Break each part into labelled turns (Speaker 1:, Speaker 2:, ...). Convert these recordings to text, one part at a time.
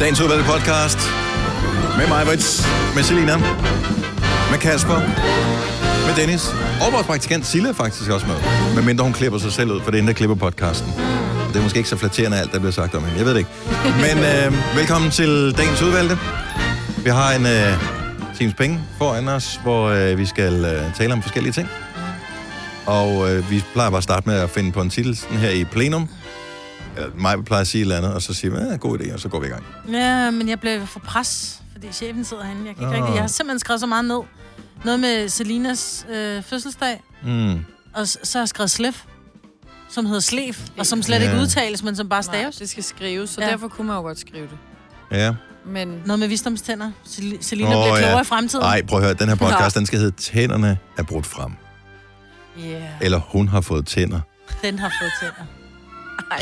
Speaker 1: Dagens udvalgte podcast med mig, Brits, med Selina, med Kasper, med Dennis, og vores praktikant Silla er faktisk også med. Men mindre hun klipper sig selv ud, for det er hende, der klipper podcasten. Det er måske ikke så flatterende alt, der bliver sagt om hende. Jeg ved det ikke. Men øh, velkommen til dagens udvalgte. Vi har en øh, times penge foran os, hvor øh, vi skal øh, tale om forskellige ting. Og øh, vi plejer bare at starte med at finde på en titel sådan her i plenum. Eller mig plejer at sige et eller andet, og så siger vi, ja, god idé, og så går vi i gang.
Speaker 2: Ja, men jeg blev for pres, fordi chefen sidder herinde. Jeg kan ikke
Speaker 1: Nå.
Speaker 2: rigtig. Jeg har simpelthen skrevet så meget ned. Noget med Selinas øh, fødselsdag,
Speaker 1: Mm.
Speaker 2: og s- så har jeg skrevet slef, som hedder slef, og som slet
Speaker 1: Ja.
Speaker 2: ikke udtales, men som bare staves.
Speaker 3: Nej, det skal skrives, så
Speaker 2: Ja.
Speaker 3: ja. derfor kunne man jo godt skrive det.
Speaker 1: Ja.
Speaker 3: Men
Speaker 2: Noget med visdomstænder. Sel- Selina
Speaker 1: Åh,
Speaker 2: oh, bliver
Speaker 1: ja.
Speaker 2: klogere ja. i fremtiden.
Speaker 1: Nej, prøv at høre, den her podcast,
Speaker 2: Nå.
Speaker 1: den skal hedde Tænderne er brudt frem.
Speaker 3: yeah.
Speaker 1: Eller hun har fået tænder.
Speaker 2: Den har fået tænder.
Speaker 3: Ej,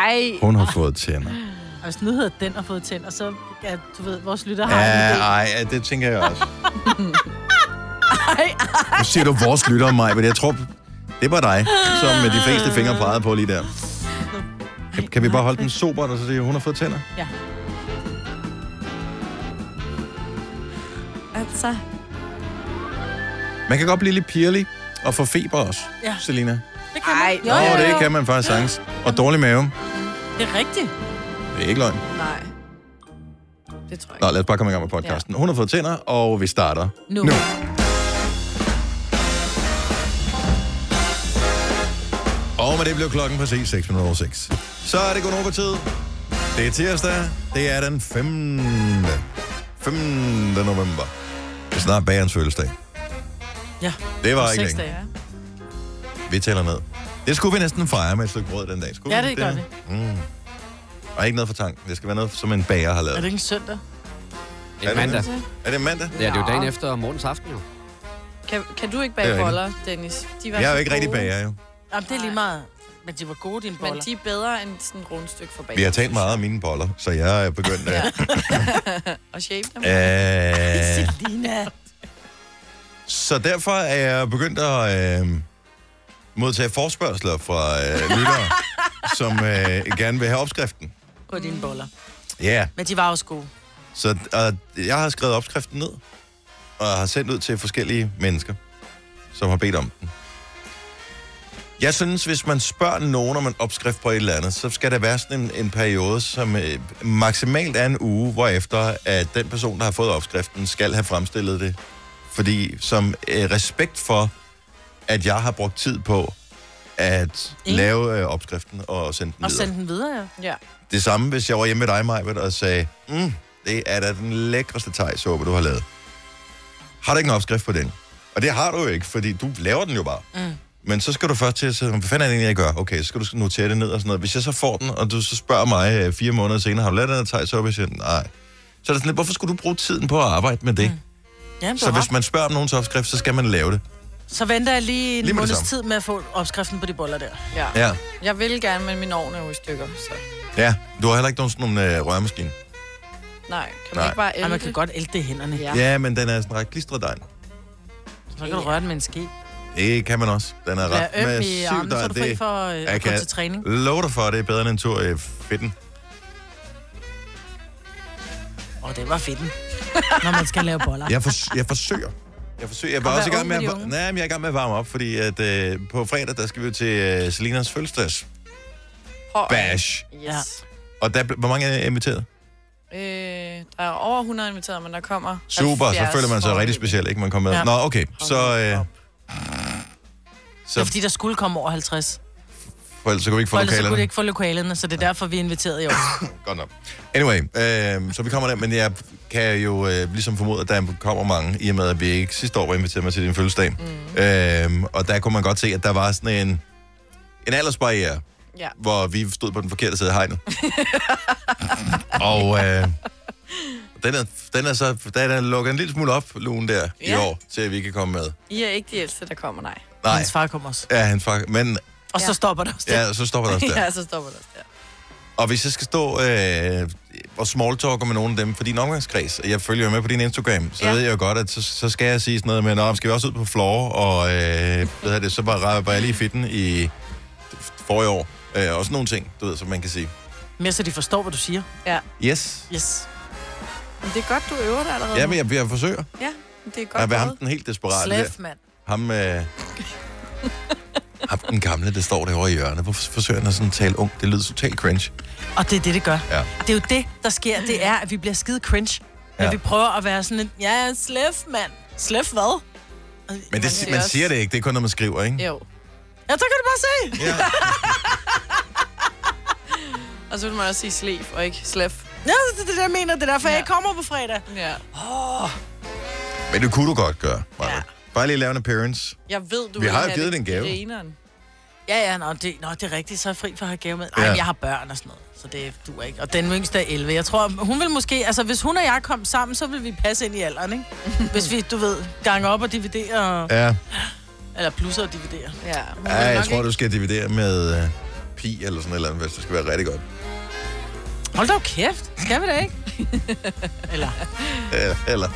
Speaker 3: ej.
Speaker 1: Hun har fået tænder.
Speaker 2: Og hvis den nu hedder den har fået tænder, så ja, du ved, vores lytter har
Speaker 1: Ja,
Speaker 2: en idé.
Speaker 1: ej, ja, det tænker jeg også.
Speaker 3: Ej,
Speaker 1: Nu siger du vores lytter om mig, men jeg tror, det var dig, som med de fleste fingre pegede på lige der. Kan, kan vi bare holde den sober, og så sige, hun har fået tænder?
Speaker 3: altså.
Speaker 1: Man kan godt blive lidt pirlig og få feber også, ja.
Speaker 2: Ja.
Speaker 1: Selina.
Speaker 2: Det kan man.
Speaker 3: Ej,
Speaker 2: jo,
Speaker 1: Åh,
Speaker 2: jo,
Speaker 1: oh,
Speaker 2: jo.
Speaker 1: det kan man faktisk sagtens. Og dårlig mave.
Speaker 2: Det er rigtigt.
Speaker 1: Det er ikke løgn.
Speaker 3: Nej. Det tror jeg
Speaker 1: Nå,
Speaker 3: ikke.
Speaker 1: lad os bare komme i gang med podcasten. Hun har fået tænder, og vi starter
Speaker 2: Nu.
Speaker 1: nu. Og med det blev klokken præcis 6 minutter over 6. Så er det gået over tid. Det er tirsdag. Det er den 5. 5. november. Det er snart bagerens fødselsdag.
Speaker 2: Ja.
Speaker 1: Det var
Speaker 2: Om
Speaker 1: ikke
Speaker 2: seks
Speaker 1: længe.
Speaker 2: dage.
Speaker 1: Vi tæller ned. Det skulle vi næsten fejre med et stykke brød den dag. Skulle
Speaker 2: Ja,
Speaker 1: vi
Speaker 2: det gør vi.
Speaker 1: Mm. Og ikke noget for tanken. Det skal være noget, som en bager har lavet.
Speaker 2: Er det ikke en søndag?
Speaker 1: Er
Speaker 4: En
Speaker 1: det
Speaker 4: mandag.
Speaker 1: Er det mandag?
Speaker 4: Ja, det er jo dagen
Speaker 3: Ja.
Speaker 4: efter morgens aften, jo.
Speaker 3: Kan, kan du ikke
Speaker 1: Det er
Speaker 3: bage
Speaker 1: rigtigt.
Speaker 3: boller, Dennis? De var
Speaker 1: Jeg er jo
Speaker 3: så
Speaker 1: ikke rigtig
Speaker 3: gode,
Speaker 1: bager, jo.
Speaker 2: Jamen, det er lige meget. Men de var gode, dine boller.
Speaker 3: Men de er bedre end sådan et rundstykke for bag.
Speaker 1: Vi har talt meget om mine boller, så jeg er begyndt at...
Speaker 3: Og shape dem.
Speaker 1: Øh,
Speaker 2: Selina.
Speaker 1: så derfor er jeg begyndt at øh, modtage forspørgseler fra øh, lyttere, som øh, gerne vil have opskriften.
Speaker 2: På dine boller.
Speaker 1: Ja, yeah.
Speaker 2: Men de var også gode.
Speaker 1: så og jeg har skrevet opskriften ned, og har sendt ud til forskellige mennesker, som har bedt om den. Jeg synes, hvis man spørger nogen om en opskrift på et eller andet, så skal der være sådan en, en periode, som øh, maksimalt er en uge, hvorefter at den person, der har fået opskriften, skal have fremstillet det. Fordi som øh, respekt for, at jeg har brugt tid på at
Speaker 2: Enig.
Speaker 1: lave øh, opskriften og sende den
Speaker 2: Og
Speaker 1: videre.
Speaker 2: sendte den videre, ja.
Speaker 3: Ja.
Speaker 1: Det samme, hvis jeg var hjemme med dig, Majbert, og sagde, mm, det er da den lækreste tegsuppe, du har lavet. Har du ikke en opskrift på den? Og det har du jo ikke, fordi du laver den jo bare. Mm. Men så skal du først til at sige, hvad fanden er det egentlig, jeg gør? Okay, så skal du notere det ned og sådan noget. Hvis jeg så får den, og du så spørger mig øh, fire måneder senere, har du lavet den her tegsuppe? Jeg siger, nej. Så er det sådan lidt, hvorfor skulle du bruge tiden på at arbejde med det? Mm.
Speaker 2: Jamen,
Speaker 1: Så
Speaker 2: så,
Speaker 1: hvis man spørger om nogens opskrift, så skal man lave det.
Speaker 2: så venter jeg lige en
Speaker 1: Lige
Speaker 2: lige
Speaker 1: med det
Speaker 2: måneds
Speaker 1: samme.
Speaker 2: tid med at få opskriften på de boller der.
Speaker 3: ja.
Speaker 1: Ja.
Speaker 3: Jeg vil gerne, men min ovn er jo i stykker, så
Speaker 1: Ja, du har heller ikke nogen sådan nogle øh, rørmaskine.
Speaker 3: nej. Kan man
Speaker 1: Nej.
Speaker 3: ikke bare
Speaker 2: Og
Speaker 3: ælde
Speaker 2: man kan godt ælte det i hænderne.
Speaker 3: Ja.
Speaker 2: Ja.
Speaker 1: Ja, men den er sådan ret klistret dej.
Speaker 2: Så kan du røre den med en ske.
Speaker 1: Det kan man også. Den er ret
Speaker 2: Ja, øm i
Speaker 1: massiv,
Speaker 2: armen, så
Speaker 1: der
Speaker 2: er
Speaker 1: er
Speaker 2: du fri
Speaker 1: det.
Speaker 2: for øh,
Speaker 1: Jeg
Speaker 2: at gå
Speaker 1: kan-
Speaker 2: til træning.
Speaker 1: Lov dig for, det er bedre end en tur i fedten.
Speaker 2: Åh, det var fedt, når man skal lave boller.
Speaker 1: Jeg, for, jeg forsøger. Jeg forsøger. Jeg var
Speaker 3: Og
Speaker 1: også i
Speaker 3: være
Speaker 1: gang med,
Speaker 3: ung med
Speaker 1: at,
Speaker 3: de
Speaker 1: var-
Speaker 3: unge.
Speaker 1: nej, men jeg er i gang med at varme op, fordi at, øh, på fredag, der skal vi jo til øh, Selinas fødselsdags
Speaker 3: Hår.
Speaker 1: bash.
Speaker 3: Yes.
Speaker 1: Og der, ble- hvor mange er inviteret?
Speaker 3: Øh, der er over 100 inviteret, men der kommer
Speaker 1: Super, så
Speaker 3: 70
Speaker 1: føler man sig rigtig
Speaker 3: foreløbig.
Speaker 1: speciel, ikke? Man kommer med.
Speaker 2: Ja.
Speaker 1: Nå, okay.
Speaker 3: Hold
Speaker 1: Så, øh,
Speaker 3: op.
Speaker 2: Det er
Speaker 1: så,
Speaker 2: fordi, der skulle komme over 50.
Speaker 1: for ellers så kan vi ikke
Speaker 2: For
Speaker 1: få
Speaker 2: ellers så kunne
Speaker 1: lokalerne.
Speaker 2: det ikke få lokalerne, så det er derfor, vi er inviteret i år.
Speaker 1: Godt nok. Anyway, øh, så vi kommer der, men jeg kan jo øh, ligesom formode, at der kommer mange, i og med, at vi ikke sidste år var inviteret med til din fødselsdag. Mm. Øh, og der kunne man godt se, at der var sådan en, en aldersbarriere,
Speaker 3: Ja.
Speaker 1: hvor vi stod på den forkerte side af hegnet. og øh, den, er, den, er så, den er lukket en lille smule op, lugen der, ja. i
Speaker 3: Ja.
Speaker 1: år, til at vi kan komme med.
Speaker 3: I er ikke de ældste, der kommer, nej.
Speaker 1: Nej,
Speaker 2: Hans far kommer også.
Speaker 1: ja, han fakt, men
Speaker 2: Og så
Speaker 3: Ja.
Speaker 2: stopper der også det.
Speaker 1: ja, så stopper der også der.
Speaker 3: Ja, så stopper det også der.
Speaker 1: Og hvis jeg skal stå øh, og smalltalker med nogle af dem for din omgangskreds, og jeg følger jo med på din Instagram, så ja.
Speaker 3: Ja.
Speaker 1: ved jeg jo godt, at så, så skal jeg sige sådan noget med, Nå, skal vi også ud på floor, og øh, hvad hedder det, så bare var jeg lige i fitten i forrige år, øh, og sådan nogle ting, du ved, som man kan sige.
Speaker 2: Mere så de forstår, hvad du siger.
Speaker 3: Ja.
Speaker 1: Yes.
Speaker 2: Yes.
Speaker 3: Men det er godt, du øver dig allerede.
Speaker 1: Ja,
Speaker 3: nu.
Speaker 1: men jeg, jeg forsøger.
Speaker 3: ja det er godt.
Speaker 1: Jeg vil ham
Speaker 3: gået.
Speaker 1: den helt desperat.
Speaker 2: Slef, mand.
Speaker 1: Ham, øh, ham den gamle, der står derovre i hjørnet. Hvorfor forsøger han at sådan tale ung? Det lyder totalt cringe.
Speaker 2: Og det er det, det gør.
Speaker 1: Ja.
Speaker 2: Det er jo det, der sker. Det er, at vi bliver skide cringe. Når
Speaker 1: Ja.
Speaker 2: vi prøver at være sådan lidt, ja, slef, mand. Slef hvad?
Speaker 1: Men det,
Speaker 3: det er
Speaker 1: man
Speaker 3: også-
Speaker 1: siger det ikke. Det er kun, når man skriver, ikke?
Speaker 3: Jo.
Speaker 2: Ja, der kan du bare se.
Speaker 1: Ja.
Speaker 3: Og så vil man også sige slef og ikke slef.
Speaker 2: Ja, det er det, jeg mener. Det er derfor, ja. jeg
Speaker 3: Ja.
Speaker 2: ikke kommer på fredag.
Speaker 3: Ja.
Speaker 1: Men det kunne du godt gøre, Maja.
Speaker 3: Ja.
Speaker 1: Bare lige lave en appearance.
Speaker 3: Jeg ved, du
Speaker 1: Vi
Speaker 3: vil
Speaker 1: har jo
Speaker 3: have
Speaker 1: givet
Speaker 3: det
Speaker 1: den gave.
Speaker 3: i reneren.
Speaker 2: Ja, ja, nå, det, nå, det er rigtigt. Så er jeg fri for at have gave med. Nej,
Speaker 1: Ja.
Speaker 2: ja. jeg har børn og sådan noget, så det duer ikke. Og den yngste er 11. Jeg tror, hun vil måske... Altså, hvis hun og jeg kom sammen, så vil vi passe ind i alderen, ikke? Hvis vi, du ved, gange op og dividerer... Og,
Speaker 1: Ja,
Speaker 2: Eller plusser og dividerer.
Speaker 3: Ja, hun
Speaker 1: ja
Speaker 3: vil
Speaker 1: jeg
Speaker 3: nok
Speaker 1: tror,
Speaker 3: ikke-
Speaker 1: du skal dividere med øh, pi eller sådan et eller andet, hvis det skal være rigtig godt.
Speaker 2: Hold da kæft. Skal vi det ikke? Eller
Speaker 1: Øh, eller,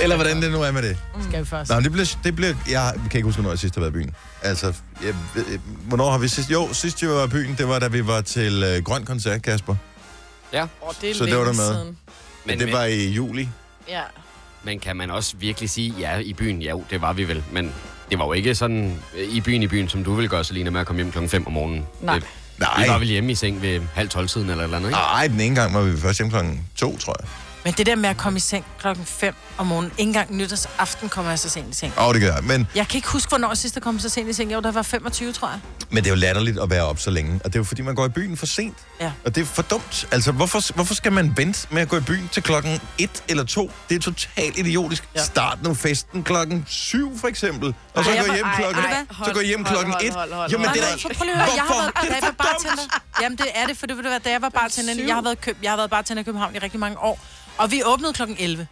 Speaker 1: eller hvordan det nu er med det.
Speaker 3: Mm.
Speaker 2: skal vi først?
Speaker 1: Nej, men det bliver, det bliver... Jeg kan ikke huske, hvornår jeg sidst har været i byen. Altså, jeg, ved- øh, hvornår har vi sidst... Jo, sidst jeg var i byen, det var, da vi var til øh, Grøn Koncert, Kasper.
Speaker 4: Ja,
Speaker 3: Åh, det er
Speaker 1: Så det
Speaker 3: længe
Speaker 1: var der med.
Speaker 3: siden.
Speaker 1: Men
Speaker 4: men,
Speaker 1: det var i juli.
Speaker 3: Ja.
Speaker 4: men kan man også virkelig sige, ja, i byen, ja, jo, det var vi vel, men det var jo ikke sådan øh, i byen i byen, som du ville gøre, Selina, med at komme hjem klokken 5 om morgenen.
Speaker 3: Nej.
Speaker 4: Det,
Speaker 1: Nej.
Speaker 4: Vi var vel hjemme i seng ved halv 12 tiden eller et eller andet, ikke?
Speaker 1: Nej, den ene gang var vi først hjemme klokken to, tror jeg.
Speaker 2: Men det der med at komme i seng klokken 5 om morgenen, ikke engang nytårsaften kommer jeg så sent i seng.
Speaker 1: Åh, oh, det gør jeg. Men,
Speaker 2: Jeg kan ikke huske, hvornår jeg sidst jeg kom så sent i seng. Jo, der var 25, tror jeg.
Speaker 1: men det er jo latterligt at være op så længe. Og det er jo fordi, man går i byen for sent.
Speaker 2: Ja.
Speaker 1: Og det er for dumt. Altså, hvorfor, hvorfor skal man vente med at gå i byen til klokken et eller to? Det er totalt idiotisk. Ja.
Speaker 2: Ja.
Speaker 1: Start nu festen klokken syv, for eksempel. Og så
Speaker 3: Ej,
Speaker 1: ej,
Speaker 3: jeg
Speaker 1: gå
Speaker 3: var-
Speaker 1: hjem
Speaker 3: ej,
Speaker 1: klokken,
Speaker 3: ej,
Speaker 1: ej,
Speaker 3: hold,
Speaker 1: så gå hjem
Speaker 3: hold,
Speaker 1: klokken
Speaker 3: hold,
Speaker 1: et.
Speaker 3: hold, hold,
Speaker 1: Jamen,
Speaker 2: Nej,
Speaker 1: det er
Speaker 2: nej,
Speaker 1: da-
Speaker 2: for prøv lige at høre, jeg har
Speaker 1: Hvorfor?
Speaker 2: været, da jeg var
Speaker 1: Det er for
Speaker 2: bartender. Jamen, det er det, for det ved du hvad, da jeg var bartender, jeg har været, køb, jeg har været bartender i København i rigtig mange år, og vi åbnede klokken 11.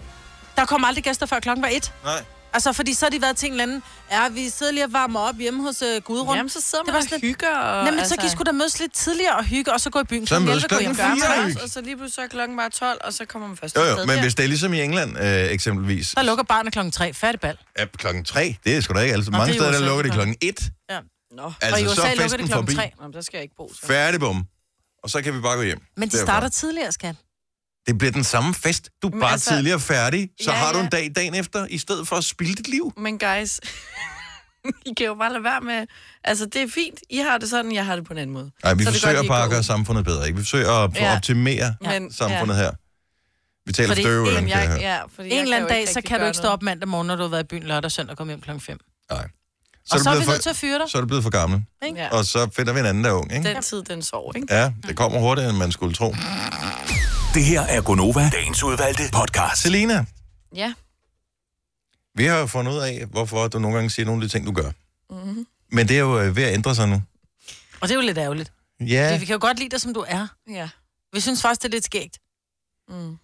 Speaker 2: Der kom aldrig gæster før klokken var 1.
Speaker 1: Nej.
Speaker 2: Altså, fordi så har de været til en eller anden, ja, vi sidder lige og varmer op hjemme hos uh, Gudrun.
Speaker 3: Jamen, så sidder
Speaker 2: Det
Speaker 3: man
Speaker 2: var
Speaker 3: og
Speaker 2: sådan-
Speaker 3: hygger. Og, altså-
Speaker 2: Jamen, så kan I sgu da mødes lidt tidligere og hygge, og så gå i byen
Speaker 1: Så
Speaker 2: klokken
Speaker 1: mødes
Speaker 2: 11 og gå hjem.
Speaker 1: klokken
Speaker 3: Gør
Speaker 1: Fire
Speaker 3: man
Speaker 1: hygge.
Speaker 3: også, og så lige pludselig så er klokken bare 12, og så kommer man først
Speaker 1: Jo,
Speaker 3: til
Speaker 1: jo,
Speaker 3: sted
Speaker 1: men
Speaker 3: der.
Speaker 1: hvis det er ligesom i England øh, eksempelvis,
Speaker 2: Der lukker barnet klokken 3. Færdig bal.
Speaker 1: ja, klokken tre, det er sgu da ikke. Altså,
Speaker 2: Nå,
Speaker 1: mange
Speaker 2: det er
Speaker 1: steder, der
Speaker 2: USA,
Speaker 1: lukker det
Speaker 2: ja.
Speaker 1: klokken et.
Speaker 2: Ja.
Speaker 3: Nå,
Speaker 2: Og i
Speaker 1: Altså, så
Speaker 2: USA
Speaker 1: er
Speaker 2: lukker det
Speaker 1: festen
Speaker 2: klokken
Speaker 1: forbi.
Speaker 2: 3.
Speaker 3: Nå, men der skal jeg ikke bo, så.
Speaker 1: Færdig bum. Og så kan vi bare gå hjem.
Speaker 2: Men de
Speaker 1: Derfor.
Speaker 2: starter tidligere, skat.
Speaker 1: Det bliver den samme fest. Du er
Speaker 3: Men
Speaker 1: bare altså,
Speaker 3: altså-
Speaker 1: tidligere færdig, så ja,
Speaker 3: Ja,
Speaker 1: har du
Speaker 3: ja.
Speaker 1: en dag dagen efter, i stedet for at spilde dit liv.
Speaker 3: Men guys, I kan jo bare lade være med... Altså, det er fint. I har det sådan, jeg har det på en anden måde.
Speaker 1: Nej,
Speaker 3: Så
Speaker 1: vi så
Speaker 3: er det
Speaker 1: forsøger
Speaker 3: godt, I
Speaker 1: bare
Speaker 3: går
Speaker 1: at gøre
Speaker 3: ud.
Speaker 1: samfundet bedre. Ikke? Vi forsøger at ja.
Speaker 3: Ja.
Speaker 1: optimere ja.
Speaker 3: Men,
Speaker 1: samfundet
Speaker 3: ja.
Speaker 1: her. Vi taler
Speaker 2: Fordi
Speaker 1: støve,
Speaker 3: Jamen,
Speaker 1: kan jeg
Speaker 3: jeg,
Speaker 1: høre.
Speaker 3: ja, fordi jeg
Speaker 2: En eller anden
Speaker 3: jo
Speaker 2: dag,
Speaker 3: ikke
Speaker 2: så
Speaker 3: rigtig
Speaker 2: kan du
Speaker 3: gøre
Speaker 2: ikke stå
Speaker 3: noget.
Speaker 2: op mandag morgen, når du har været i byen lørdag og søndag og komme hjem klokken 5.
Speaker 1: Nej.
Speaker 2: Og så er vi
Speaker 1: blevet
Speaker 2: nødt til at fyre dig.
Speaker 1: så er det blevet for gammel,
Speaker 2: ikke?
Speaker 3: Ja.
Speaker 1: og så finder vi en anden, der er ung. Ikke?
Speaker 3: Den tid, den sover, ikke?
Speaker 1: Ja, det kommer hurtigere, end man skulle tro.
Speaker 5: Det her er Gonova, dagens udvalgte podcast.
Speaker 1: Selina,
Speaker 3: Ja.
Speaker 1: vi har jo fundet ud af, hvorfor du nogle gange siger nogle af de ting, du gør. Mm-hmm. Men det er jo øh, ved at ændre sig nu.
Speaker 2: Og det er jo lidt ærgerligt. Fordi
Speaker 1: Ja,
Speaker 2: vi kan jo godt lide dig, som du er.
Speaker 3: Ja.
Speaker 2: Vi synes faktisk, det er lidt skægt.
Speaker 3: Mm.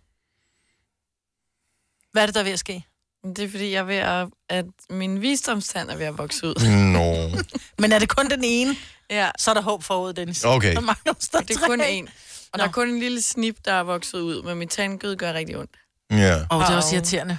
Speaker 2: Hvad er det, der er ved at ske?
Speaker 3: Men Det er fordi, jeg er ved at, at min visdomstand er ved at vokse ud.
Speaker 1: Nå.
Speaker 2: Men er det kun den ene,
Speaker 3: Ja,
Speaker 2: så er der håb forud, Dennis.
Speaker 1: Okay.
Speaker 2: Der mangler os der
Speaker 3: det er kun
Speaker 2: tre.
Speaker 3: en. Og
Speaker 2: Nå.
Speaker 3: der er kun en lille snip, der er vokset ud, men mit tandkød gør rigtig ondt.
Speaker 1: Ja.
Speaker 2: Åh, oh, det er også
Speaker 3: Au.
Speaker 2: irriterende.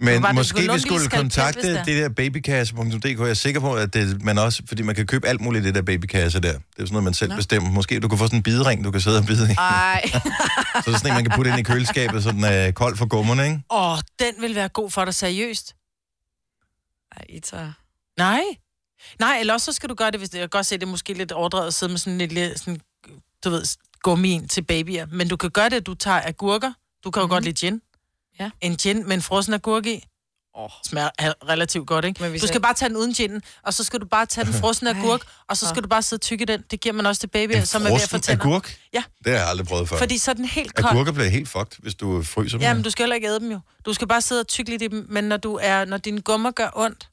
Speaker 1: Men
Speaker 2: var det
Speaker 1: måske vi
Speaker 2: Lundin
Speaker 1: skulle
Speaker 2: skalpel,
Speaker 1: kontakte
Speaker 2: hvis det er.
Speaker 1: det der babykasse.dk. Jeg er sikker på, at det, man også... Fordi man kan købe alt muligt i det der babykasse der. Det er jo sådan noget, man selv Nå. bestemmer. Måske du kan få sådan en bidering, du kan sidde og bide i.
Speaker 2: Ah.
Speaker 3: Ej.
Speaker 1: Så sådan en, man kan putte ind i køleskabet, så den er kold for gummerne, ikke?
Speaker 2: Åh, oh, den vil være god for dig seriøst.
Speaker 3: Ej, I tager...
Speaker 2: Nej. Nej, eller også så skal du gøre det, hvis det, jeg kan godt se, det er måske lidt overdrevet at sidde med sådan en lille, sådan, du ved, gummi ind til babyer. Men du kan gøre det, at du tager agurker. Du kan jo mm-hmm. godt lide gin.
Speaker 3: Mhm. Ja.
Speaker 2: En gin med en frossen agurk i.
Speaker 3: Åh.
Speaker 2: Smager al- relativt godt, ikke?
Speaker 3: Men
Speaker 2: Men
Speaker 3: hvis
Speaker 2: du skal
Speaker 3: jeg-
Speaker 2: bare tage den uden ginen, og så skal du bare tage den frosne agurk, og så skal du bare sidde og tykke den. Det giver man også til babyer,
Speaker 1: En
Speaker 2: som er ved at
Speaker 1: frossen
Speaker 2: fortælle.
Speaker 1: agurk?
Speaker 2: Ja.
Speaker 1: Det har jeg aldrig prøvet før. Fordi...
Speaker 2: Fordi så er den helt kold.
Speaker 1: Agurker bliver helt fucked, hvis du fryser dem.
Speaker 2: Ja, men du skal heller ikke æde dem jo. Du skal bare sidde og tykke lidt i dem, men når, du er, når dine gummer gør ondt,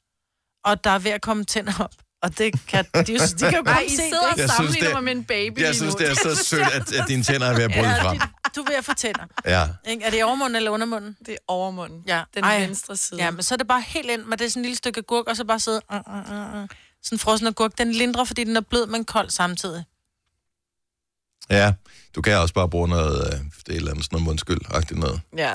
Speaker 2: og der er ved at komme tænder op, og det kan, de, de kan jo
Speaker 3: Ej,
Speaker 2: godt
Speaker 3: I
Speaker 2: se
Speaker 3: sidder og
Speaker 2: det.
Speaker 1: Jeg synes,
Speaker 3: sammenligner
Speaker 1: det-
Speaker 3: mig med en baby
Speaker 1: Jeg synes, det
Speaker 3: lige
Speaker 1: er
Speaker 3: nu.
Speaker 1: så sødt, at, at dine tænder er ved at bryde frem.
Speaker 2: Du er ved at få tænder.
Speaker 1: Ja.
Speaker 2: Ikke? Er det i overmunden eller undermunden?
Speaker 3: Det er overmunden.
Speaker 2: Ja.
Speaker 3: Den
Speaker 2: Ej.
Speaker 3: venstre side.
Speaker 2: Ja, men så er det bare helt ind, men det er sådan et lille stykke gurk, og så bare sidde... Uh, uh, uh, uh. Sådan en frossen agurk, den lindrer, fordi den er blød, men kold samtidig.
Speaker 1: Ja. Du kan også bare bruge noget, øh, det er et eller andet sådan noget mundskyld-agtigt noget.
Speaker 3: ja.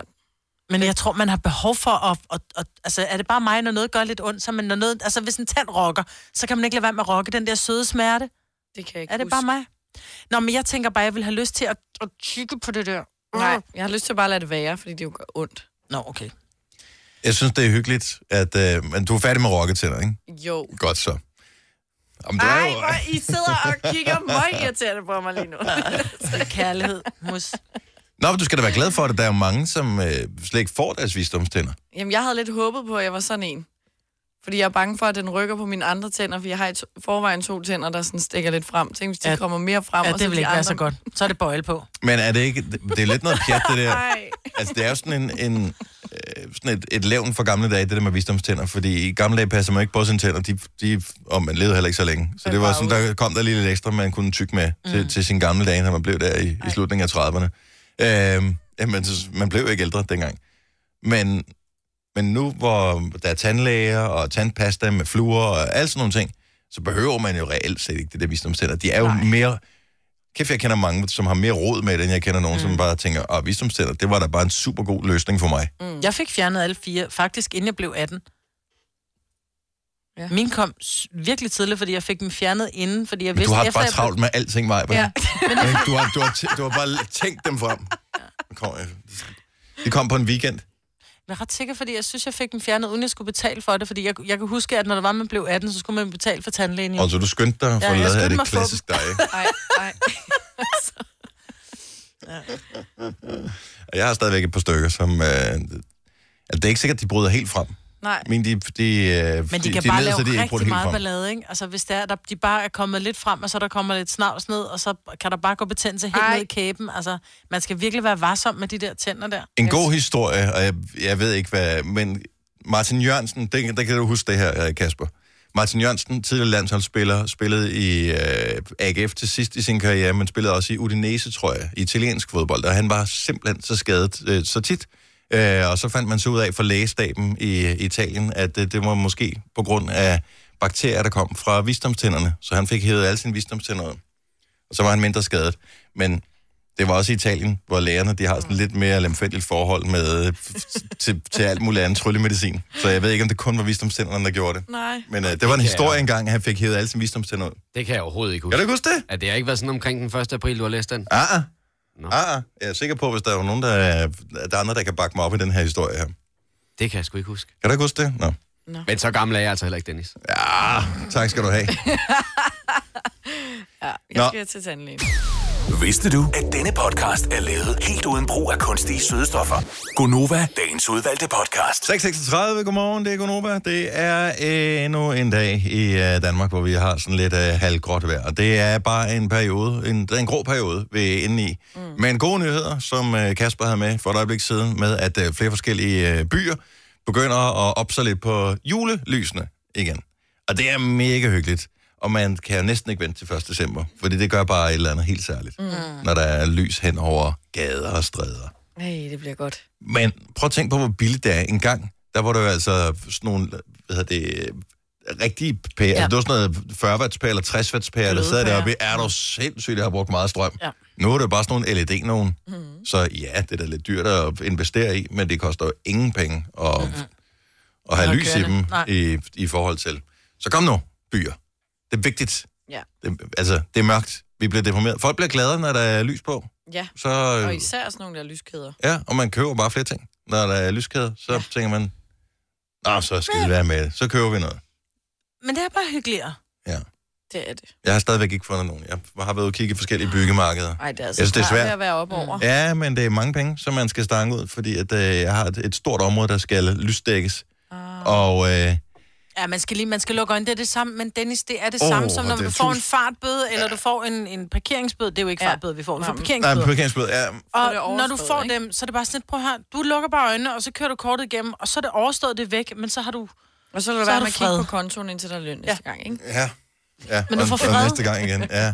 Speaker 2: Men jeg tror, man har behov for at... at, at altså, er det bare mig, når noget gør lidt ondt? Så man, når noget, altså, hvis en tand rokker, så kan man ikke lade være med at rokke den der søde smerte.
Speaker 3: Det kan jeg ikke
Speaker 2: Er det bare
Speaker 3: huske.
Speaker 2: mig? Nå, men jeg tænker bare, jeg vil have lyst til at, at tykke på det der.
Speaker 3: Nej, jeg har lyst til bare at lade det være, fordi det jo gør ondt.
Speaker 2: Nå, okay.
Speaker 1: Jeg synes, det er hyggeligt, at øh, men du er færdig med rokketænder, ikke?
Speaker 3: Jo.
Speaker 1: Godt så. Jamen, det
Speaker 3: Ej,
Speaker 1: er jo...
Speaker 3: hvor I sidder og kigger meget irriterende på mig lige nu.
Speaker 2: Kærlighed, mus.
Speaker 1: Nå, men du skal da være glad for det. Der er jo mange, som øh, slet ikke får deres visdomstænder.
Speaker 3: Jamen, jeg havde lidt håbet på, at jeg var sådan en. Fordi jeg er bange for, at den rykker på mine andre tænder, for jeg har i to- forvejen to tænder, der sådan stikker lidt frem. Tænk, hvis de
Speaker 2: Ja.
Speaker 3: kommer mere frem.
Speaker 2: Ja,
Speaker 3: og
Speaker 2: det
Speaker 3: så
Speaker 2: vil
Speaker 3: de
Speaker 2: ikke være så
Speaker 3: andre-
Speaker 2: godt. Så er det bøjle på.
Speaker 1: Men er det ikke... Det er lidt noget pjat, det der.
Speaker 3: Ej.
Speaker 1: Altså, det er jo sådan en... en øh, sådan et, et levn fra gamle dage, det der med visdomstænder, fordi i gamle dage passer man ikke på sine tænder, de, de, og man levede heller ikke så længe. Så det var Mm. sådan, der kom der lige lidt ekstra, man kunne tykke med til, til sine gamle dage, når man blev der i, i slutningen af 30'erne. Øhm, jamen, så, man blev jo ikke ældre dengang. Men, men nu, hvor der er tandlæger og tandpasta med fluer og alt sådan nogle ting, så behøver man jo reelt set ikke det der visdomstænder. De er jo Nej. mere... Kæft, jeg kender mange, som har mere råd med det, end jeg kender nogen, mm. som bare tænker, at visdomstænder, det var da bare en super god løsning for mig. Mm.
Speaker 2: Mm. Jeg fik fjernet alle fire, faktisk inden jeg blev 18.
Speaker 3: Ja.
Speaker 2: Ja. Min kom s- virkelig tidligt, fordi jeg fik dem fjernet inden, fordi jeg
Speaker 1: Men du
Speaker 2: vidste...
Speaker 1: har
Speaker 2: efter
Speaker 1: bare
Speaker 2: jeg blev-
Speaker 1: travlt med alting, Maja. Ja.
Speaker 3: Ja.
Speaker 1: Du, har, du, har, tæ- du har bare tænkt dem frem. Kom, øh, De kom på en weekend.
Speaker 2: Jeg er ret sikker, fordi jeg synes, jeg fik dem fjernet, uden jeg skulle betale for det. Fordi jeg, jeg kan huske, at når der var, man blev 18, så skulle man betale for tandlægen. jo.
Speaker 1: Og så du skyndte dig for
Speaker 2: Ja,
Speaker 1: ja,
Speaker 2: jeg
Speaker 1: lavet af
Speaker 2: skyndte
Speaker 1: det
Speaker 2: mig at få
Speaker 1: klassisk dig. ikke?
Speaker 3: Ej, ej.
Speaker 1: Og jeg har stadigvæk et par stykker, som... Øh, altså, det er ikke sikkert, de bryder helt frem.
Speaker 3: Nej.
Speaker 1: Men de, de, øh,
Speaker 2: Men de, de kan
Speaker 1: de
Speaker 2: bare
Speaker 1: nederste,
Speaker 2: lave
Speaker 1: de er ikke brudt
Speaker 2: rigtig
Speaker 1: helt
Speaker 2: meget
Speaker 1: frem.
Speaker 2: ballade, ikke? Altså, hvis det er, der, de bare er kommet lidt frem, og så der kommer lidt snavs ned, og så kan der bare gå betændelse helt
Speaker 3: Ej.
Speaker 2: ned i kæben. Altså, man skal virkelig være varsom med de der tænder der.
Speaker 1: En god historie, og jeg, jeg ved ikke hvad, men Martin Jørgensen, det, der kan du huske det her, øh, Kasper. Martin Jørgensen, tidligere landsholdsspiller, spillede i øh, AGF til sidst i sin karriere, men spillede også i Udinese, tror jeg, i italiensk fodbold, og han var simpelthen så skadet øh, så tit. Øh, og så fandt man så ud af for lægestaben i, i Italien, at øh, det var måske på grund af bakterier, der kom fra visdomstænderne, så han fik hævet alle sine visdomstænder ud. Og så var han mindre skadet. Men det var også i Italien, hvor lægerne de har sådan lidt mere lemfældigt forhold med, til, til alt muligt andet tryllemedicin. Så jeg ved ikke, om det kun var visdomstænderne, der gjorde det.
Speaker 3: Nej.
Speaker 1: Men øh, det var en historie engang, at han fik hævet alle sine visdomstænder ud.
Speaker 4: Det kan jeg overhovedet ikke
Speaker 1: Kan
Speaker 4: huske.
Speaker 1: du ikke huske det?
Speaker 4: At det har ikke været sådan omkring den 1. april, du har læst den?
Speaker 1: Ah, ah.
Speaker 4: Nå.
Speaker 1: Ah, ah. Jeg er sikker på, hvis der er nogen, der, er- der er andre, der kan bakke mig op i den her historie her.
Speaker 4: Det kan jeg sgu ikke huske.
Speaker 1: Kan du ikke huske det? Nå.
Speaker 4: Men så gammel er jeg altså heller ikke, Dennis.
Speaker 1: Ja, tak skal du have.
Speaker 3: Jeg
Speaker 1: Nå.
Speaker 3: skal til tandlægen.
Speaker 5: Vidste du, at denne podcast er lavet helt uden brug af kunstige sødestoffer? Gonova, dagens udvalgte podcast.
Speaker 1: 6.36, godmorgen, det er Gunova. Det er øh, endnu en dag i øh, Danmark, hvor vi har sådan lidt øh, halvgråt vejr. Og det er bare en periode, en, det er en grå periode, vi er inde i. Mm. Men gode nyheder, som øh, Kasper havde med for et øjeblik siden, med at øh, flere forskellige øh, byer begynder at opse lidt på julelysene igen. Og det er mega hyggeligt. Og man kan jo næsten ikke vente til 1. december, fordi det gør bare et eller andet helt særligt, mm. når der er lys hen over gader og stræder.
Speaker 3: Nej, det bliver godt.
Speaker 1: Men prøv at tænke på, hvor billigt det er. En gang, der var der jo altså sådan nogle, hvad hedder det, rigtige pærer. Ja. Altså, det var sådan noget 40 watts pærer eller 60 watts pærer, der sad
Speaker 2: Glødepærer.
Speaker 1: deroppe. Er du sindssygt, jeg har brugt meget strøm.
Speaker 2: Ja. Mhm.
Speaker 1: Nu er det jo bare sådan nogle LED nogen. Mm. Så ja, det er da lidt dyrt at investere i, men det koster jo ingen penge at, mm. at have
Speaker 2: Mhm. At
Speaker 1: lys i
Speaker 2: køre det.
Speaker 1: dem
Speaker 2: Nej.
Speaker 1: i, i forhold til. Så kom nu, byer. Det er vigtigt.
Speaker 3: Ja.
Speaker 1: Det, altså, det er mørkt. Vi bliver deprimeret. Folk bliver glade, når der er lys på.
Speaker 3: Ja.
Speaker 1: Så, øh,
Speaker 3: Og især sådan nogle der lyskæder.
Speaker 1: Ja, og man køber bare flere ting. Når der er lyskæde, så ja. tænker man, Nå, så skal vi være med det. Så køber vi noget.
Speaker 2: Men det er bare hyggeligere.
Speaker 1: Ja.
Speaker 3: Det er det.
Speaker 1: Jeg har stadigvæk ikke fundet nogen. Jeg har været ude og kigge i forskellige byggemarkeder.
Speaker 3: Ej, det er altså
Speaker 1: Jeg synes, det er
Speaker 3: svært
Speaker 1: svært.
Speaker 3: at være op over.
Speaker 1: Ja, men det er mange penge, som man skal stange ud, fordi at, øh, jeg har et, et stort område, der skal lysdækkes. Ah. Og øh,
Speaker 2: Ja, man skal lige, man skal lukke øjnene. Det er det samme, men Dennis, det er det
Speaker 1: Åh,
Speaker 2: oh, samme som,
Speaker 1: og
Speaker 2: når
Speaker 1: det er
Speaker 2: du får en
Speaker 1: tus-
Speaker 2: fartbøde, eller du får en, en parkeringsbøde. Det er jo ikke
Speaker 3: Ja.
Speaker 2: fartbøde, vi får. Vi får
Speaker 3: Nej, men-
Speaker 1: nej,
Speaker 2: parkeringsbøde.
Speaker 1: parkeringsbøde. Ja,
Speaker 3: Så er det
Speaker 2: Og når
Speaker 3: overstået,
Speaker 2: du får
Speaker 3: ikke?
Speaker 2: dem, så er det bare sådan lidt, prøv her, du lukker bare øjnene, og så kører du kortet igennem, og så er det overstået det er væk, men så har du...
Speaker 3: Og så vil det
Speaker 2: Så
Speaker 3: være
Speaker 2: er
Speaker 3: med at
Speaker 2: du
Speaker 3: kigge
Speaker 2: fred.
Speaker 3: på kontoen, indtil der er løn næste gang, ikke?
Speaker 1: ja. ja.
Speaker 2: Men du
Speaker 1: og-
Speaker 2: får
Speaker 1: og
Speaker 2: fred.
Speaker 1: næste gang igen, ja.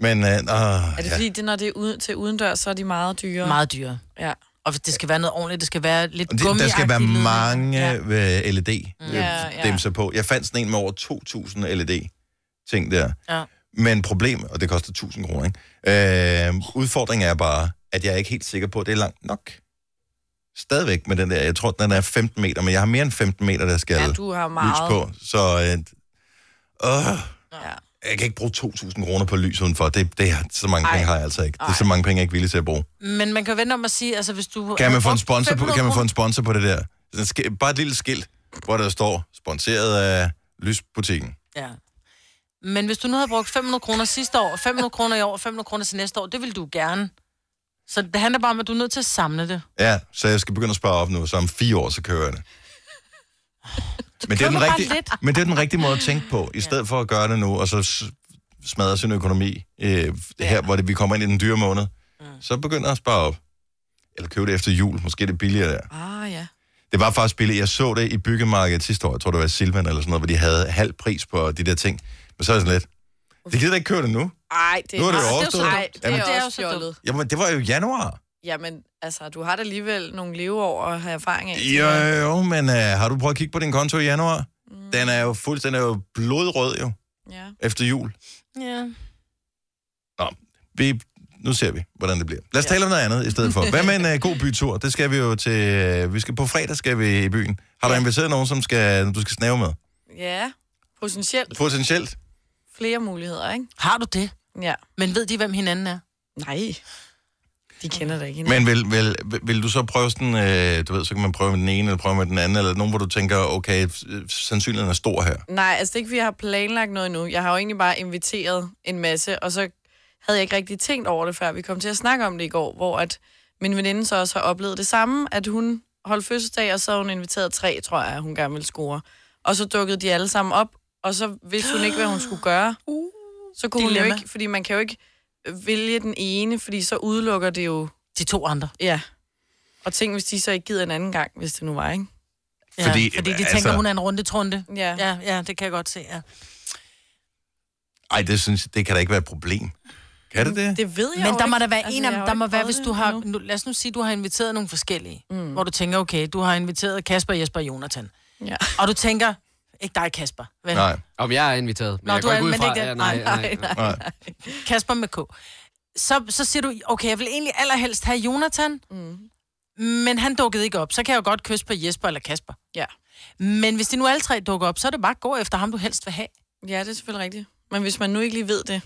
Speaker 1: Men, øh, åh,
Speaker 3: Er det
Speaker 1: ja.
Speaker 3: fordi, det, når det er ude, til udendørs, så er de meget dyre?
Speaker 2: Meget dyrere.
Speaker 3: Ja.
Speaker 2: Og det skal være noget ordentligt, det skal være lidt
Speaker 1: Og det, der skal være
Speaker 2: gummiagtigt.
Speaker 1: mange øh,
Speaker 3: Ja.
Speaker 1: ja. LED-dimser
Speaker 3: Ja, ja.
Speaker 1: på. Jeg fandt sådan en med over 2.000 LED-ting E der.
Speaker 2: Ja.
Speaker 1: Men problem, og det koster 1.000 kroner, ikke? Øh, udfordringen er bare, at jeg er ikke helt sikker på, at det er langt nok. Stadigvæk med den der, jeg tror, den er 15 meter, men jeg har mere end 15 meter, der skal
Speaker 3: Ja,
Speaker 1: ja,
Speaker 3: du har
Speaker 1: lys
Speaker 3: meget.
Speaker 1: på. Så, øh, øh,
Speaker 3: Ja.
Speaker 1: jeg kan ikke bruge 2.000 kroner på lys udenfor. Det, det er, så mange
Speaker 2: Ej.
Speaker 1: Ej. penge har jeg altså ikke. Det er så mange penge, jeg ikke er villig til at bruge.
Speaker 2: Men man kan vende om at sige, altså hvis du...
Speaker 1: Kan man få en
Speaker 2: brugte
Speaker 1: sponsor på,
Speaker 2: 500
Speaker 1: kan man få
Speaker 2: kroner-
Speaker 1: en sponsor på det der? Sådan et ski- Bare et lille skilt, hvor der står, sponsoreret af lysbutikken.
Speaker 2: Ja. Men hvis du nu havde brugt 500 kroner sidste år, 500 kroner i år, 500 kroner til næste år, det vil du gerne. Så det handler bare om, at du er nødt til at samle det.
Speaker 1: Ja, så jeg skal begynde at spare op nu, så om fire år, så kører jeg det. Men det, er den
Speaker 2: køber bare
Speaker 1: rigtige,
Speaker 2: lidt.
Speaker 1: men det er den rigtige måde at tænke på, i stedet for at gøre det nu, og så s- smadre sin økonomi, øh, her hvor det, vi kommer ind i den dyre måned,
Speaker 3: Mm.
Speaker 1: så begynder at spare op. Eller købe det efter jul, måske er det billigere der.
Speaker 3: Ah, ja.
Speaker 1: Det var faktisk billigt. Jeg så det i byggemarkedet sidste år, jeg tror det var Silvan eller sådan noget, hvor de havde halv pris på de der ting. Men så er jeg sådan lidt, det gider da ikke køre det nu.
Speaker 3: Ej, det
Speaker 1: Nu er det jo
Speaker 3: Ej,
Speaker 1: overstået.
Speaker 3: Ej, det er,
Speaker 1: Jamen,
Speaker 3: jo
Speaker 2: det er
Speaker 3: også
Speaker 2: jo så dumt.
Speaker 3: fjollet.
Speaker 1: Jamen, det var jo i januar.
Speaker 3: Jamen, altså, du har da alligevel nogle leveår at have erfaring af.
Speaker 1: Jo, jo, men øh, har du prøvet at kigge på din konto i januar? Den er jo fuldstændig er jo blodrød jo,
Speaker 3: Ja.
Speaker 1: efter jul.
Speaker 2: Ja.
Speaker 1: Nå, vi, nu ser vi, hvordan det bliver. Lad os tale om noget andet i stedet for. Hvad med en øh, god bytur? Det skal vi jo til... Øh, vi skal på fredag skal vi i byen. Har du inviteret nogen, som skal, du skal snave med?
Speaker 3: Ja, potentielt
Speaker 1: Potentielt.
Speaker 3: flere muligheder, ikke?
Speaker 2: Har du det?
Speaker 3: Ja.
Speaker 2: Men ved de, hvem hinanden er?
Speaker 3: Nej, de kender da ikke hinanden.
Speaker 1: Men vil, vil, vil, vil du så prøve sådan, øh, du ved, så kan man prøve med den ene, eller prøve med den anden, eller nogen, hvor du tænker, okay, øh, sandsynligheden er stor her.
Speaker 3: Nej, altså det er ikke, fordi jeg har planlagt noget endnu. Jeg har jo egentlig bare inviteret en masse, og så havde jeg ikke rigtig tænkt over det, før vi kom til at snakke om det i går, hvor at min veninde så også har oplevet det samme, at hun holdt fødselsdag, og så havde hun inviteret tre, tror jeg, hun gerne ville score. Og så dukkede de alle sammen op, og så vidste hun ikke, hvad hun skulle gøre. Så kunne hun jo
Speaker 2: Uh, Dilemma.
Speaker 3: ikke, fordi man kan jo ikke vælge den ene, fordi så udelukker det jo,
Speaker 2: De to andre.
Speaker 3: ja. Og tænk, hvis de så ikke gider en anden gang, hvis det nu var, ikke?
Speaker 2: Ja,
Speaker 1: Fordi,
Speaker 2: fordi, fordi de
Speaker 1: altså-
Speaker 2: tænker, altså... hun er en runde trunde.
Speaker 3: Ja.
Speaker 2: Ja, ja, det kan jeg godt se, ja.
Speaker 1: Ej, det, synes, det kan da ikke være et problem. Kan
Speaker 3: Mm.
Speaker 1: det det?
Speaker 3: Det ved jeg
Speaker 2: Men
Speaker 3: jo
Speaker 2: der
Speaker 3: ikke.
Speaker 2: må der være
Speaker 3: Altså,
Speaker 2: en
Speaker 3: jeg har
Speaker 2: af
Speaker 3: jo
Speaker 2: der må
Speaker 3: ikke
Speaker 2: være,
Speaker 3: prøvet
Speaker 2: hvis
Speaker 3: det
Speaker 2: du har, nu,
Speaker 3: endnu.
Speaker 2: lad os nu sige, du har inviteret nogle forskellige, mm. hvor du tænker, okay, du har inviteret Kasper, Jesper og Jonathan.
Speaker 3: Ja.
Speaker 2: Og du tænker, ikke dig Kasper, vel?
Speaker 1: Nej.
Speaker 4: Om jeg er inviteret. Men
Speaker 2: Nå,
Speaker 4: jeg
Speaker 2: du
Speaker 4: går
Speaker 2: er-
Speaker 4: ikke ud
Speaker 2: men
Speaker 4: fra,
Speaker 2: ikke-
Speaker 4: ja, nej,
Speaker 2: nej,
Speaker 4: nej, nej.
Speaker 1: Nej.
Speaker 2: Kasper med K. Så, så siger du, okay, jeg vil egentlig allerhelst have Jonathan, mm. men han dukkede ikke op. Så kan jeg jo godt kysse på Jesper eller Kasper.
Speaker 3: Ja.
Speaker 2: Men hvis de nu alle tre dukker op, så er det bare at gå efter ham, du helst vil have.
Speaker 3: Ja, det er selvfølgelig rigtigt. Men hvis man nu ikke lige ved det,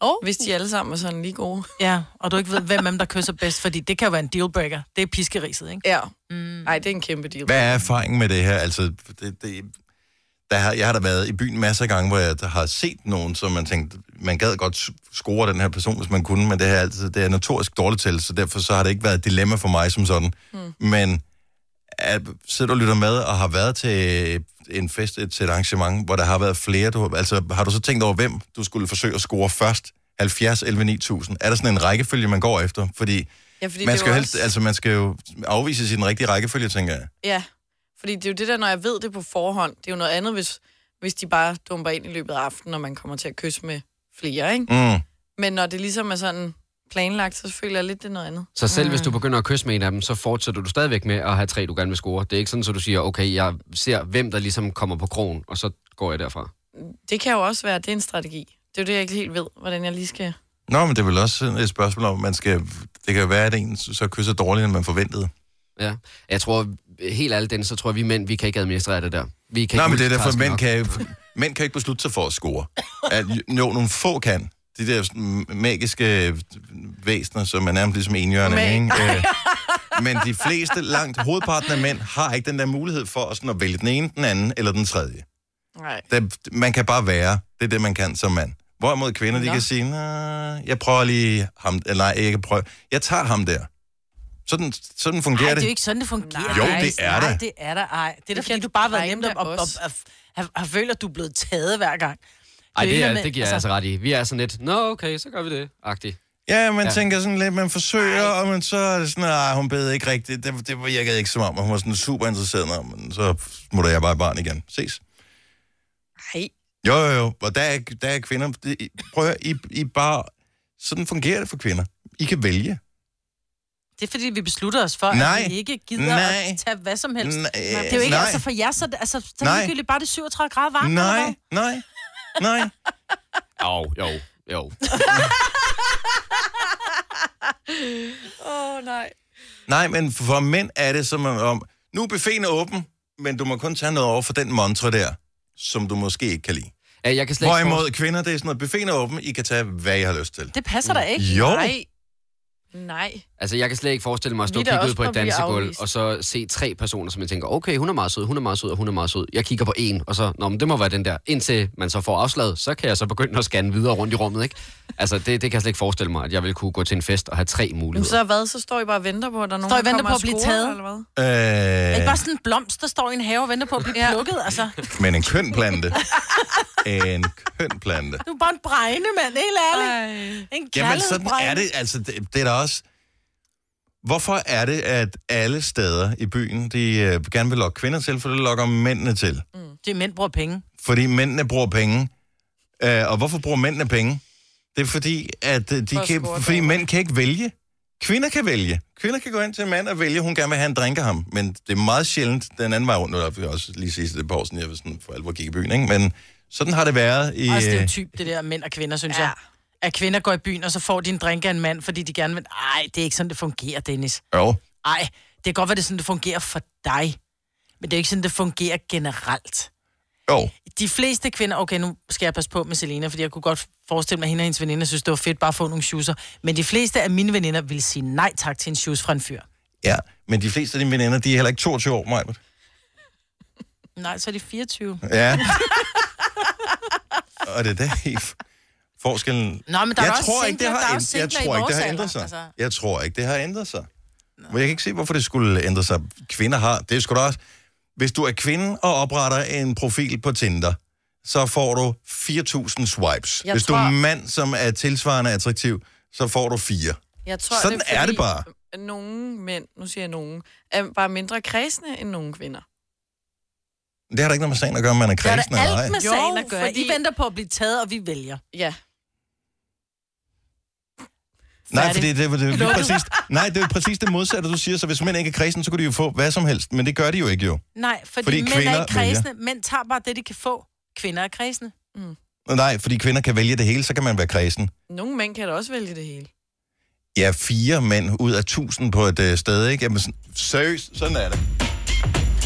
Speaker 2: Oh.
Speaker 3: hvis de alle sammen er sådan lige gode.
Speaker 2: Ja, og du ikke ved, hvem af dem, der kysser bedst, fordi det kan jo være en dealbreaker. Det er piskeriset, ikke? Mm.
Speaker 3: Ja. Nej, det er en kæmpe deal.
Speaker 1: Hvad er erfaringen med det her? Altså, det, det, der har, jeg har da været i byen masser af gange, hvor jeg har set nogen, som man tænkte, man gad godt s- score den her person, hvis man kunne, men det, her, altså, det er notorisk dårligt til, så derfor så har det ikke været et dilemma for mig som sådan.
Speaker 3: Hmm.
Speaker 1: Mm. Men at, sidder du og lytter med og har været til en fest, et, til et arrangement, hvor der har været flere, du, altså har du så tænkt over, hvem du skulle forsøge at score først? 70, 11, 9000. Er der sådan en rækkefølge, man går efter? Fordi,
Speaker 3: Ja, fordi
Speaker 1: man
Speaker 3: det
Speaker 1: skal, jo
Speaker 3: jo
Speaker 1: helst, altså, man skal jo afvises i den rigtige rækkefølge, tænker jeg.
Speaker 3: Ja, fordi det er jo det der, når jeg ved det på forhånd, det er jo noget andet, hvis, hvis de bare dumper ind i løbet af aftenen, og man kommer til at kysse med flere, ikke?
Speaker 1: Mm.
Speaker 3: Men når det ligesom er sådan planlagt, så føler jeg lidt, det er noget andet.
Speaker 4: Så
Speaker 1: Mm.
Speaker 4: selv hvis
Speaker 2: Mm.
Speaker 4: du begynder at kysse med en af dem, så fortsætter du stadigvæk med at have tre, du gerne vil score. Det er ikke sådan, at du siger, okay, jeg ser, hvem der ligesom kommer på krogen, og så går jeg derfra.
Speaker 3: Det kan jo også være, det er en strategi. Det er jo det, jeg ikke helt ved, hvordan jeg lige skal...
Speaker 1: Nå, men det er vel også et spørgsmål om, man skal... Det kan jo være, at en så kysser dårligere, end man forventede.
Speaker 4: Ja. Jeg tror, helt alt den, så tror jeg, vi mænd, vi kan ikke administrere det der. Vi kan
Speaker 1: Nå,
Speaker 4: ikke
Speaker 1: men det er derfor,
Speaker 4: multitaske
Speaker 1: mænd
Speaker 4: nok.
Speaker 1: kan, mænd kan ikke beslutte sig for at score. At, jo, nogle få kan. De der sådan magiske væsener, som er nærmest ligesom enhjørne,
Speaker 3: Mag-
Speaker 1: ikke? Øh, Men de fleste, langt hovedparten af mænd, har ikke den der mulighed for at, sådan at vælge den ene, den anden eller den tredje.
Speaker 3: Nej.
Speaker 1: Der, man kan bare være. Det er det, man kan som mand. Hvorimod kvinder, de
Speaker 3: Nå.
Speaker 1: kan sige, "Nå, jeg prøver lige ham, eller nej, jeg kan prøve. Jeg tager ham der. Sådan, sådan fungerer
Speaker 2: Ej, det
Speaker 1: det.
Speaker 2: er jo ikke sådan, det fungerer.
Speaker 1: Jo,
Speaker 2: Ej,
Speaker 1: det er
Speaker 2: Nej,
Speaker 1: det.
Speaker 2: det er der. Ej. Det er da,
Speaker 3: Det
Speaker 2: fordi
Speaker 3: kan
Speaker 2: du bare har været
Speaker 3: drenge
Speaker 2: nemt at,
Speaker 3: da
Speaker 2: at,
Speaker 3: også.
Speaker 2: at, at, at, føle, at du er blevet taget hver gang.
Speaker 4: Ej, det,
Speaker 2: der
Speaker 4: er,
Speaker 2: med-
Speaker 4: det giver jeg altså ret i. Vi er sådan lidt, nå okay, så gør vi det, agtigt.
Speaker 1: Ja, man
Speaker 4: Ja.
Speaker 1: ja. tænker sådan lidt, man forsøger, Ej. og man så er det sådan, nej, hun bed ikke rigtigt. Det, det virkede ikke som om, og hun var sådan super interesseret, Nå, men så smutter jeg bare i barn igen. Ses.
Speaker 3: Nej.
Speaker 1: Jo, jo, jo. Og der er, der er kvinder, det, prøv at høre, I, I bare, sådan fungerer det for kvinder. I kan vælge.
Speaker 2: Det er fordi, vi beslutter os for,
Speaker 1: Nej.
Speaker 2: at vi ikke gider
Speaker 1: Nej.
Speaker 2: at tage hvad som helst.
Speaker 1: Nej.
Speaker 2: Det er jo ikke
Speaker 1: Nej.
Speaker 2: altså for jer, så, altså, så er
Speaker 1: Nej.
Speaker 2: det ligegyldigt bare det 37 grader varmt. eller hvad?
Speaker 1: Nej, nej, nej.
Speaker 4: Jo, jo, jo.
Speaker 3: Åh, oh, nej.
Speaker 1: Nej, men for mænd er det som om, nu er buffeten åben, men du må kun tage noget over for den montre der, som du måske ikke kan lide.
Speaker 4: Øh, Jeg kan slet ikke
Speaker 1: Hvorimod kvinder, det er sådan noget, buffeten er åben, I kan tage, hvad I har lyst til.
Speaker 2: Det passer da ikke.
Speaker 1: Mm. Jo,
Speaker 3: Nej. Nej.
Speaker 4: Altså, jeg kan slet ikke forestille mig at stå
Speaker 3: Vi
Speaker 4: og
Speaker 3: er da
Speaker 4: kigge ud
Speaker 3: også
Speaker 4: på
Speaker 3: for at
Speaker 4: et
Speaker 3: blive
Speaker 4: dansegulv,
Speaker 3: afvist.
Speaker 4: og så se tre personer, som jeg tænker, okay, hun er meget sød, hun er meget sød, og hun er meget sød. Jeg kigger på en, og så, nå, men det må være den der. Indtil man så får afslaget, så kan jeg så begynde at scanne videre rundt i rummet, ikke? Altså, det, det kan jeg slet ikke forestille mig, at jeg vil kunne gå til en fest og have tre
Speaker 3: Men
Speaker 4: muligheder.
Speaker 3: så hvad, så står I bare og venter på, at der er nogen,
Speaker 2: Står I
Speaker 3: der
Speaker 2: venter
Speaker 3: kommer
Speaker 2: på
Speaker 3: og
Speaker 2: at blive
Speaker 3: scorer,
Speaker 2: taget?
Speaker 3: Eller hvad?
Speaker 2: Det er
Speaker 1: øh,
Speaker 2: bare sådan en blomst, der står i en have og venter på at blive plukket. Altså,
Speaker 1: men en køn plante. en køn plante.
Speaker 2: du er bare en bregne, mand. Helt ærligt.
Speaker 3: Ej.
Speaker 2: En
Speaker 1: Jamen, sådan
Speaker 2: kærlighedsbregne.
Speaker 1: er det. Altså, det, det er da også... Hvorfor er det, at alle steder i byen, de øh, gerne vil lokke kvinder til, for det lokker mændene til?
Speaker 2: Det er mænd, bruger penge.
Speaker 1: Fordi mændene bruger penge. Øh, og hvorfor bruger mændene penge? Det er fordi, at øh, de
Speaker 3: For at
Speaker 1: kan,
Speaker 3: score
Speaker 1: fordi
Speaker 3: damer.
Speaker 1: mænd kan ikke vælge. Kvinder kan vælge. Kvinder kan gå ind til en mand og vælge, hun gerne vil have en drink af ham. Men det er meget sjældent den anden vej rundt. Nu er der også lige sidste det par år, siden jeg var sådan for alvor gik i byen. Ikke? Men sådan har det været i...
Speaker 2: Også
Speaker 1: øh,
Speaker 2: stereotyp, det der mænd og kvinder, synes ja. jeg. At kvinder går i byen, og så får de en drink af en mand, fordi de gerne vil... Ej, det er ikke sådan, det fungerer, Dennis.
Speaker 1: Jo.
Speaker 2: Ej, det kan godt være, det er sådan, det fungerer for dig. Men det er jo ikke sådan, det fungerer generelt.
Speaker 1: Jo.
Speaker 2: De fleste kvinder... Okay, nu skal jeg passe på med Selena, fordi jeg kunne godt forestille mig, at hende og hendes veninder synes, det var fedt bare at få nogle shoeser. Men de fleste af mine veninder vil sige nej tak til en shoes fra en fyr.
Speaker 1: Ja. Men de fleste af dine veninder, de er heller ikke 22 år, Majbert.
Speaker 2: Nej, så er de 24.
Speaker 1: Ja. og det er der i f- forskellen.
Speaker 2: Nå, men der er
Speaker 1: jeg
Speaker 2: også
Speaker 1: tror ikke, det
Speaker 2: singler- der er
Speaker 1: har,
Speaker 2: også
Speaker 1: jeg
Speaker 2: singler i
Speaker 1: tror ikke, det
Speaker 2: vores
Speaker 1: har
Speaker 2: alder,
Speaker 1: ændret sig. Altså.
Speaker 2: altså.
Speaker 1: Jeg tror ikke, det har ændret sig. Men jeg kan ikke se, hvorfor det skulle ændre sig. Kvinder har, det er sgu da også... Hvis du er kvinde og opretter en profil på Tinder, så får du 4.000 swipes.
Speaker 3: Jeg
Speaker 1: hvis du er
Speaker 3: tror-
Speaker 1: mand, som er tilsvarende attraktiv, så får du fire.
Speaker 3: Jeg tror,
Speaker 1: Sådan
Speaker 3: er,
Speaker 1: er det bare.
Speaker 3: at Nogle mænd, nu siger jeg nogen, er bare mindre kredsende end nogle kvinder.
Speaker 1: Det har da ikke noget med sagen at gøre, om man er
Speaker 2: Det er da
Speaker 1: kredsen eller ej.
Speaker 2: alt med
Speaker 3: Jo,
Speaker 2: sagen at gøre.
Speaker 3: fordi-
Speaker 2: I venter på at blive taget, og vi vælger.
Speaker 3: Ja.
Speaker 1: Nej,
Speaker 2: færdig.
Speaker 1: fordi det, det, det, det, det,
Speaker 2: Lukket.
Speaker 1: præcis, nej, det er præcis det modsatte, du siger. Så hvis mænd ikke er kredsen, så kunne de jo få hvad som helst. Men det gør de jo ikke jo.
Speaker 2: Nej, fordi,
Speaker 1: Fordi
Speaker 2: fordi mænd
Speaker 1: kvinder
Speaker 2: er ikke kredsende. Mænd tager bare det, de kan få. Kvinder er kredsende.
Speaker 1: Nej, fordi kvinder kan vælge det hele, så kan man være kredsen.
Speaker 3: Nogle mænd kan da også vælge det hele.
Speaker 1: Ja, fire mænd ud af tusind på et øh, sted, ikke? Jamen, sådan, seriøst, sådan er det.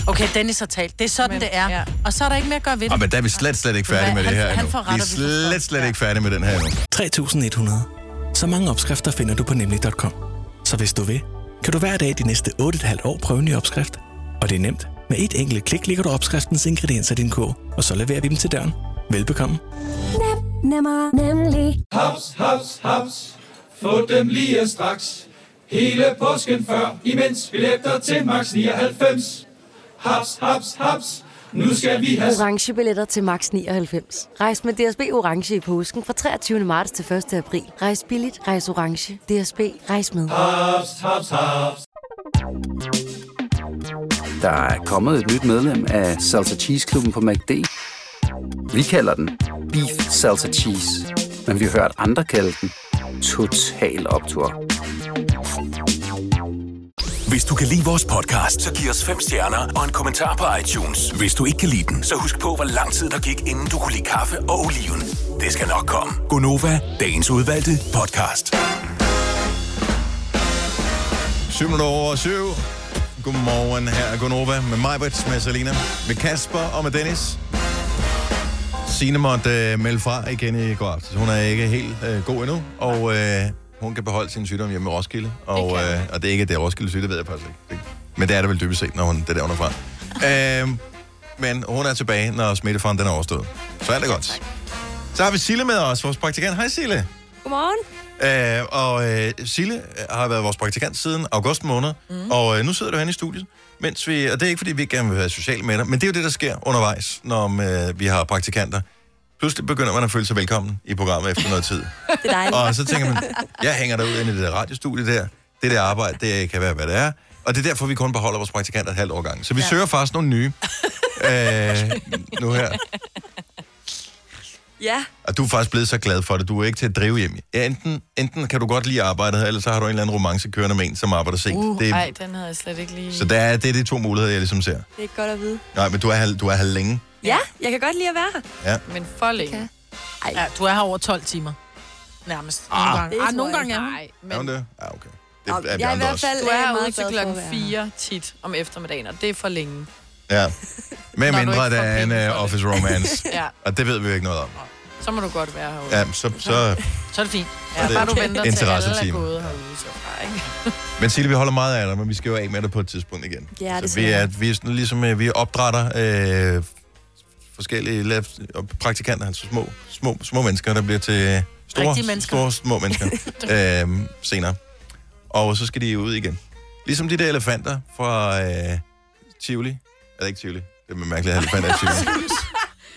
Speaker 2: Okay, Dennis har talt. Det er sådan,
Speaker 3: Men-
Speaker 2: det er.
Speaker 3: ja.
Speaker 2: Ja. Og så er der ikke mere at gøre ved
Speaker 1: Og
Speaker 2: det.
Speaker 1: men der er vi slet, slet ikke færdige med
Speaker 2: Hvad?
Speaker 1: det her
Speaker 2: Han- han
Speaker 1: endnu.
Speaker 2: får ret,
Speaker 1: Vi er
Speaker 2: og vi får
Speaker 1: slet,
Speaker 2: forkert.
Speaker 1: slet ikke færdige med den her endnu.
Speaker 6: 3100. Så mange opskrifter finder du på nemlig.com. Så hvis du vil, kan du hver dag de næste 8,5 år prøve en ny opskrift. Og det er nemt. Med et enkelt klik ligger du opskriftens ingredienser i din kog, og så leverer vi dem til døren. Velbekomme.
Speaker 7: Nemmer, nemlig.
Speaker 8: Haps, haps, haps. Få dem lige straks. Hele påsken før, imens billetter til max 99. Haps, haps, haps. Nu skal vi have
Speaker 7: Orange billetter til max 99. Rejs med DSB Orange i påsken fra 23. marts til 1. april. Rejs billigt, rejs orange. DSB, rejs med.
Speaker 8: Ah, haps, haps, haps.
Speaker 9: Der er kommet et nyt medlem af Salsa Cheese Klubben på MACD. Vi kalder den Beef Salsa Cheese, men vi har hørt andre kalde den Total Optor.
Speaker 5: Hvis du kan lide vores podcast, så
Speaker 6: Så
Speaker 5: giv os fem stjerner og en kommentar på iTunes. Hvis du ikke kan lide den, så husk på, hvor lang tid der gik, inden du kunne lide kaffe og oliven. Det skal nok komme. Gonova, dagens udvalgte podcast.
Speaker 1: 7 minutter over 7. Godmorgen, her er Gunova med Majbrit, med Selina, med Kasper og med Dennis. Signe måtte øh, melde fra igen i går aftes. Hun er ikke helt øh, god endnu, og øh, hun kan beholde sin sygdom hjemme i Roskilde. Og, øh, og det er ikke det er Roskilde syge, det ved jeg faktisk ikke. Det- Men det er det vel dybest set, når hun, det er der, hun er fra. øh, men hun er tilbage, når smittefaren den er overstået. Så alt er godt. Så har vi Sille med os, vores praktikant. Hej Sille.
Speaker 10: Godmorgen.
Speaker 1: Øh, og øh, Sille øh, har været vores praktikant siden august måned,
Speaker 3: Mhm.
Speaker 1: mm. og øh, nu sidder du herinde i studiet, mens vi, og det er ikke, fordi vi ikke gerne vil være sociale med dig, men det er jo det, der sker undervejs, når øh, vi har praktikanter. Pludselig begynder man at føle sig velkommen i programmet efter noget tid.
Speaker 10: Det er dejligt.
Speaker 1: Og så tænker man, jeg hænger derud ind i det der radiostudie der, det der arbejde, det kan være, hvad det er. Og det er derfor, vi kun beholder vores praktikanter et halvt år gange. Så vi ja. søger faktisk nogle nye øh, nu her.
Speaker 10: Ja,
Speaker 1: Og du er faktisk blevet så glad for det. Du er ikke til at drive hjem. Ja, enten, enten kan du godt lide arbejdet, eller så har du en eller anden romance kørende med en, som arbejder sent.
Speaker 3: Uh,
Speaker 1: det,
Speaker 3: Ej, den havde jeg slet ikke lige...
Speaker 1: så der er, det er de to muligheder, jeg ligesom ser.
Speaker 10: det er godt at vide.
Speaker 1: Nej, men du er, halv- du er her længe.
Speaker 10: Ja, jeg kan godt lide at være her.
Speaker 3: Men for længe.
Speaker 10: Okay.
Speaker 2: Ja, du er her over 12 timer. Nærmest. Ah, nogle gange.
Speaker 10: Det
Speaker 2: Ah,
Speaker 10: tror
Speaker 2: nogle
Speaker 10: jeg
Speaker 2: gange er hun.
Speaker 3: Nej,
Speaker 1: Men... Er hun
Speaker 3: men
Speaker 1: det? Ja, okay. Det
Speaker 10: Og
Speaker 1: er vi
Speaker 10: jeg er i
Speaker 1: andre
Speaker 10: hvert
Speaker 1: også.
Speaker 10: fald
Speaker 3: du er
Speaker 10: øh, meget
Speaker 3: ude til
Speaker 10: glad for at
Speaker 3: klokken
Speaker 10: være her.
Speaker 3: 4 tit om eftermiddagen, og det er for længe.
Speaker 1: Ja. Med
Speaker 3: Når du
Speaker 1: mindre
Speaker 3: ikke
Speaker 1: der
Speaker 3: får
Speaker 1: er en
Speaker 3: penge for
Speaker 1: uh,
Speaker 3: det.
Speaker 1: office romance.
Speaker 3: Ja,
Speaker 1: Og det ved vi jo ikke noget om.
Speaker 3: så må du godt være herude.
Speaker 1: Ja, så, så,
Speaker 2: Så er det fint.
Speaker 3: Ja,
Speaker 1: det
Speaker 3: bare du
Speaker 1: er
Speaker 3: venter til alle er
Speaker 1: interesseteam.
Speaker 3: gået herude, så bare, ikke?
Speaker 1: men Silje, vi holder meget af dig, men vi skal jo af med dig på et tidspunkt igen.
Speaker 10: Ja, det
Speaker 1: så
Speaker 10: skal
Speaker 1: vi er,
Speaker 10: jeg.
Speaker 1: vi er sådan, ligesom øh, vi opdrætter øh, forskellige lab- og praktikanter, altså små, små, små mennesker, der bliver til store,
Speaker 2: Rigtige mennesker.
Speaker 1: store små mennesker øh, senere. Og så skal de ud igen. Ligesom de der elefanter fra øh, Tivoli. Er det ikke Tivoli? Det er mærkeligt, at elefanter er i Tivoli. Det er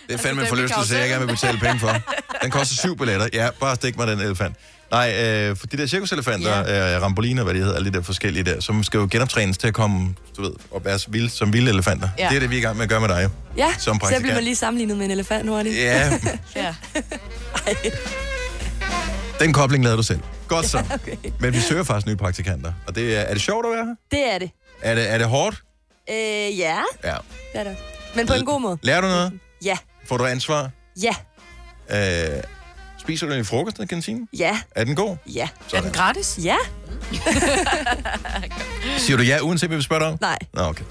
Speaker 10: Altså,
Speaker 1: fandme en
Speaker 3: dem i
Speaker 1: forlystelse, jeg
Speaker 3: karrusellen.
Speaker 1: gerne vil betale penge for. Den koster syv billetter. Ja, bare stik mig den elefant. Nej, øh, for de der cirkuselefanter, yeah. øh, ramboliner, hvad de hedder, alle de der forskellige der, som skal jo genoptrænes til at komme, du ved, og være så vilde, som vilde elefanter.
Speaker 3: Ja.
Speaker 1: Det er det, vi er i gang med at gøre med dig.
Speaker 10: Ja,
Speaker 1: Som
Speaker 10: så jeg bliver
Speaker 1: praktikant.
Speaker 10: man lige sammenlignet med en elefant hurtigt.
Speaker 1: Ja,
Speaker 3: Ja.
Speaker 1: den kobling lavede du selv. Godt så. Men vi søger faktisk nye praktikanter. Og det er, er det sjovt at være her?
Speaker 10: Det er det.
Speaker 1: Er det, er det hårdt?
Speaker 10: Øh, ja,
Speaker 1: Ja.
Speaker 10: det er det. Men på en god måde.
Speaker 1: Lærer du noget?
Speaker 10: Ja,
Speaker 1: Får du ansvar?
Speaker 10: ja,
Speaker 1: Øh, spiser du en frokost i kantinen?
Speaker 10: ja,
Speaker 1: Er den god?
Speaker 10: ja,
Speaker 2: Er den gratis?
Speaker 10: ja.
Speaker 1: Siger du ja, uanset hvad vi spørger dig om?
Speaker 10: Nej,
Speaker 1: Nå, okay.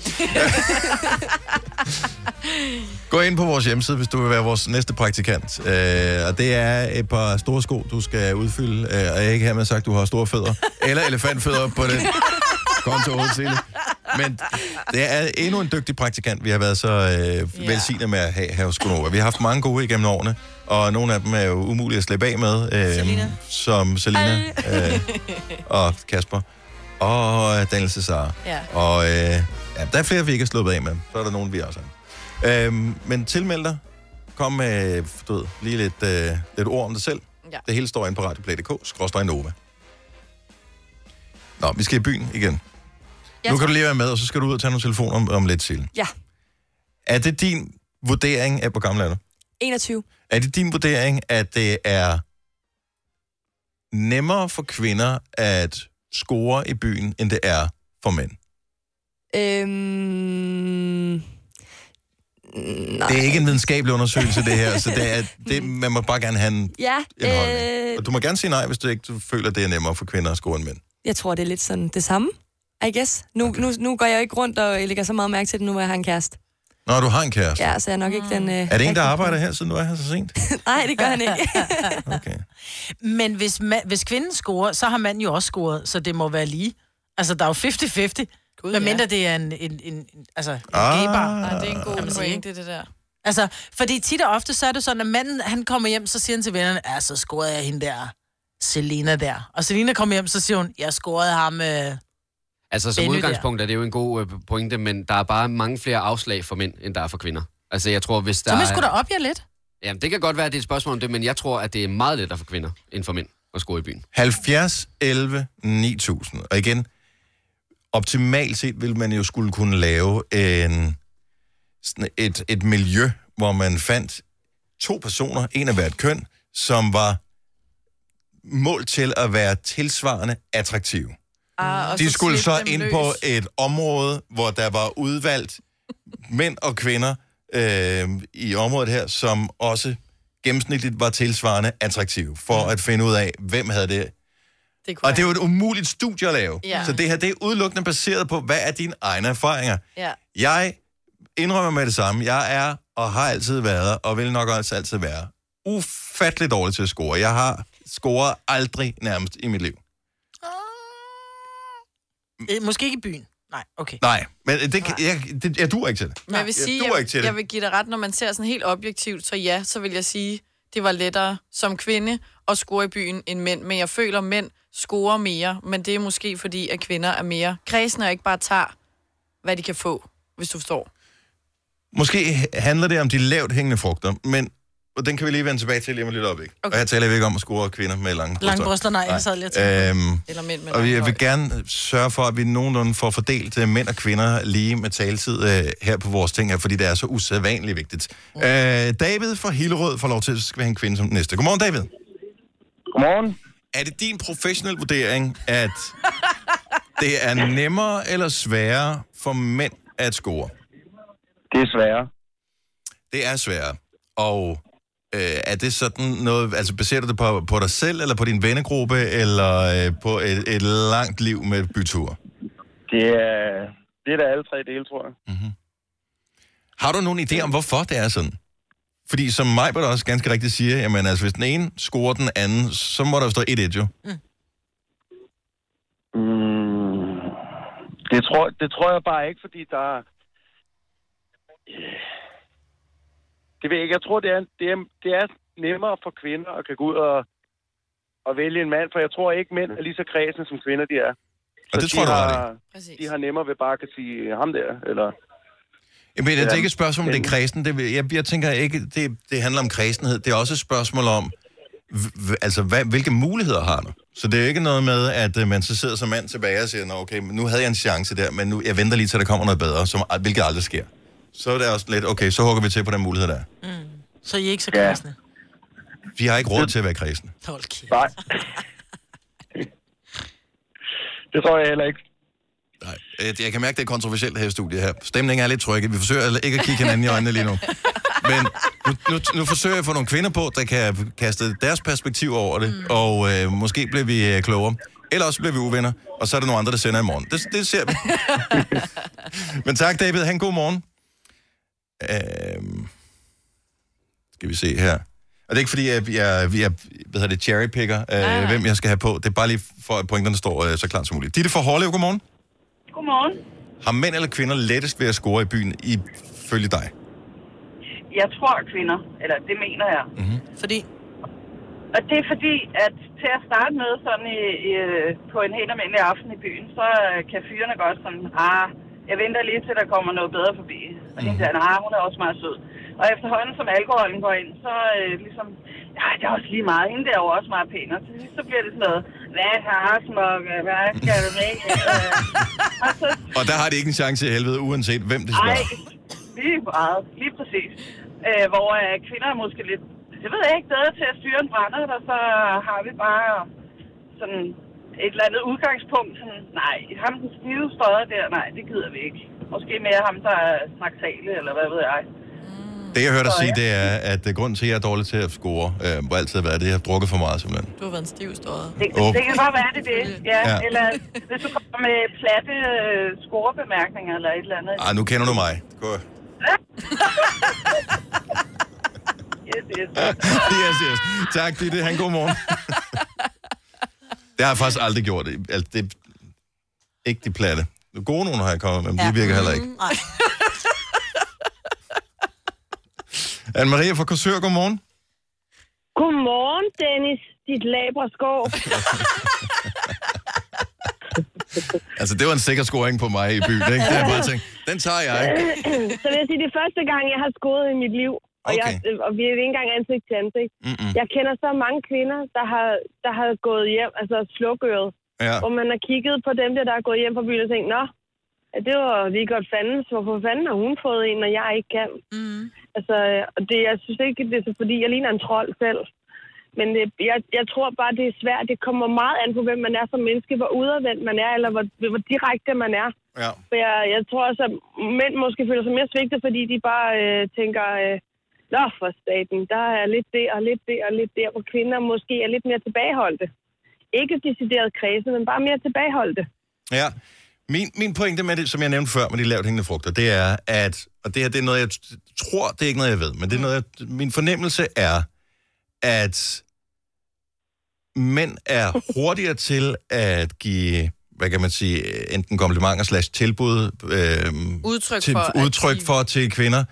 Speaker 1: Gå ind på vores hjemmeside, hvis du vil være vores næste praktikant. Øh, og det er et par store sko, du skal udfylde. Øh, og jeg er ikke hermed sagt, at du har store fødder. Eller elefantfødder på den konto hovedside. Men det er endnu en dygtig praktikant, vi har været så øh,
Speaker 3: Ja.
Speaker 1: velsignet med at have her hos Gunova. Vi har haft mange gode igennem årene, og nogle af dem er jo umulige at slippe af med. Øh,
Speaker 2: Selina.
Speaker 1: Som Selina øh, og Kasper og øh, Daniel Cesar.
Speaker 3: Ja.
Speaker 1: Og øh, ja, der er flere, vi ikke er sluppet af med. Så er der nogen, vi også er. Øhm, men tilmeld dig. Kom med du ved, lige lidt, øh, lidt ord om dig selv.
Speaker 3: Ja.
Speaker 1: Det hele står inde på radioplay.dk, skråstrej Nova. Nå, vi skal i byen igen.
Speaker 3: Ja,
Speaker 1: nu kan du lige være med, og så skal du ud og tage nogle telefoner om, om lidt til.
Speaker 10: Ja.
Speaker 1: Er det din vurdering af, hvor gammel er du?
Speaker 10: 21.
Speaker 1: Er det din vurdering, at det er nemmere for kvinder at score i byen, end det er for mænd?
Speaker 10: Øhm... Nej.
Speaker 1: Det er ikke en videnskabelig undersøgelse, det her, så det er, det, man må bare gerne have en,
Speaker 10: Ja,
Speaker 1: en holdning.
Speaker 10: øh,
Speaker 1: Og du må gerne sige nej, hvis du ikke du føler, det er nemmere for kvinder at score end mænd.
Speaker 10: jeg tror, det er lidt sådan det samme. I guess. Nu, okay. nu, nu går jeg jo ikke rundt og lægger så meget mærke til det, nu hvor jeg har en kæreste.
Speaker 1: Nå, du har en kæreste. Ja.
Speaker 10: Ja, så jeg er nok ikke den... Øh,
Speaker 1: Er det en, der arbejder her, siden du er her så sent?
Speaker 10: Nej, det gør han ikke.
Speaker 1: Okay.
Speaker 2: Men hvis, ma- hvis kvinden scorer, så har manden jo også scoret, så det må være lige. Altså, der er jo 50-50.
Speaker 3: Gud,
Speaker 2: Hvad mindre
Speaker 3: ja.
Speaker 2: det er en, en, en, en altså, en
Speaker 1: Ah.
Speaker 2: gay bar.
Speaker 3: Nej, det er en god
Speaker 2: man sige,
Speaker 3: pointe, det der.
Speaker 2: Altså, fordi tit og ofte, så er det sådan, at manden, han kommer hjem, så siger han til vennerne, ja, så scorede jeg hende der, Selina der. Og Selina kommer hjem, så siger hun, jeg scorede ham, øh,
Speaker 4: Altså som
Speaker 2: Denne der.
Speaker 4: udgangspunkt er det jo en god øh, pointe, men der er bare mange flere afslag for mænd, end der er for kvinder. Altså jeg tror, hvis der...
Speaker 2: så må jeg
Speaker 4: er-
Speaker 2: sgu da op jer lidt.
Speaker 4: Jamen, det kan godt være, at det er et spørgsmål om det, men jeg tror, at det er meget lettere for kvinder end for mænd at score i byen.
Speaker 1: 70, 11, 9000. Og igen, optimalt set vil man jo skulle kunne lave en, sådan et, et miljø, hvor man fandt to personer, en af hvert køn, som var mål til at være tilsvarende attraktive.
Speaker 3: Ah, og
Speaker 1: De skulle
Speaker 3: slippe
Speaker 1: så
Speaker 3: dem
Speaker 1: ind
Speaker 3: løs.
Speaker 1: på et område, hvor der var udvalgt mænd og kvinder øh, i området her, som også gennemsnitligt var tilsvarende attraktive, for at finde ud af, hvem havde det.
Speaker 3: Det kunne
Speaker 1: Og det er jo et umuligt studie at lave.
Speaker 3: Ja.
Speaker 1: Så det her, det er udelukkende baseret på, hvad er dine egne erfaringer.
Speaker 3: Ja.
Speaker 1: Jeg indrømmer med det samme. Jeg er og har altid været, og vil nok også altid være, ufattelig dårlig til at score. Jeg har scoret aldrig nærmest i mit liv.
Speaker 2: Øh, måske ikke i byen. Nej, okay.
Speaker 1: Nej, men det, kan- jeg, det, jeg duer ikke til det.
Speaker 3: Men jeg vil
Speaker 1: jeg
Speaker 3: sige,
Speaker 1: duer
Speaker 3: jeg,
Speaker 1: ikke til
Speaker 3: jeg,
Speaker 1: det.
Speaker 3: jeg vil give dig ret, når man ser sådan helt objektivt, så ja, så vil jeg sige, det var lettere som kvinde at score i byen end mænd. Men jeg føler, at mænd scorer mere, men det er måske fordi, at kvinder er mere kredsende og ikke bare tager, hvad de kan få, hvis du forstår.
Speaker 1: Måske handler det om de lavt hængende frugter, men og den kan vi lige vende tilbage til lige om lidt øjeblik. Okay. Og her taler vi ikke om at score kvinder med lange bryster.
Speaker 2: Lange bryster, nej, jeg sad lige og tænkte.
Speaker 1: Øhm,
Speaker 3: Eller mænd med
Speaker 1: og jeg
Speaker 3: langt
Speaker 1: vil
Speaker 3: hår.
Speaker 1: gerne sørge for, at vi nogenlunde får fordelt øh, mænd og kvinder lige med taletid øh, her på vores ting her, fordi det er så usædvanligt vigtigt.
Speaker 3: Mm.
Speaker 1: Øh, David fra Hillerød får lov til at være en kvinde som den næste. Godmorgen, David.
Speaker 11: Godmorgen.
Speaker 1: Er det din professionelle vurdering, at det er nemmere eller sværere for mænd at score?
Speaker 11: Desværre.
Speaker 1: Det er sværere. Og øh, er det sådan noget, altså baserer du det på, på dig selv, eller på din vennegruppe, eller øh, på et, et langt liv med byture?
Speaker 11: Det er, det er da alle tre dele, tror jeg.
Speaker 1: Mm-hmm. Har du nogen idé om, hvorfor det er sådan? Fordi som Majbert også ganske rigtigt siger, jamen altså, hvis den ene scorer den anden, så må der jo stå 1-1 jo.
Speaker 11: Mm, det, tror, det tror jeg bare ikke, fordi der... Øh, Det ved jeg ikke. Jeg tror, det er, det er, det er nemmere for kvinder at kan gå ud og, og vælge en mand, for jeg tror ikke, mænd er lige så kredsende, som kvinder de er.
Speaker 1: Og det tror
Speaker 11: de
Speaker 1: du
Speaker 11: har,
Speaker 1: har
Speaker 11: De har nemmere ved bare at kan sige "Øh, ham der, eller...
Speaker 1: Jamen, det er
Speaker 11: Ja.
Speaker 1: ikke et spørgsmål om, det er kristen. Det, vil- jeg, jeg tænker ikke, det, det handler om kristenhed. Det er også et spørgsmål om, hv- hv- altså, hvad, hvilke muligheder har du? Så det er jo ikke noget med, at øh, man så sidder som mand tilbage og siger, Nå, okay, men nu havde jeg en chance der, men nu, jeg venter lige til, der kommer noget bedre, som, hvilket aldrig sker. Så er det også lidt, okay, så hugger vi til på den mulighed, der er.
Speaker 2: Så I er ikke så kristne.
Speaker 1: Vi har ikke råd til at være kristne.
Speaker 2: Hold kæft.
Speaker 11: Nej. det tror jeg heller ikke.
Speaker 1: Øh, Jeg kan mærke, det er kontroversielt her i studiet her. Stemningen er lidt trykket. Vi forsøger ikke at kigge hinanden i øjnene lige nu. Men nu, nu, nu forsøger jeg at få nogle kvinder på, der kan kaste deres perspektiv over det, mm. og øh, måske bliver vi øh, klogere. Eller også bliver vi uvenner, og så er der nogle andre, der sender i morgen. Det, det ser vi. Men tak, David. Han god morgen. Øhm, skal vi se her. Og det er ikke fordi, jeg, jeg, jeg hvad hedder det, cherrypicker, øh, hvem jeg skal have på. Det er bare lige for, at pointerne står øh, så klart som muligt. Ditte fra Hårlev, godmorgen.
Speaker 12: Godmorgen.
Speaker 1: Har mænd eller kvinder lettest ved at score i byen, ifølge dig?
Speaker 12: Jeg tror at kvinder, eller det mener jeg.
Speaker 1: Mhm.
Speaker 2: Fordi?
Speaker 12: Og det er fordi, at til at starte med sådan i, i, på en helt almindelig aften i byen, så øh, kan fyrene godt sådan, ah, jeg venter lige til, der kommer noget bedre forbi. Og hende der, nej, "Ah, hun er også meget sød. Og efterhånden, som alkoholen går ind, så øh, ligesom, ja, det er også lige meget. Hende der er jo også meget pæn. Og til sidst, så bliver det sådan noget, hvad har smukke, hvad skal du med? Øh, og så
Speaker 1: Og der har de ikke en chance i helvede, uanset hvem det spørger.
Speaker 12: Nej, lige meget. Lige præcis. Øh, hvor øh, kvinder er måske lidt, jeg ved ikke, bedre til at styre en brænder, og så har vi bare sådan et eller andet udgangspunkt. Sådan, nej, ham den stive støder der, nej, det gider vi ikke. Måske mere ham, der er snaksale, eller hvad ved jeg.
Speaker 1: Det, jeg hørte dig sige, det er, at øh, grunden til, at jeg er dårlig til at score, øh, må altid have været, det, at jeg har drukket for meget, simpelthen.
Speaker 3: Du har været en stiv støder.
Speaker 12: Det,
Speaker 1: Åh.
Speaker 12: oh. det kan godt være, det er det. Ja,
Speaker 1: Ja.
Speaker 12: ja. Eller hvis du kommer med platte øh, scorebemærkninger eller et eller andet.
Speaker 1: Ah, nu kender du mig. Gå.
Speaker 12: Yes, yes.
Speaker 1: yes, yes. Tak, Ditte. Han god morgen. det har jeg faktisk aldrig gjort. Altså, det ikke de platte. Gode nogen har jeg kommet med, men ja. de virker heller
Speaker 13: Mhm.
Speaker 1: ikke.
Speaker 2: Nej.
Speaker 1: Anne-Marie fra Korsør, godmorgen.
Speaker 13: Godmorgen, Dennis, dit laberskov.
Speaker 1: Altså, det var en sikker scoring på mig i byen, ikke? Det er bare tænkt, den tager jeg.
Speaker 13: så vil jeg sige, det er første gang, jeg har skåret i mit liv. Og, jeg, og vi er ikke engang ansigt til ansigt.
Speaker 1: Mm-mm.
Speaker 13: Jeg kender så mange kvinder, der har, der har gået hjem, altså slukøret.
Speaker 1: Ja.
Speaker 13: Hvor man har kigget på dem der, der er gået hjem fra byen og tænkt, nå, ja, det var lige godt fandens. Hvorfor fanden har hun fået en, og jeg ikke kan? Mm. Altså, øh, og det, jeg synes ikke, det er så, fordi, jeg ligner en trold selv. Men det, jeg, jeg tror bare, det er svært. Det kommer meget an på, hvem man er som menneske, hvor udadvendt man er, eller hvor, hvor direkte man er.
Speaker 1: Ja.
Speaker 13: For jeg, jeg tror også, at mænd måske føler sig mere svigtet, fordi de bare øh, tænker, øh, nå for staten, der er lidt det og lidt det og lidt der, hvor kvinder måske er lidt mere tilbageholdte. Ikke decideret kredse, men bare mere tilbageholdte.
Speaker 1: Ja. Min, min pointe med det, som jeg nævnte før med de lavt hængende frugter, det er, at, og det her det er noget, jeg t- tror, det er ikke noget, jeg ved, men det er noget, jeg, min fornemmelse er, at mænd er hurtigere til at give, hvad kan man sige, enten komplimenter slash tilbud, øh,
Speaker 3: Udtryk
Speaker 1: til,
Speaker 3: for, at
Speaker 1: udtryk for til kvinder,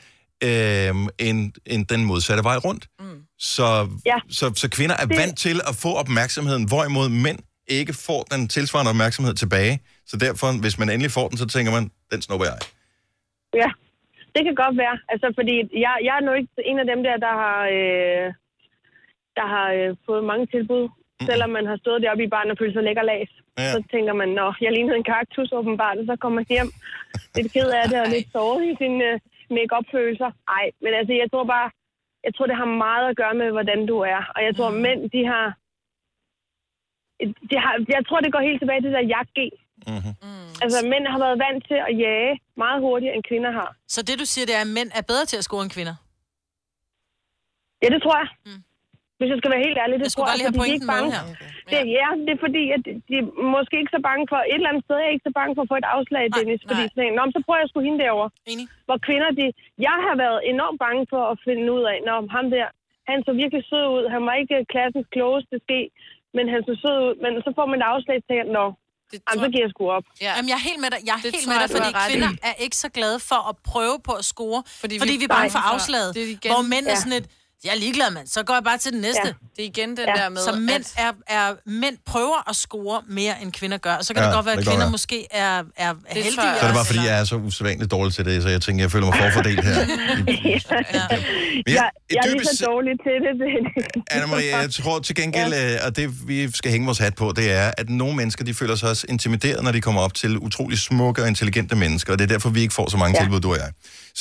Speaker 1: øh, end, end den modsatte vej rundt. Mm. Så, ja. så, så kvinder er vant til at få opmærksomheden, hvorimod mænd ikke får den tilsvarende opmærksomhed tilbage. Så derfor, hvis man endelig får den, så tænker man, den snupper jeg.
Speaker 13: Ja, det kan godt være. Altså, fordi jeg, jeg er nu ikke en af dem der, der har, øh, der har øh, fået mange tilbud. Mm. Selvom man har stået deroppe i barn og følt sig lækker las.
Speaker 1: Ja.
Speaker 13: Så tænker man, nå, jeg lignede en kaktus åbenbart, og så kommer man hjem lidt ked af det og lidt såret i sine øh, make-up-følelser. Ej, men altså, jeg tror bare, jeg tror, det har meget at gøre med, hvordan du er. Og jeg tror, mm. mænd, de har, de har... Jeg tror, det går helt tilbage til det der jagt Altså, mænd har været vant til at jage meget hurtigere, end kvinder har.
Speaker 2: Så det, du siger, det er, at mænd er bedre til at score end kvinder?
Speaker 13: Ja, det tror jeg. hvis jeg skal være helt ærlig, det
Speaker 2: Mm. Jeg skulle
Speaker 13: tror
Speaker 2: bare lige have
Speaker 13: fordi de er ikke
Speaker 2: pointen
Speaker 13: bange.
Speaker 2: med her.
Speaker 13: Det, ja, det er fordi, at de er måske ikke så bange for, et eller andet sted er jeg ikke så bange for at få et afslag, Dennis, fordi sådan en, "Nå, men så prøver jeg sgu hende derovre.
Speaker 2: Enig.
Speaker 13: Hvor kvinder, de, jeg har været enormt bange for at finde ud af, når ham der, han så virkelig sød ud, han var ikke klassens klogeste ske, men han så sød ud, men så får man et afslag til, nå, jamen, så giver jeg sgu op.
Speaker 2: Ja. Jamen, jeg er helt med dig, jeg er
Speaker 13: Det
Speaker 2: helt
Speaker 13: tror
Speaker 2: med dig
Speaker 13: jeg, du
Speaker 2: fordi
Speaker 13: har ret i.
Speaker 2: kvinder er ikke så glade for at prøve på at score, fordi, fordi vi, er bange for afslaget.
Speaker 3: Det er igen-
Speaker 2: Hvor mænd er
Speaker 3: Ja.
Speaker 2: sådan et, jeg er ligeglad, mand, så går jeg bare til den næste.
Speaker 3: Ja. Det er igen den der med,
Speaker 2: Så mænd,
Speaker 3: at-
Speaker 2: er, er, mænd prøver at score mere, end kvinder gør. Så kan
Speaker 1: Ja,
Speaker 2: ja, det godt være,
Speaker 1: det
Speaker 2: at
Speaker 1: kan
Speaker 2: kvinder
Speaker 1: godt
Speaker 2: måske er, er det heldige.
Speaker 1: Så er det bare, fordi jeg er så usædvanligt dårlig til det, så jeg tænker, jeg føler mig forfordelt her. Men
Speaker 13: Jeg,
Speaker 1: et
Speaker 13: jeg er lige
Speaker 1: dybest
Speaker 13: så dårlig til det, Dennis.
Speaker 1: Anna-Marie, jeg tror til gengæld, ja. og det vi skal hænge vores hat på, det er, at nogle mennesker, de føler sig også intimideret, når de kommer op til utrolig smukke og intelligente mennesker, og det er derfor, vi ikke får så mange ja. tilbud, du og jeg.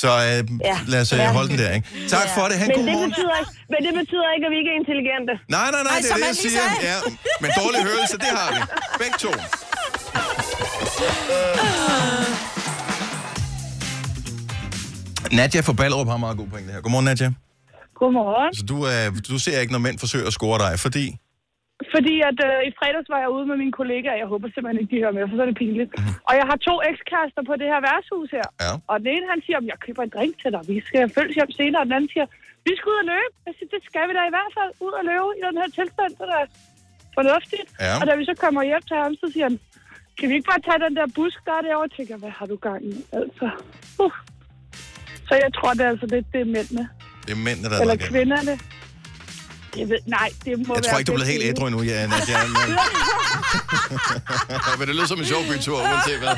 Speaker 1: Så øh, ja. lad os øh,
Speaker 13: Ja.
Speaker 1: holde den der, ikke? Tak ja. for det, han
Speaker 13: men,
Speaker 1: god
Speaker 13: det
Speaker 1: morgen.
Speaker 13: betyder ikke, men det betyder ikke, at vi ikke er intelligente.
Speaker 1: Nej, nej, nej, det er det, jeg siger. Ja, men dårlig hørelse, det har vi. Begge to. Nadja fra Ballerup har meget god point det her. Godmorgen, Nadja.
Speaker 14: Godmorgen.
Speaker 1: Så du, øh, du ser ikke, når mænd forsøger at score dig, fordi...
Speaker 14: Fordi at øh, i fredags var jeg ude med mine kollegaer, jeg håber simpelthen ikke, de hører med, for så er det pinligt. Og jeg har to ekskærester på det her værtshus her.
Speaker 1: Mhm. Ja.
Speaker 14: Og den ene, han siger, at jeg køber en drink til dig, vi skal følges hjem senere. Og den anden siger, vi skal ud og løbe. Jeg siger, det skal vi da i hvert fald, ud og løbe i den her tilstand, det er da fornuftigt.
Speaker 1: Ja.
Speaker 14: Og da vi så kommer hjem til ham, så siger han, kan vi ikke bare tage den der busk, der er derovre? Jeg tænker, hvad har du gang i? Altså, uh. Så jeg tror, det er altså lidt det er mændene.
Speaker 1: Det er mændene, der er
Speaker 14: Eller
Speaker 1: nok af.
Speaker 14: kvinderne. Jeg ved, nej, det må
Speaker 1: Jeg
Speaker 14: være
Speaker 1: tror ikke, du er blevet helt
Speaker 14: begge
Speaker 1: ædru endnu, ja, Nadia. Men, men det lyder som en sjov bytur, uanset hvad.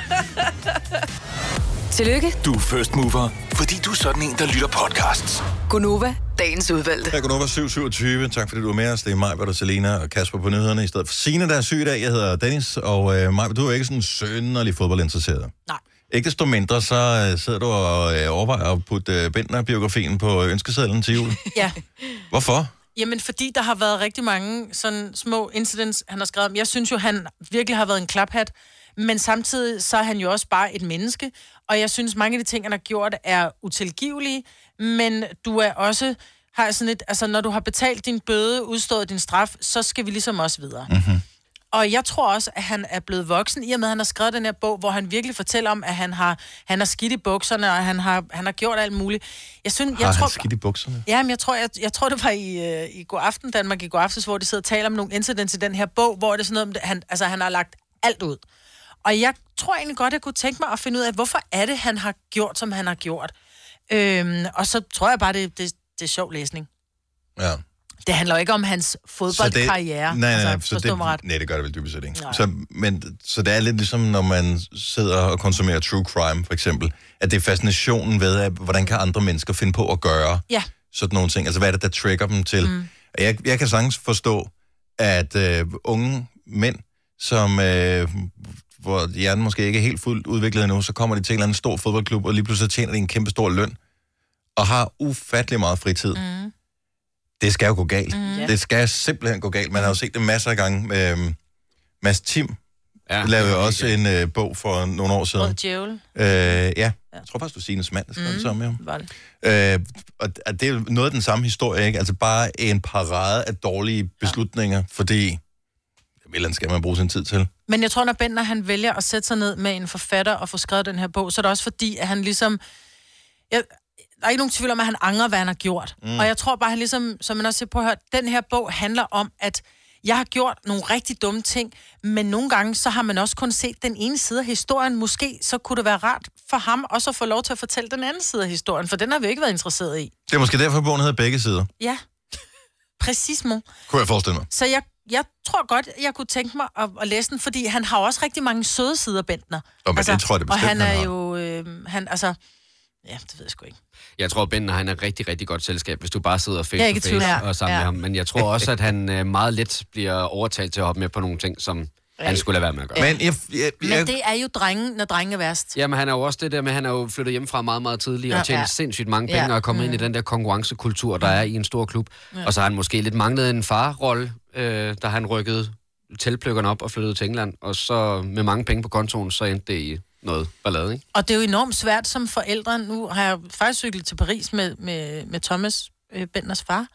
Speaker 15: Tillykke,
Speaker 5: Du er first mover, fordi du er sådan en, der lytter podcasts.
Speaker 15: Gunova, dagens udvalgte.
Speaker 1: Her går 727. Tak fordi du er med os. Det er mig, der Selena og Kasper på nyhederne. I stedet for Sina, der er syg i dag. Jeg hedder Dennis, og øh, Maj, du er jo ikke sådan sønderlig fodboldinteresseret.
Speaker 2: Nej.
Speaker 1: Ikke desto mindre, så øh, sidder du og øh, overvejer at putte øh, Bentner-biografien på ønskesedlen til jul.
Speaker 2: Ja.
Speaker 1: Hvorfor?
Speaker 2: Jamen, fordi der har været rigtig mange sådan små incidents, han har skrevet om. Jeg synes jo, han virkelig har været en klaphat, men samtidig så er han jo også bare et menneske, og jeg synes, mange af de ting, han har gjort, er utilgivelige, men du er også har sådan et, altså når du har betalt din bøde, udstået din straf, så skal vi ligesom også videre.
Speaker 1: Mhm.
Speaker 2: Mm-hmm. Og jeg tror også, at han er blevet voksen, i og med, at han har skrevet den her bog, hvor han virkelig fortæller om, at han har, han har skidt i bukserne, og han har, han har gjort alt muligt. Jeg synes,
Speaker 1: Har
Speaker 2: jeg tror,
Speaker 1: han skidt i bukserne?
Speaker 2: Ja, men jeg tror, jeg, jeg tror det var i, øh, i går aften, Danmark i går aftes, hvor de sidder og taler om nogle incidents i den her bog, hvor det er sådan noget, om, at han, altså, han har lagt alt ud. Og jeg tror egentlig godt, jeg kunne tænke mig at finde ud af, hvorfor er det, han har gjort, som han har gjort. Øhm, og så tror jeg bare, det, det, det er sjov læsning.
Speaker 1: Ja.
Speaker 2: Det handler jo ikke om hans fodboldkarriere.
Speaker 1: Nej, nej, nej.
Speaker 2: altså,
Speaker 1: så
Speaker 2: forstå
Speaker 1: det,
Speaker 2: mig ret.
Speaker 1: nej, det gør det vel dybest set ikke.
Speaker 2: Nej.
Speaker 1: Så, men, så det er lidt ligesom, når man sidder og konsumerer true crime, for eksempel, at det er fascinationen ved, at, hvordan kan andre mennesker finde på at gøre
Speaker 2: Ja.
Speaker 1: sådan nogle ting? Altså, hvad er det, der trigger dem til? Mm. Jeg, jeg kan sagtens forstå, at øh, unge mænd, som øh, hvor hjernen måske ikke er helt fuldt udviklet endnu, så kommer de til en eller anden stor fodboldklub, og lige pludselig så tjener de en kæmpe stor løn, og har ufattelig meget fritid. Mm. Det skal jo gå galt. Mm. Det skal simpelthen gå galt. Man har jo set det masser af gange. Øhm, Mads Tim ja, lavede jo også en øh, bog for nogle år siden.
Speaker 2: Rød djævel.
Speaker 1: Øh, ja, jeg tror faktisk, du er Sines mand, der skrev mm. det sammen med ham.
Speaker 2: Var det.
Speaker 1: Øh, og og det er jo noget af den samme historie, ikke? Altså bare en parade af dårlige beslutninger, ja. fordi hvilken skal man bruge sin tid til?
Speaker 2: Men jeg tror, når Bender han vælger at sætte sig ned med en forfatter og få skrevet den her bog, så er det også fordi, at han ligesom... Jeg, der er ikke nogen tvivl om, at han angrer, hvad han har gjort.
Speaker 16: Mm.
Speaker 2: Mm. Og jeg tror bare, han ligesom, som man også siger, på at høre, den her bog handler om, at jeg har gjort nogle rigtig dumme ting, men nogle gange, så har man også kun set den ene side af historien. Måske så kunne det være rart for ham også at få lov til at fortælle den anden side af historien, for den har vi jo ikke været interesseret i.
Speaker 1: Det er måske derfor, bogen hedder Begge Sider,
Speaker 2: Ja, præcis, mor.
Speaker 1: kunne jeg forestille mig.
Speaker 2: Så jeg, jeg tror godt, jeg kunne tænke mig at, at læse den, fordi han har jo også rigtig mange søde sider, Bentner. Altså,
Speaker 4: Nå, men det tror jeg da
Speaker 2: og
Speaker 4: bestemt,
Speaker 2: han
Speaker 4: han
Speaker 2: er
Speaker 4: har.
Speaker 2: jo... Øh, han, altså, ja, det ved jeg sgu ikke.
Speaker 4: Jeg tror, Ben han er rigtig, rigtig godt selskab, hvis du bare sidder
Speaker 2: Jeg er
Speaker 4: face
Speaker 2: ikke
Speaker 4: to
Speaker 2: i tvivl.
Speaker 4: face
Speaker 2: Ja.
Speaker 4: og sammen
Speaker 2: Ja.
Speaker 4: med ham. Men jeg tror også, at han øh, meget let bliver overtalt til at hoppe med på nogle ting, som han skulle lade være med at gøre.
Speaker 1: Men, jeg, jeg,
Speaker 2: Men det er jo drengen, når drengen er værst.
Speaker 4: Jamen, han er jo også det der med, han er jo flyttet hjemmefra meget, meget tidligt,
Speaker 2: Ja.
Speaker 4: og tjent
Speaker 2: Ja.
Speaker 4: sindssygt mange
Speaker 2: Ja. Mm.
Speaker 4: penge, og er kommet ind i den der konkurrencekultur, der er i en stor klub. Og så har han måske lidt manglet en farrolle, øh, da han rykkede tilpløkkerne op og flyttede til England. Og så med mange penge på kontoen, så endte det i noget ballade, ikke?
Speaker 2: Og det er jo enormt svært som forældre. Nu har jeg faktisk cyklet til Paris med, med, med Thomas øh, Benders far.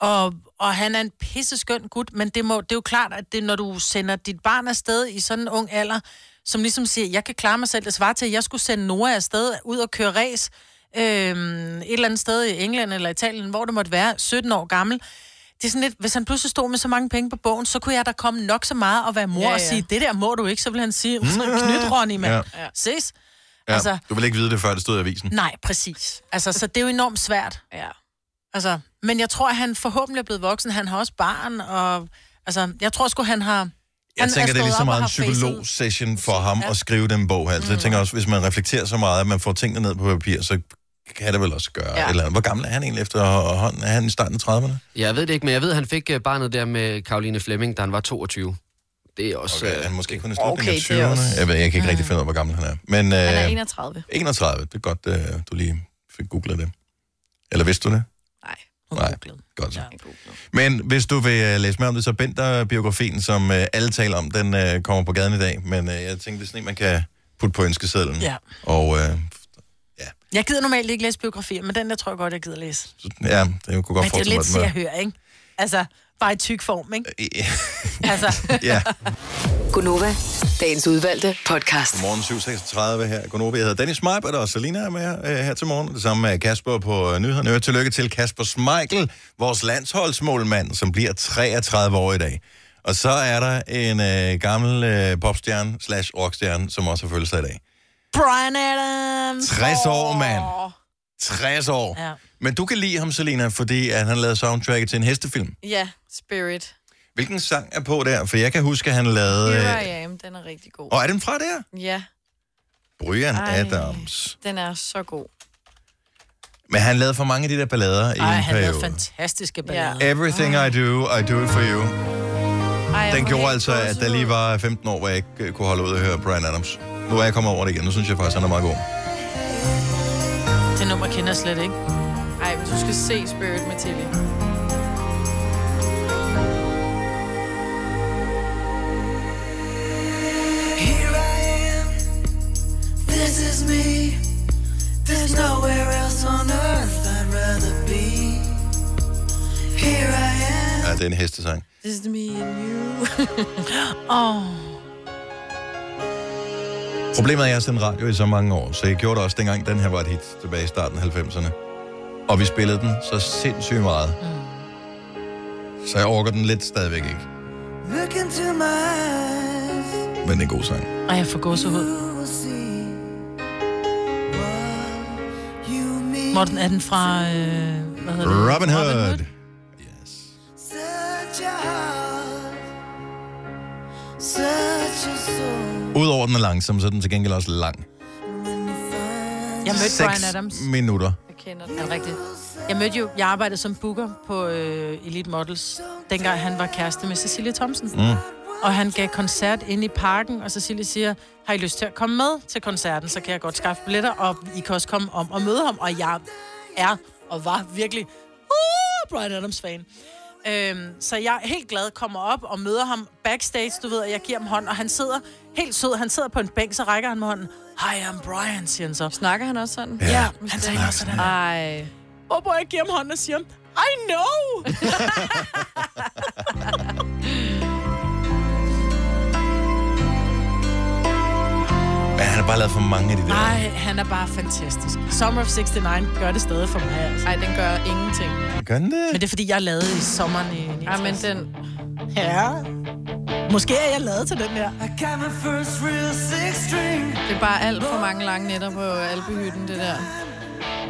Speaker 2: Og, og han er en pisseskøn gut, men det, må, det er jo klart, at det, når du sender dit barn afsted i sådan en ung alder, som ligesom siger, jeg kan klare mig selv, det svarer til, at jeg skulle sende Nora afsted ud og køre race øhm, et eller andet sted i England eller Italien, hvor det måtte være, 17 år gammel. Det er sådan lidt, hvis han pludselig stod med så mange penge på bogen, så kunne jeg da komme nok så meget og være mor ja,
Speaker 3: Ja,
Speaker 2: ja. og
Speaker 3: ja.
Speaker 2: sige, det der må du ikke, så vil han sige, knyt Ronny, mand.
Speaker 1: Ja.
Speaker 2: Ja. Ses?
Speaker 1: Ja,
Speaker 2: Altså-
Speaker 1: Du vil ikke vide det, før det stod i avisen.
Speaker 2: Nej, præcis. Altså, så det er jo enormt svært.
Speaker 3: Ja.
Speaker 2: Altså, men jeg tror, at han forhåbentlig er blevet voksen. Han har også barn, og altså, jeg tror sgu, han har... Jeg
Speaker 1: Jeg
Speaker 2: han
Speaker 1: han tænker, det er
Speaker 2: stået
Speaker 1: lige så
Speaker 2: op og
Speaker 1: meget en
Speaker 2: har Mm. facet-
Speaker 1: psykolog-session for ham ja. at skrive den bog her. Altså, jeg tænker også, hvis man reflekterer så meget, at man får tingene ned på papir, så kan det vel også gøre ja.
Speaker 4: Ja.
Speaker 1: et eller andet. Hvor gammel er han egentlig efterhånden? Er han i starten af 30'erne?
Speaker 4: Jeg ved det ikke, men jeg ved, at han fik øh, barnet der med Karoline Flemming, da han var 22. Det er også... øh, Okay,
Speaker 1: han måske kun i
Speaker 4: slutningen
Speaker 1: Okay, af det er 20'erne. også- Jeg ved- jeg kan ikke rigtig finde ud af, hvor gammel han er. Men,
Speaker 3: Han er
Speaker 1: øh,
Speaker 3: 31.
Speaker 1: 31, det er godt, øh, du lige fik googlet det. Eller vidste du det? Nej, Nej. godt så. Men hvis du vil øh, læse mere om det, så Bender-biografien, som øh, alle taler om, den øh, kommer på gaden i dag. Men øh, jeg tænkte, det er sådan en, man kan putte på ønskesedlen.
Speaker 2: Ja.
Speaker 1: Og øh,
Speaker 2: Jeg gider normalt ikke læse biografier, men den der tror jeg godt, jeg gider læse.
Speaker 1: ja, det kunne godt
Speaker 2: men det er jo
Speaker 1: forestille
Speaker 2: lidt se og
Speaker 1: mig.
Speaker 2: hør, ikke? Altså, bare i tyk form,
Speaker 1: Øh,
Speaker 2: ikke? altså.
Speaker 1: lidt Ja.
Speaker 15: Gunova, dagens udvalgte podcast.
Speaker 1: Godmorgen 7.36 her. Godnova, jeg hedder Dennis Meib, og der er Selina er med her, øh, her til morgen. Det samme med Kasper på øh, nyhederne. Og Tillykke til Kasper Schmeichel, vores landsholdsmålmand, som bliver 33 år i dag. Og så er der en øh, gammel øh, popstjerne slash rockstjerne, som også har følt sig i dag.
Speaker 2: Brian Adams!
Speaker 1: 60 år, mand.
Speaker 2: Åh.
Speaker 1: 60 år.
Speaker 3: Ja.
Speaker 1: Men du kan lide ham, Selina, fordi at han lavede soundtracket til en hestefilm.
Speaker 3: Ja, Spirit.
Speaker 1: Hvilken sang er på der? For jeg kan huske, at han lavede...
Speaker 3: Here
Speaker 1: Øh...
Speaker 3: I am, den er rigtig god.
Speaker 1: Og er den fra der?
Speaker 3: Ja,
Speaker 1: Brian
Speaker 3: Ej.
Speaker 1: Adams.
Speaker 3: den er så god.
Speaker 1: Men han lavede for mange af de der ballader i en
Speaker 2: Ej, han lavede
Speaker 1: periode.
Speaker 2: fantastiske ballader.
Speaker 1: Ah. Everything I do, I do it for you.
Speaker 2: Ej,
Speaker 1: Den
Speaker 2: hvor
Speaker 1: gjorde
Speaker 2: helt
Speaker 1: altså, at der lige var 15 år, hvor jeg ikke øh, kunne holde ud at høre Brian Adams. Nu er jeg kommet over det igen. Nu synes jeg faktisk, han er meget god.
Speaker 2: Det er nummer kender jeg slet ikke.
Speaker 3: Ej, men du skal se Spirit med TV.
Speaker 16: Here I am, this is me. There's nowhere else on earth I'd rather be. Here I am.
Speaker 1: Ja, det er en hestesang.
Speaker 3: This is me and you.
Speaker 2: Åh.
Speaker 1: Problemet er, at jeg har sendt radio i så mange år, så jeg gjorde det også dengang, den her var et hit tilbage i starten af 90'erne. Og vi spillede den så sindssygt meget.
Speaker 2: Mm.
Speaker 1: Så jeg orker den lidt stadigvæk ikke,
Speaker 16: Look into my eyes.
Speaker 1: men det er en god sang.
Speaker 2: Ej, jeg får gåsehud.
Speaker 16: You will see.
Speaker 2: Morten, er den fra... Øh, hvad hedder det?
Speaker 1: Robin Hood.
Speaker 16: Such a heart. Such a soul.
Speaker 1: Udover den er langsom, så er den til gengæld også lang.
Speaker 2: Jeg mødte
Speaker 1: Seks
Speaker 2: Brian Adams.
Speaker 1: minutter.
Speaker 2: Jeg kender den. Er det rigtigt? Jeg mødte jo... Jeg arbejdede som booker på øh, Elite Models, dengang han var kæreste med Cecilie Thomsen.
Speaker 1: Mm.
Speaker 2: Og han gav koncert inde i parken, og Cecilie siger, har I lyst til at komme med til koncerten, så kan jeg godt skaffe billetter, og I kan også komme om og møde ham. Og jeg er og var virkelig uh, Brian Adams-fan. Øhm, så jeg er helt glad kommer op og møder ham backstage, du ved, og jeg giver ham hånd, og han sidder helt sød, han sidder på en bænk, så rækker han mig hånden. Hi, I'm Brian, siger han så.
Speaker 3: Snakker han også sådan?
Speaker 2: Ja, ja han taler også sådan.
Speaker 3: Ej.
Speaker 2: Hvorfor jeg giver ham hånden og siger, I know!
Speaker 1: Men han har bare lavet for mange af de der.
Speaker 2: Nej, han er bare fantastisk. Summer of 69 gør det stadig for mig. Nej, altså.
Speaker 3: den gør ingenting.
Speaker 1: Gør den det?
Speaker 2: Men det er, fordi jeg lavede i sommeren i 69.
Speaker 3: Ej, men den...
Speaker 2: Ja. Måske er jeg lavet til den her.
Speaker 3: Det er bare alt for mange lange nætter på Alpehytten, det der.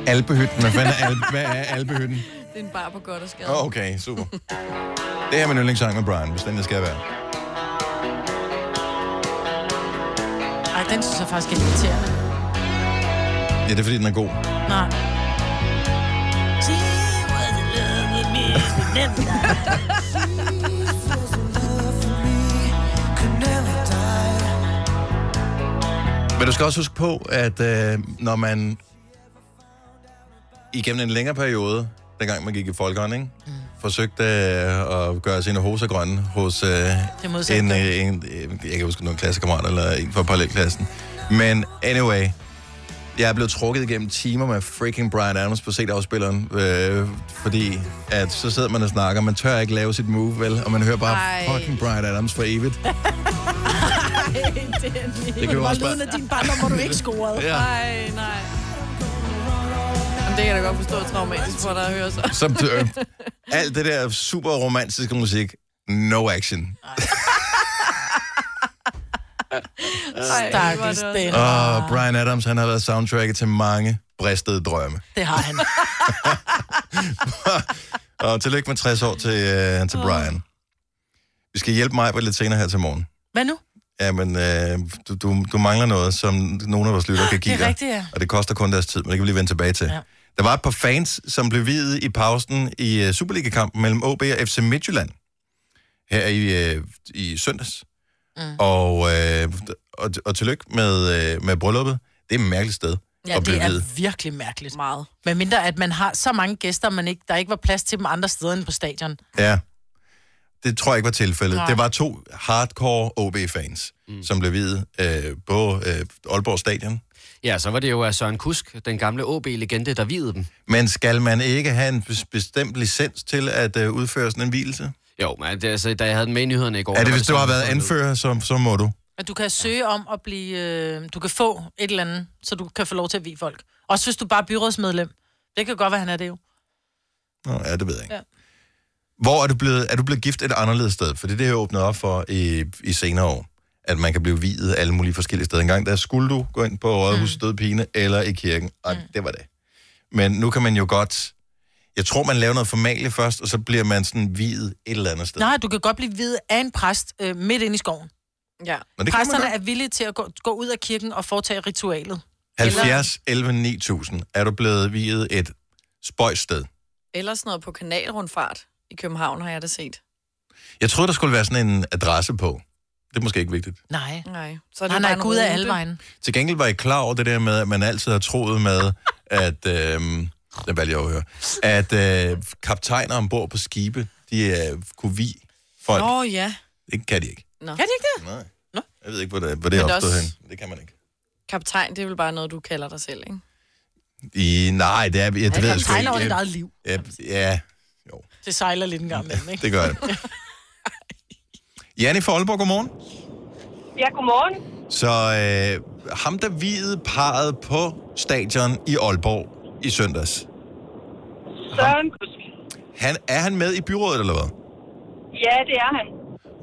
Speaker 1: Alpehytten. Hvad fanden er, Al- Hvad er Alpehytten?
Speaker 3: Det er en bar på godt og skade.
Speaker 1: Åh, Okay, super. Det her er min yndlingssang med Brian, hvis den der skal være.
Speaker 2: Ej, den synes jeg faktisk er irriterende.
Speaker 1: Ja, det er fordi, den er god.
Speaker 2: Nej.
Speaker 1: Men du skal også huske på, at øh, når man igennem en længere periode, dengang man gik i folkehånd, ikke? Mm. forsøgte øh, at gøre sine hoser grønne hos øh,
Speaker 2: modsatte.
Speaker 1: en, øh, en, øh, jeg kan huske nogle klassekammerat eller en fra parallelklassen. Men anyway, Jeg er blevet trukket igennem timer med freaking Brian Adams på CD-afspilleren, øh, fordi at så sidder man og snakker, man tør ikke lave sit move, vel? Og man hører bare
Speaker 16: Ej.
Speaker 1: fucking Brian Adams for evigt.
Speaker 16: det
Speaker 1: kan jo også være-
Speaker 16: lyden af din barndom, hvor du ikke scorede.
Speaker 1: Ja.
Speaker 3: Nej, nej. Jamen, det kan jeg da godt forstå er traumatisk for dig at høre så.
Speaker 1: Så øh, alt det der super romantiske musik, no action.
Speaker 2: Stakkels, det
Speaker 1: Og Brian Adams, han har været soundtracket til mange bristede drømme.
Speaker 2: Det har han.
Speaker 1: Og tillykke med 60 år til, øh, til Brian. Vi skal hjælpe mig lidt senere her til morgen.
Speaker 2: Hvad nu?
Speaker 1: Jamen, øh, du, du, du mangler noget, som nogle af vores lyttere kan give
Speaker 2: Det er
Speaker 1: dig.
Speaker 2: rigtigt, ja.
Speaker 1: Og det koster kun deres tid, men det kan vi lige vende tilbage til. Ja. Der var et par fans, som blev videt i pausen i øh, Superliga-kampen mellem OB og FC Midtjylland her i, øh, i søndags. Mm. Og, øh, og, og tillykke med, øh, med brylluppet. Det er et mærkeligt sted
Speaker 2: Ja,
Speaker 1: at blive
Speaker 2: det er
Speaker 1: videt.
Speaker 2: virkelig mærkeligt. Meget. Men mindre, at man har så mange gæster, man ikke, der ikke var plads til dem andre steder end på stadion.
Speaker 1: Ja. Det tror jeg ikke var tilfældet.
Speaker 2: Nej.
Speaker 1: Det var to hardcore OB-fans, mm. som blev videt øh, på øh, Aalborg Stadion.
Speaker 4: Ja, så var det jo øh, Søren Kusk, den gamle OB-legende, der videde dem.
Speaker 1: Men skal man ikke have en bes- bestemt licens til at øh, udføre sådan en hvilelse?
Speaker 4: Jo, men det, altså, da jeg havde den med i nyhederne i går...
Speaker 1: Er
Speaker 4: der
Speaker 1: det, hvis
Speaker 4: var
Speaker 1: du har
Speaker 4: sådan,
Speaker 1: været
Speaker 4: at-
Speaker 1: anfører, så, så må du.
Speaker 2: Men du kan søge om at blive... Øh, du kan få et eller andet, så du kan få lov til at vige folk. Også hvis du bare er byrådsmedlem. Det kan godt være, han er det jo.
Speaker 1: Nå, ja, det ved jeg ikke.
Speaker 2: Ja.
Speaker 1: Hvor er du blevet, er du blevet gift et anderledes sted? For det er det, jeg åbnet op for i, i senere år. At man kan blive videt alle mulige forskellige steder. En gang der skulle du gå ind på Rådhuset mm. Døde Pine eller i kirken, og mm. det var det. Men nu kan man jo godt... Jeg tror, man laver noget formalie først, og så bliver man sådan videt et eller andet sted.
Speaker 2: Nej, du kan godt blive videt af en præst øh, midt inde i skoven.
Speaker 3: Ja.
Speaker 1: Nå, det kan man
Speaker 2: Præsterne
Speaker 1: godt.
Speaker 2: er villige til at gå, gå ud af kirken og foretage ritualet.
Speaker 1: 70, 11, 9000. Er du blevet videt et spøjst sted?
Speaker 3: Eller sådan noget på kanalrundfart i København har jeg da set.
Speaker 1: Jeg troede, der skulle være sådan en adresse på. Det er måske ikke vigtigt.
Speaker 2: Nej.
Speaker 3: Nej. Så er det
Speaker 2: Han
Speaker 3: bare
Speaker 2: er
Speaker 3: en
Speaker 2: ikke ude af
Speaker 3: rute.
Speaker 2: alle vejen.
Speaker 1: Til gengæld var jeg klar over det der med, at man altid har troet med, at... Øh, det valgte jeg at høre. At øh, kaptajner ombord på skibe, de øh, kunne vi folk.
Speaker 3: Nå ja.
Speaker 1: Det kan de ikke.
Speaker 3: Nå. Kan de ikke det?
Speaker 1: Nej.
Speaker 3: Nå.
Speaker 1: Jeg ved ikke, hvor det, hvor det er
Speaker 3: Men
Speaker 1: opstået
Speaker 3: også-
Speaker 1: hen. Det kan man ikke.
Speaker 3: Kaptajn, det er vel bare noget, du kalder dig selv, ikke?
Speaker 1: I, nej, det er... Jeg, det ved jeg sgu
Speaker 2: kaptajn
Speaker 1: ikke.
Speaker 2: over dit
Speaker 1: Jeg-
Speaker 2: eget liv.
Speaker 1: Jeg, ja,
Speaker 2: Det sejler lidt en gang imellem, ikke?
Speaker 1: det gør det. Janne fra Aalborg, godmorgen.
Speaker 17: Ja, godmorgen.
Speaker 1: Så øh, ham, der videde parret på stadion i Aalborg i søndags,
Speaker 17: Søren Kusk.
Speaker 1: han, er han med i byrådet, eller hvad?
Speaker 17: Ja, det er han.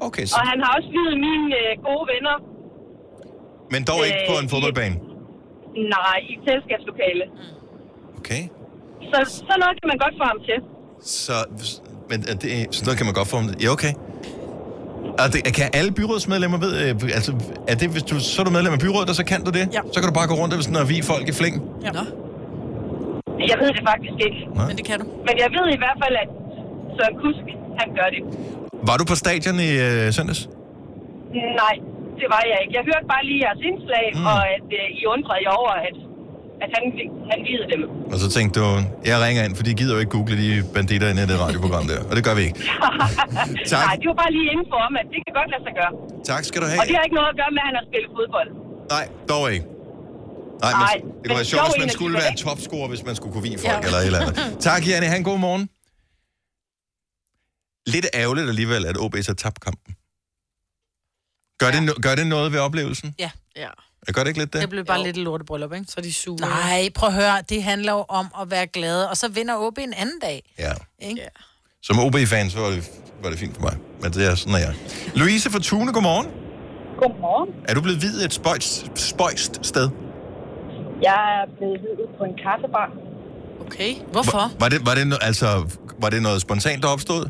Speaker 1: Okay,
Speaker 17: Og
Speaker 1: så,
Speaker 17: han har også videt mine øh, gode venner.
Speaker 1: men dog ikke på en
Speaker 17: øh,
Speaker 1: fodboldbane.
Speaker 17: Nej, i et selskabslokale.
Speaker 1: Okay.
Speaker 17: Så sådan noget kan man godt få ham til.
Speaker 1: Så, men er det, sådan noget kan man godt få. Ja, okay. Og det, kan alle byrådsmedlemmer ved, øh, altså, er det, hvis du, så er du medlem af byrådet, og så kan du det? Ja. Så kan du bare gå rundt og, sådan, og vi folk i flæng.
Speaker 2: Ja. Nå.
Speaker 17: Jeg ved det faktisk ikke.
Speaker 1: Nej.
Speaker 2: Men det kan du.
Speaker 17: Men jeg ved i hvert fald, at Søren Kusk, han gør det.
Speaker 1: Var du på stadion i øh, søndags?
Speaker 17: Nej, det var jeg ikke. Jeg hørte bare lige jeres indslag, mm. og at øh, I undrede jer over, at, at han, han videde dem.
Speaker 1: Og så tænkte du, jeg ringer ind, for de gider jo ikke google de banditter inde i det radioprogram der. Og det gør vi ikke. Tak.
Speaker 17: Nej, det var bare lige info om, at det kan godt lade sig gøre.
Speaker 1: Tak skal du
Speaker 17: Og
Speaker 1: have.
Speaker 17: det har ikke noget at gøre med, at han har spillet fodbold.
Speaker 1: Nej, dog ikke. Nej,
Speaker 17: Nej,
Speaker 1: men, det kunne
Speaker 17: men
Speaker 1: være sjovt,
Speaker 17: sjov
Speaker 1: hvis man
Speaker 17: energi,
Speaker 1: skulle
Speaker 17: var det
Speaker 1: være
Speaker 17: ikke?
Speaker 1: topscorer, hvis man skulle kunne vide folk
Speaker 17: Ja.
Speaker 1: ja. eller et eller andet. Tak, Janne. Ha' en god morgen. Lidt ærgerligt alligevel, at OB så tabte kampen. Gør, ja. det no- gør det noget ved oplevelsen?
Speaker 2: Ja. ja.
Speaker 1: Gør det ikke lidt det?
Speaker 2: Det blev bare jo. lidt et lortebryllup, ikke? Så
Speaker 3: er de sure.
Speaker 2: Nej, prøv at høre. Det handler jo om at være glade. Og så vinder OB en anden dag,
Speaker 1: Ja.
Speaker 2: ikke? Ja.
Speaker 1: Som OB-fan, så var det, var det fint for mig. Men det er sådan, er jeg. Louise fra Tune, godmorgen.
Speaker 18: Godmorgen.
Speaker 1: Er du blevet videt et spøjst, spøjst sted?
Speaker 18: Jeg er blevet videt på en kaffebar.
Speaker 3: Okay.
Speaker 2: Hvorfor?
Speaker 1: Var, var, det, var, det, no- altså, var det noget spontant, der opstod?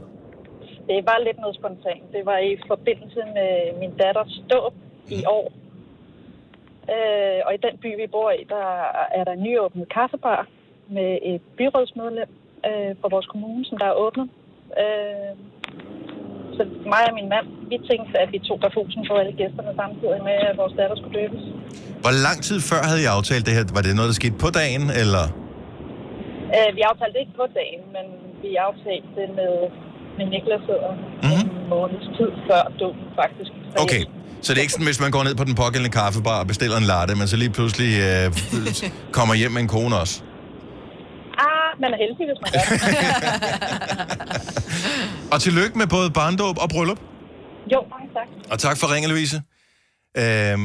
Speaker 18: Det var lidt noget spontant. Det var i forbindelse med min datters dåb i år. Øh, og i den by, vi bor i, der er der en nyåbnet kaffebar med et byrådsmedlem øh, fra vores kommune, som der er åbnet. Øh, så mig og min mand, vi tænkte, at vi tog refusen for alle gæsterne samtidig med, at vores datter skulle døbes.
Speaker 1: Hvor lang tid før havde I aftalt det her? Var det noget, der skete på dagen, eller?
Speaker 18: Øh, vi aftalte det ikke på dagen, men vi aftalte det med, med Niklas og
Speaker 1: Mhm.
Speaker 18: en måneds tid før døden faktisk. Så
Speaker 1: Okay, Så det er ikke sådan, hvis man går ned på den pågældende kaffebar og bestiller en latte, men så lige pludselig øh, kommer hjem med en kone også.
Speaker 18: Ah, man er heldig, hvis man gør det.
Speaker 1: Og tillykke med både barndåb og bryllup.
Speaker 18: Jo, mange tak.
Speaker 1: Og tak for ringen, Louise. Øhm,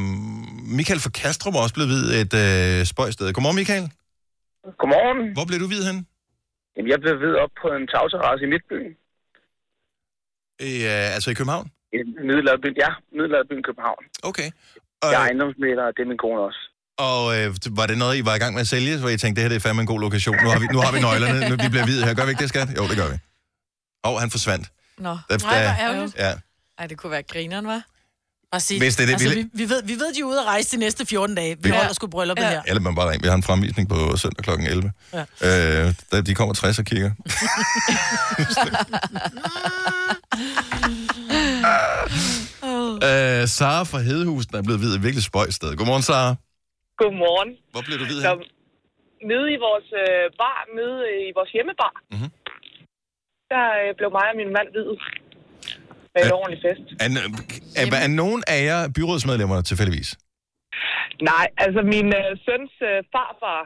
Speaker 1: Michael fra Kastrup er også blevet vidt et øh, spøjsted. Godmorgen, Michael.
Speaker 19: Godmorgen.
Speaker 1: Hvor blev du vidt hen?
Speaker 19: Jamen, jeg blev ved op på en tagterrasse i Midtbyen.
Speaker 1: I, øh, altså i København?
Speaker 19: I Middelalderbyen, ja. Middelalderbyen København.
Speaker 1: Okay. Øh.
Speaker 19: Jeg er ejendomsmæler, og det er min kone også.
Speaker 1: Og øh, var det noget, I var i gang med at sælge, hvor I tænkte, det her det er fandme en god lokation. Nu har vi, nu har vi nøglerne, nu vi bliver vidt her. Gør vi ikke det, skat? Jo, det gør vi. Og han forsvandt.
Speaker 3: Nå,
Speaker 1: Der-
Speaker 2: Nej,
Speaker 1: der-
Speaker 2: hvor ærgerligt.
Speaker 1: Ja.
Speaker 3: Ej, det kunne være grineren, var.
Speaker 2: Bare sige,
Speaker 1: Hvis det er det,
Speaker 2: altså,
Speaker 1: vi-
Speaker 2: vi, vi, ved, vi ved, de er ude at rejse de næste 14 dage. Vi
Speaker 1: Ja.
Speaker 2: holder sgu brylluppet ja. her.
Speaker 1: Eller man bare ringer. Vi har en fremvisning på søndag kl. 11.
Speaker 2: Ja.
Speaker 1: Øh, der- de kommer 60 og kigger. Øh, Sara fra Hedehusen er blevet vidt et virkelig spøjt sted. Godmorgen, Sara.
Speaker 20: Godmorgen.
Speaker 1: Hvor blev du ved
Speaker 20: Så, nede i vores øh, bar, nede i vores hjemmebar,
Speaker 1: Mhm.
Speaker 20: der øh, blev mig og min mand hvid med en ordentlig fest.
Speaker 1: Er, er, er, er nogen af jer byrådsmedlemmer tilfældigvis?
Speaker 20: Nej, altså min øh, søns øh, farfar,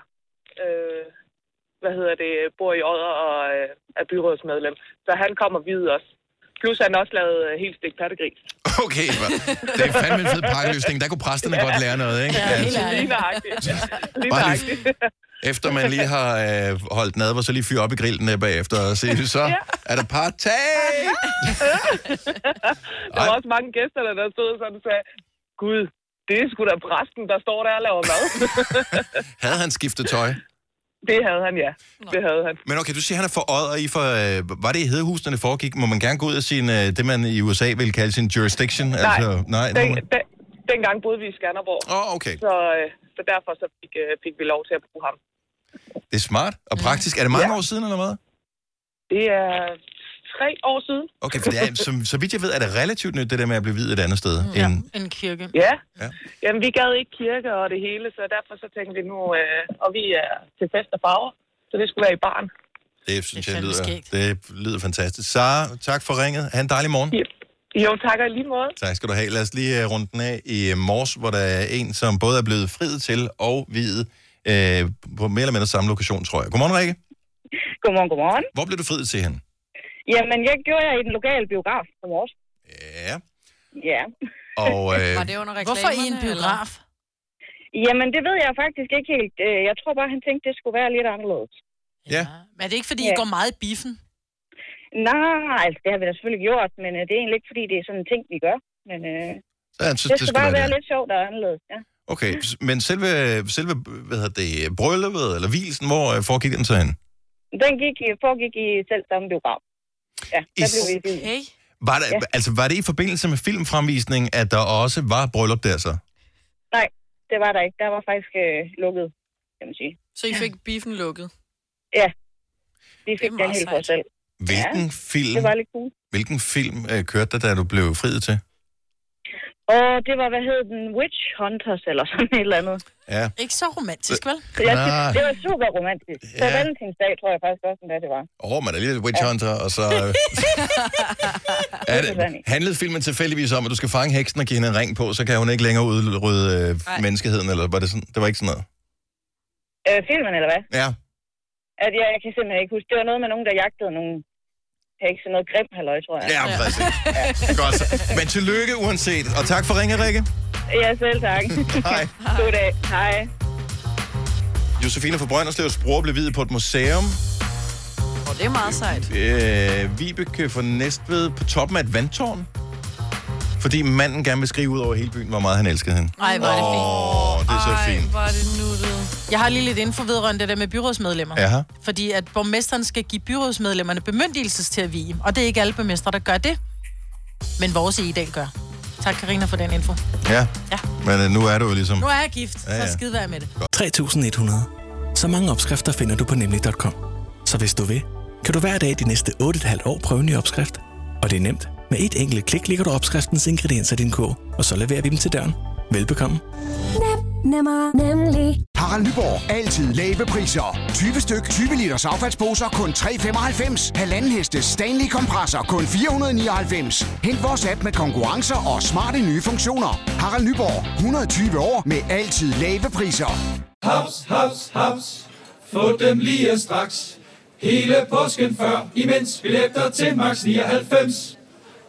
Speaker 20: øh, hvad hedder det, bor i Odder og øh, er byrådsmedlem. Så han kommer hvid også. Plus han også lavede øh, helt stik pattegris.
Speaker 1: Okay, hva? det er fandme en fed pakkeløsning. Der kunne præsterne ja. godt lære noget, ikke?
Speaker 20: Ja,
Speaker 1: At-
Speaker 20: lige nøjagtigt. Lige
Speaker 1: Bare lige-
Speaker 20: nøjagtigt.
Speaker 1: Efter man lige har øh, holdt nadver, så lige fyre op i grillen øh, bagefter og se, så er der partag!
Speaker 20: der var også mange gæster, der der stod sådan og sagde, Gud, det er sgu da præsten, der står der og laver mad.
Speaker 1: Havde han skiftet tøj?
Speaker 20: det havde han, ja. Det havde han.
Speaker 1: Men okay, du siger, han er for odder i for... Øh, var det i Hedehusene, det foregik? Må man gerne gå ud af sin, øh, det, man i USA vil kalde sin jurisdiction? Altså, nej,
Speaker 20: den,
Speaker 1: nu-
Speaker 20: den, dengang boede vi i Skanderborg.
Speaker 1: Åh, oh, okay.
Speaker 20: Så, øh, så derfor så fik, øh, fik vi lov til at bruge ham.
Speaker 1: det er smart og praktisk. Er det mange år siden, eller hvad?
Speaker 20: Det er tre år siden.
Speaker 1: Okay, for det er, som, så vidt jeg ved, er det relativt nyt, det der med at blive videt et andet sted. Ja. End,
Speaker 20: En kirke. Mm. Ja. ja. Jamen, vi gad ikke kirke og det hele, så derfor så tænkte vi nu, øh, og vi er til fest og farver, så det skulle være i barn.
Speaker 1: det, synes det jeg,
Speaker 20: fandme
Speaker 1: lyder,
Speaker 20: skægt.
Speaker 1: det lyder fantastisk. Sara, tak for ringet. Ha' en dejlig morgen. Yep.
Speaker 20: Jo, tak og i lige måde.
Speaker 1: Tak skal du have. Lad os lige øh, runde den af i øh, morges, hvor der er en, som både er blevet friet til og videt øh, på mere eller mindre samme lokation, tror jeg. Godmorgen, Rikke.
Speaker 21: Godmorgen, godmorgen.
Speaker 1: Hvor blev du friet til hende?
Speaker 21: Jamen, jeg gjorde jeg i den lokale biograf på morges.
Speaker 1: Ja.
Speaker 21: Ja.
Speaker 1: Og, øh,
Speaker 3: under
Speaker 21: Hvorfor i en biograf? Jamen, det ved jeg faktisk ikke helt. Øh, Jeg tror bare, han tænkte, det skulle være lidt anderledes.
Speaker 1: ja.
Speaker 21: Men er det ikke, fordi ja. I går meget i biffen? Nej, altså, det har vi da selvfølgelig gjort, men øh, det er egentlig ikke, fordi det er sådan en ting, vi gør. Men øh,
Speaker 1: Så
Speaker 21: det
Speaker 1: han synes, det
Speaker 21: skulle
Speaker 1: skulle
Speaker 21: bare
Speaker 1: være
Speaker 21: være
Speaker 1: det.
Speaker 21: lidt sjovt og anderledes, ja.
Speaker 1: Okay, s- men selve, selve hvad hedder det, brylluppet eller hvilsen, hvor øh, foregik den så hen?
Speaker 21: Den gik, i- foregik i selv samme biograf. Ja, der blev vi i byen.
Speaker 1: Var, der, ja. altså, var det i forbindelse med filmfremvisning, at der også var bryllup der så?
Speaker 21: Nej, det var der ikke. Der var faktisk øh, lukket, kan man sige.
Speaker 3: Så I fik biffen lukket?
Speaker 21: Ja, vi fik den
Speaker 3: meget
Speaker 21: helt for os selv.
Speaker 1: Hvilken
Speaker 21: ja,
Speaker 1: film,
Speaker 21: Det var lidt cool.
Speaker 1: hvilken film øh, kørte der, da du blev friet til?
Speaker 21: Og det var, hvad hed den? Witch Hunters eller sådan et eller andet.
Speaker 1: Ja.
Speaker 21: Ikke så romantisk,
Speaker 1: vel?
Speaker 21: Jeg synes,
Speaker 1: Nej.
Speaker 21: det var super romantisk. Så
Speaker 1: Ah. Ja.
Speaker 21: valentinsdag, tror jeg faktisk også, endda det var.
Speaker 1: Åh, oh, man er lige Witch Hunter, og så... øh, er det, handlede filmen tilfældigvis om, at du skal fange heksen og give hende en ring på, så kan hun ikke længere udrydde øh, menneskeheden, eller var det sådan? Det var ikke sådan noget?
Speaker 21: Øh, filmen, eller hvad?
Speaker 1: Ja.
Speaker 21: At jeg, jeg kan simpelthen ikke huske. Det var noget med nogen, der jagtede nogen hekse, noget grim halløj, tror jeg.
Speaker 1: Ja, præcis. Godt. så. Men tillykke uanset, og tak for ringe, Rikke.
Speaker 21: Ja, selv tak.
Speaker 1: Hej.
Speaker 21: God dag. Hej.
Speaker 1: Josefine fra Brønderslevs bror blev videt på et museum.
Speaker 3: Og det er meget sejt.
Speaker 1: Øh, Vibeke fra Næstved på toppen af et vandtårn. Fordi manden gerne vil skrive ud over hele byen, hvor meget han elskede hende.
Speaker 2: Ej, hvor er det fint.
Speaker 1: Åh, det er så
Speaker 2: Ej,
Speaker 1: fint.
Speaker 2: hvor er det nuttet. Jeg har lige lidt info vedrørende det der med byrådsmedlemmer.
Speaker 1: Jaha.
Speaker 2: Fordi at borgmesteren skal give byrådsmedlemmerne bemyndigelses til at vige, og det er ikke alle borgmestre, der gør det. Men vores E i dag gør. Tak, Karina for den info.
Speaker 1: Ja. ja. Men øh, nu er du jo ligesom...
Speaker 2: Nu er jeg gift, så
Speaker 6: Ja, ja.
Speaker 2: skide være med det.
Speaker 6: 3.100. Så mange opskrifter finder du på nemlig.com. Så hvis du vil, kan du hver dag de næste 8,5 år prøve en ny opskrift. Og det er nemt. Med et enkelt klik ligger du opskriftens ingredienser i din kog, og så leverer vi dem til døren. Velbekomme.
Speaker 22: Nemmer, nemlig.
Speaker 7: Harald Nyborg. Altid lave priser. 20 styk, 20 liters affaldsposer kun 3,95. Halvanden heste Stanley kompresser kun 499. Hent vores app med konkurrencer og smarte nye funktioner. Harald Nyborg. 120 år med altid lave priser.
Speaker 8: Haps, haps, haps. Få dem lige straks. Hele påsken før, imens billetter til max 99.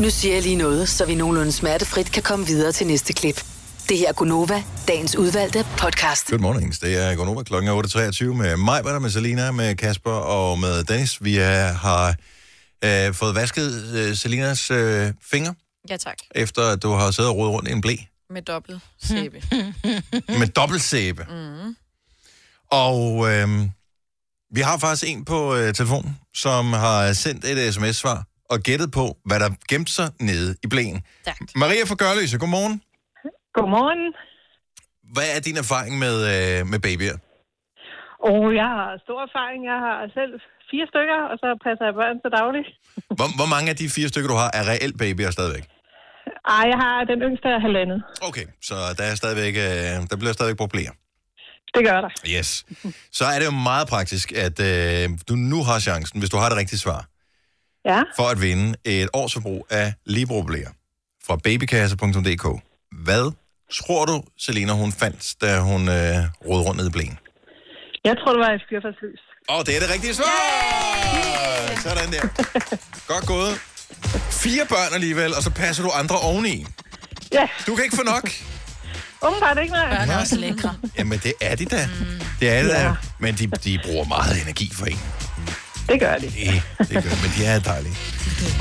Speaker 15: Nu siger jeg lige noget, så vi nogenlunde smertefrit kan komme videre til næste klip. Det her er Gunova, dagens udvalgte podcast.
Speaker 1: Good morning. Det er Gonova klokken er 8.23 med mig, med, med Selina, med Kasper og med Dennis. Vi er, har øh, fået vasket øh, Selinas øh, fingre,
Speaker 3: Ja, tak.
Speaker 1: efter at du har siddet og rodet rundt i en blæ
Speaker 3: Med dobbelt sæbe.
Speaker 2: Hmm.
Speaker 1: med dobbeltsæbe.
Speaker 3: mm.
Speaker 1: Og øh, vi har faktisk en på øh, telefonen, som har sendt et øh, sms-svar og gættet på, hvad der gemte sig nede i blæen. Stærkt. Maria fra Gørløse, godmorgen.
Speaker 23: Godmorgen.
Speaker 1: Hvad er din erfaring med, øh, med babyer?
Speaker 23: Og jeg har stor erfaring. Jeg har selv fire stykker, og så passer jeg børn til daglig.
Speaker 1: Hvor, hvor mange af de fire stykker, du har, er reelt babyer stadigvæk?
Speaker 23: Ej, jeg har den yngste af halvandet.
Speaker 1: Okay, så der, er stadigvæk, øh, der bliver stadigvæk problemer.
Speaker 23: Det gør der.
Speaker 1: Yes. Så er det jo meget praktisk, at øh, du nu har chancen, hvis du har det rigtige svar,
Speaker 23: Ja.
Speaker 1: for at vinde et års forbrug af Libroblæer fra babykasse.dk. Hvad tror du, Selina, hun fandt, da hun øh, rode rundt ned i blæen?
Speaker 23: Jeg tror, det var et fyrfærdslys.
Speaker 1: Og det er det rigtige svar! Sådan der. Godt gået. Fire børn alligevel, og så passer du andre oveni.
Speaker 23: Ja.
Speaker 1: Du kan ikke få nok.
Speaker 23: Åbenbart ikke, nej.
Speaker 1: Børn er også
Speaker 23: lækre.
Speaker 1: Jamen, det er de da. Det er det da. Men de, de bruger meget energi for en.
Speaker 23: Det gør de.
Speaker 1: Det, det gør de, men de er dejlige.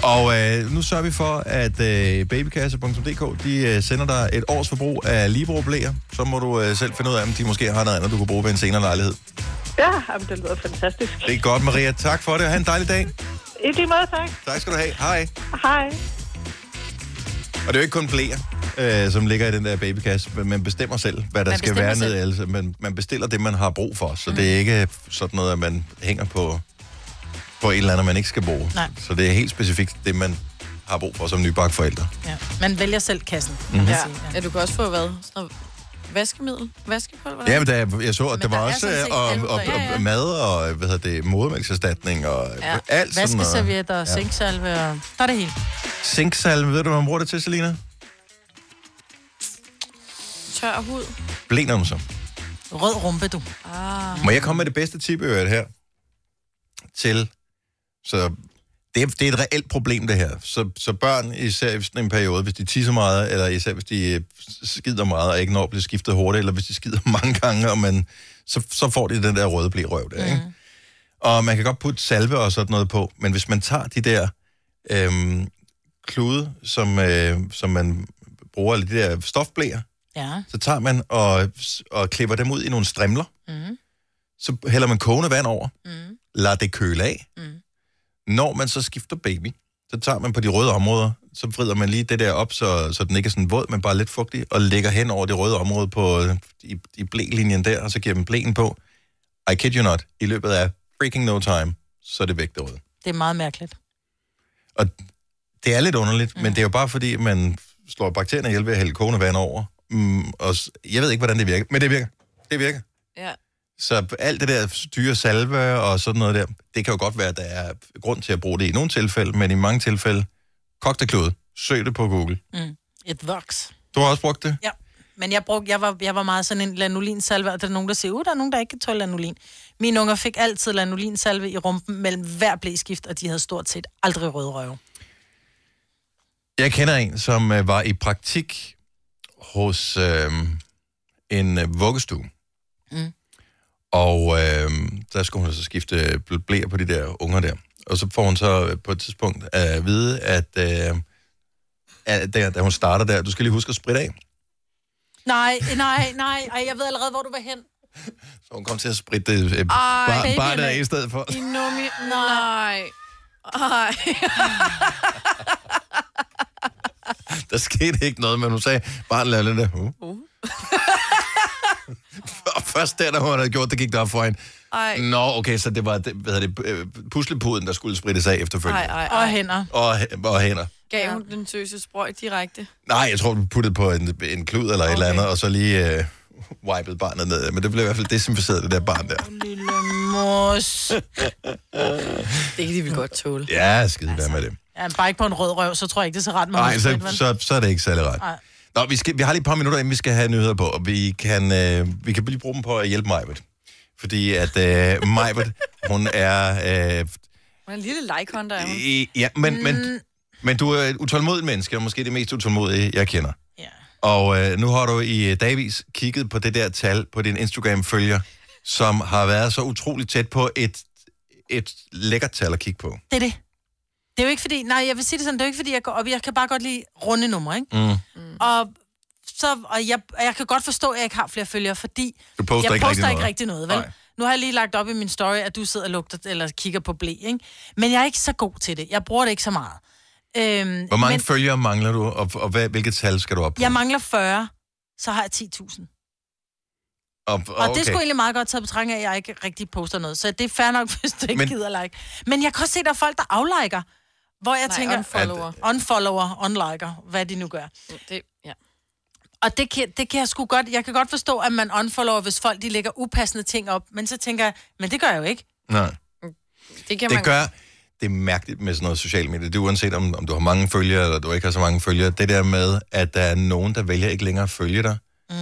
Speaker 1: Og øh, nu sørger vi for, at øh, babykasse.dk, de øh, sender dig et års forbrug af libro blæer. Så må du øh, selv finde ud af, om de måske har noget andet, du kan bruge ved en senere lejlighed.
Speaker 23: Ja, jamen, det lyder fantastisk.
Speaker 1: Det er godt, Maria. Tak for det, og have en dejlig dag.
Speaker 23: I lige måde, tak.
Speaker 1: Tak skal du have. Hej.
Speaker 23: Hej.
Speaker 1: Og det er jo ikke kun blæer, øh, som ligger i den der babykasse. men Man bestemmer selv, hvad der
Speaker 23: Man
Speaker 1: man skal
Speaker 23: bestemmer
Speaker 1: være
Speaker 23: selv.
Speaker 1: nede. i, Altså, man, man bestiller det, man har brug for. Så mm. det er ikke sådan noget, at man hænger på, på et eller andet, man ikke skal bruge.
Speaker 2: Nej.
Speaker 1: Så det er helt specifikt det, man har brug for som nybagt forældre.
Speaker 2: Ja. Man vælger selv kassen.
Speaker 1: Mhm.
Speaker 3: Ja. ja, du kan også få hvad? Sådan noget vaskemiddel? Vaskepulver?
Speaker 1: Ja, men der, jeg så, at der,
Speaker 3: der er
Speaker 1: var også
Speaker 3: sådan set
Speaker 1: øh, og,
Speaker 3: alt
Speaker 1: og, og,
Speaker 3: muligt. Ja, ja.
Speaker 1: mad og hvad hedder det, modermælkserstatning og ja. alt sådan noget.
Speaker 2: Vaskeservietter, ja. zinksalve og... Der er det hele.
Speaker 1: Zinksalve, ved du, hvad man bruger det til, Selina?
Speaker 3: Tør hud?
Speaker 1: Blenumser.
Speaker 2: Rød rumpe, du.
Speaker 3: Ah.
Speaker 1: Må jeg komme med det bedste tip i øvrigt her? Til, så det er, det er et reelt problem det her. Så, så børn, især i sådan en periode, hvis de tisser meget, eller især hvis de øh, skider meget og ikke når at blive skiftet hurtigt, eller hvis de skider mange gange, og man, så, så får de den der røde blæ røv der, ikke? Og man kan godt putte salve og sådan noget på, men hvis man tager de der øhm, klude, som, øh, som man bruger, eller de der stofblæer,
Speaker 2: Ja.
Speaker 1: så tager man og, og klipper dem ud i nogle strimler,
Speaker 2: Mm.
Speaker 1: så hælder man kogende vand over,
Speaker 2: Mm.
Speaker 1: lader det køle af. Mm. Når man så skifter baby, så tager man på de røde områder, så vrider man lige det der op, så, så den ikke er sådan våd, men bare lidt fugtig, og lægger hen over det røde område på, øh, i, i blælinjen der, og så giver man blæen på. I kid you not, i løbet af freaking no time, så er det væk det røde.
Speaker 2: Det er meget mærkeligt.
Speaker 1: Det er lidt underligt, mm. men det er jo bare fordi, man slår bakterierne ihjel ved at hælde kogende vand over. Mm, og s- jeg ved ikke, hvordan det virker, men det virker. Det virker.
Speaker 3: Ja.
Speaker 1: Så alt det der dyre salve og sådan noget der, det kan jo godt være, at der er grund til at bruge det i nogle tilfælde, men i mange tilfælde, kogt af klode. Søg det på Google.
Speaker 2: Mm. Et voks.
Speaker 1: Du har også brugt det?
Speaker 2: Ja. Men jeg, brugte, jeg, var, jeg var meget sådan en lanulinsalve, og der er nogen, der siger, uh, der er nogen, der ikke kan tåle lanolin. Mine unger fik altid lanulinsalve i rumpen mellem hver blæskift, og de havde stort set aldrig røde røve.
Speaker 1: Jeg kender en, som øh, var i praktik hos øh, en øh, vuggestue.
Speaker 2: Mm.
Speaker 1: Og øh, der skulle hun så skifte blæer på de der unger der. Og så får hun så øh, på et tidspunkt øh, at vide, at, øh, at da, da hun starter der, du skal lige huske at spritte af.
Speaker 2: Nej, nej, nej. Ej, jeg ved allerede, hvor du var hen.
Speaker 1: Så hun kom til at spritte øh, øh, bar, bare der i stedet for.
Speaker 3: I nomi... Nej. Ej.
Speaker 1: Der skete ikke noget, men hun sagde, bare lad det der. Uh. Og først der, da hun havde gjort det, gik der op for hende.
Speaker 3: Ej.
Speaker 1: Nå, okay, så det var det, hvad hedder det, øh, puslepuden, der skulle sprittes af efterfølgende.
Speaker 3: Ej, ej, ej.
Speaker 2: Og hænder.
Speaker 1: Og, og hænder.
Speaker 3: Gav hun den tøse sprøjt direkte?
Speaker 1: Nej, jeg tror, du puttede på en, en klud eller okay. et eller andet, og så lige øh, wipede barnet ned. Men det blev i hvert fald desinficeret, det der barn der.
Speaker 2: Lille mos.
Speaker 3: Det kan de vel godt tåle.
Speaker 1: Ja, skide altså. med det.
Speaker 2: Ja, bare ikke på en rød røv, så tror jeg ikke, det er så ret med
Speaker 1: Nej, så,
Speaker 2: håndsprit, vel?
Speaker 1: så, så er det ikke særlig ret.
Speaker 2: Nej.
Speaker 1: Nå, vi, skal, vi har lige et par minutter, inden vi skal have nyheder på, og vi kan, øh, vi kan lige bruge dem på at hjælpe Majbet. Fordi at øh, Majbet, hun er... Øh,
Speaker 3: Hun er en lille leghånd, der er hun.
Speaker 1: i- ja, men,
Speaker 2: Mm.
Speaker 1: men, men du er et utålmodigt menneske, og måske det mest utålmodige, jeg kender. Ja. Og øh, nu har du i øh, dagvis kigget på det der tal på din Instagram-følger, som har været så utroligt tæt på et, et lækkert tal at kigge på.
Speaker 2: Det er det. Det er jo ikke fordi, nej, jeg vil sige det sådan, det er jo ikke fordi, jeg går op, i- jeg kan bare godt lide runde numre, ikke?
Speaker 1: Mm.
Speaker 2: Og, så, og, jeg, og jeg kan godt forstå, at jeg ikke har flere følgere, fordi
Speaker 1: Du poster
Speaker 2: jeg
Speaker 1: ikke
Speaker 2: poster
Speaker 1: rigtig
Speaker 2: ikke
Speaker 1: noget.
Speaker 2: rigtig noget, vel?
Speaker 1: Nej.
Speaker 2: Nu har jeg lige lagt op i min story, at du sidder og lugter, eller kigger på blæ, ikke? Men jeg er ikke så god til det. Jeg bruger det ikke så meget. Øhm,
Speaker 1: Hvor mange
Speaker 2: men
Speaker 1: men... følgere mangler du, og, og hvad, hvilket tal skal du op på?
Speaker 2: jeg mangler 40, så har jeg 10.000.
Speaker 1: Op,
Speaker 2: Og okay. det skulle egentlig meget godt taget betragtning af, at jeg ikke rigtig poster noget. Så det er fair nok, hvis du ikke
Speaker 1: Men-
Speaker 2: Men... gider like. Men jeg kan også se, at der er folk, der afliker. Hvor jeg
Speaker 3: Nej,
Speaker 2: tænker...
Speaker 3: unfollower.
Speaker 2: Unfollower, unliker, hvad de nu gør.
Speaker 3: Det, ja.
Speaker 2: Og det kan, det kan jeg sgu godt... Jeg kan godt forstå, at man unfollower, hvis folk de lægger upassende ting op. Men så tænker jeg, men det gør jeg jo ikke.
Speaker 1: Nej.
Speaker 3: Det,
Speaker 1: det gør... Det er mærkeligt med sådan noget socialt medie. Det er uanset, om, om du har mange følgere, eller du ikke har så mange følgere. Det der med, at der er nogen, der vælger ikke længere at følge dig,
Speaker 3: Mm.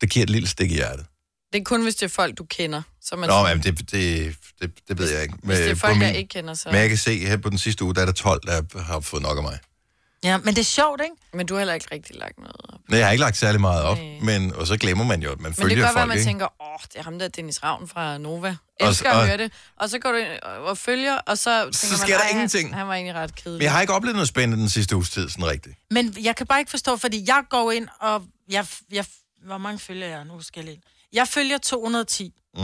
Speaker 1: det giver et lille stik i hjertet.
Speaker 3: Det er kun, hvis det er folk, du kender. Så man
Speaker 1: Nå, men det, det, det, det ved jeg ikke.
Speaker 3: hvis det er
Speaker 1: på
Speaker 3: folk, jeg
Speaker 1: min-
Speaker 3: ikke kender, så-
Speaker 1: Men jeg kan se her på den sidste uge, der er der 12, der har fået nok af mig.
Speaker 2: Ja, men det er sjovt, ikke?
Speaker 3: Men du har heller ikke rigtig lagt noget op.
Speaker 1: Nej, jeg har ikke lagt særlig meget op, men, og så glemmer man jo, at man
Speaker 3: Men det
Speaker 1: følger
Speaker 3: kan godt
Speaker 1: folk,
Speaker 3: være, at man
Speaker 1: ikke?
Speaker 3: tænker, åh, oh, det er ham der, Dennis Ravn fra Nova.
Speaker 1: Og-
Speaker 3: Elsker og,
Speaker 1: og-
Speaker 3: at høre det. Og så går du ind og følger, og så tænker
Speaker 1: Så
Speaker 3: man,
Speaker 1: sker der
Speaker 3: "Ej,
Speaker 1: ingenting."
Speaker 3: Han, han var egentlig ret kedelig.
Speaker 1: Men jeg har ikke oplevet noget spændende den sidste uges tid, sådan rigtigt.
Speaker 2: Men jeg kan bare ikke forstå, fordi jeg går ind og... Jeg, jeg, hvor mange følger jeg nu? Skal jeg, lige- jeg følger 210.
Speaker 1: Mm.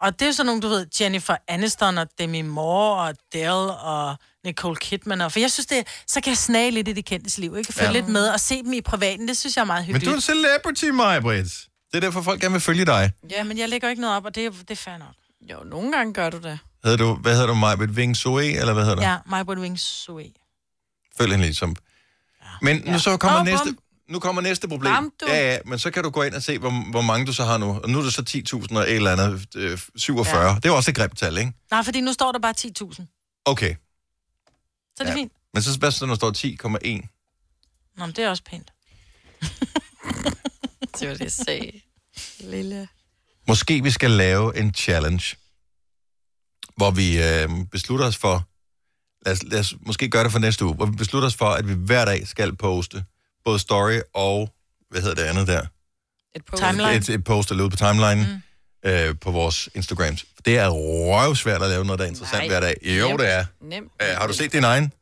Speaker 2: Og det er jo sådan nogle, du ved, Jennifer Aniston og Demi Moore og Adele og Nicole Kidman. Og, for jeg synes, det, er- så kan jeg snage lidt i de kendtes liv. Ikke? Følge
Speaker 1: Ja.
Speaker 2: ja. lidt med og se dem i privaten. Det synes jeg er meget
Speaker 1: Men
Speaker 2: hyggeligt.
Speaker 1: du er en celebrity, Maja Britt. Det er derfor, folk gerne vil følge dig.
Speaker 2: Ja, men jeg lægger ikke noget op, og det, er- det er fair nok.
Speaker 3: Jo, nogle gange gør du det.
Speaker 1: Hedder du, hvad hedder du, Maja Britt Ving Zoe, eller hvad hedder du?
Speaker 2: Ja, My Boy Wings Sui.
Speaker 1: Følg hende ligesom. Men nu så kommer
Speaker 2: Nå,
Speaker 1: næste...
Speaker 2: bum.
Speaker 1: Nu kommer næste problem.
Speaker 2: Bam, du.
Speaker 1: Ja, ja, men så kan du gå ind og se, hvor, hvor mange du så har nu. Og nu er det så 10.000 og et eller andet, øh, 47. Ja.
Speaker 2: Ja.
Speaker 1: Det er jo også et grimt tal, ikke?
Speaker 2: Nej, fordi nu står der bare 10.000. Så er
Speaker 1: Okay,
Speaker 2: det
Speaker 1: Ja.
Speaker 2: ja. fint.
Speaker 1: men så spørger der står 10,1.
Speaker 2: Nå, men det er også pænt.
Speaker 3: Det var det, jeg sagde. Lille.
Speaker 1: Måske vi skal lave en challenge, hvor vi øh, beslutter os for, lad os, lad os måske gøre det for næste uge, hvor vi beslutter os for, at vi hver dag skal poste både story og, hvad hedder det andet der?
Speaker 3: Et
Speaker 2: post. Timeline.
Speaker 1: Et, et post, der lød på timeline mm. øh, på vores Instagrams. Det er røvsvært at lave noget, der er interessant
Speaker 3: Nej.
Speaker 1: hver dag. Jo,
Speaker 3: Nemt.
Speaker 1: det er.
Speaker 3: Nemt.
Speaker 1: Øh, har du set din egen?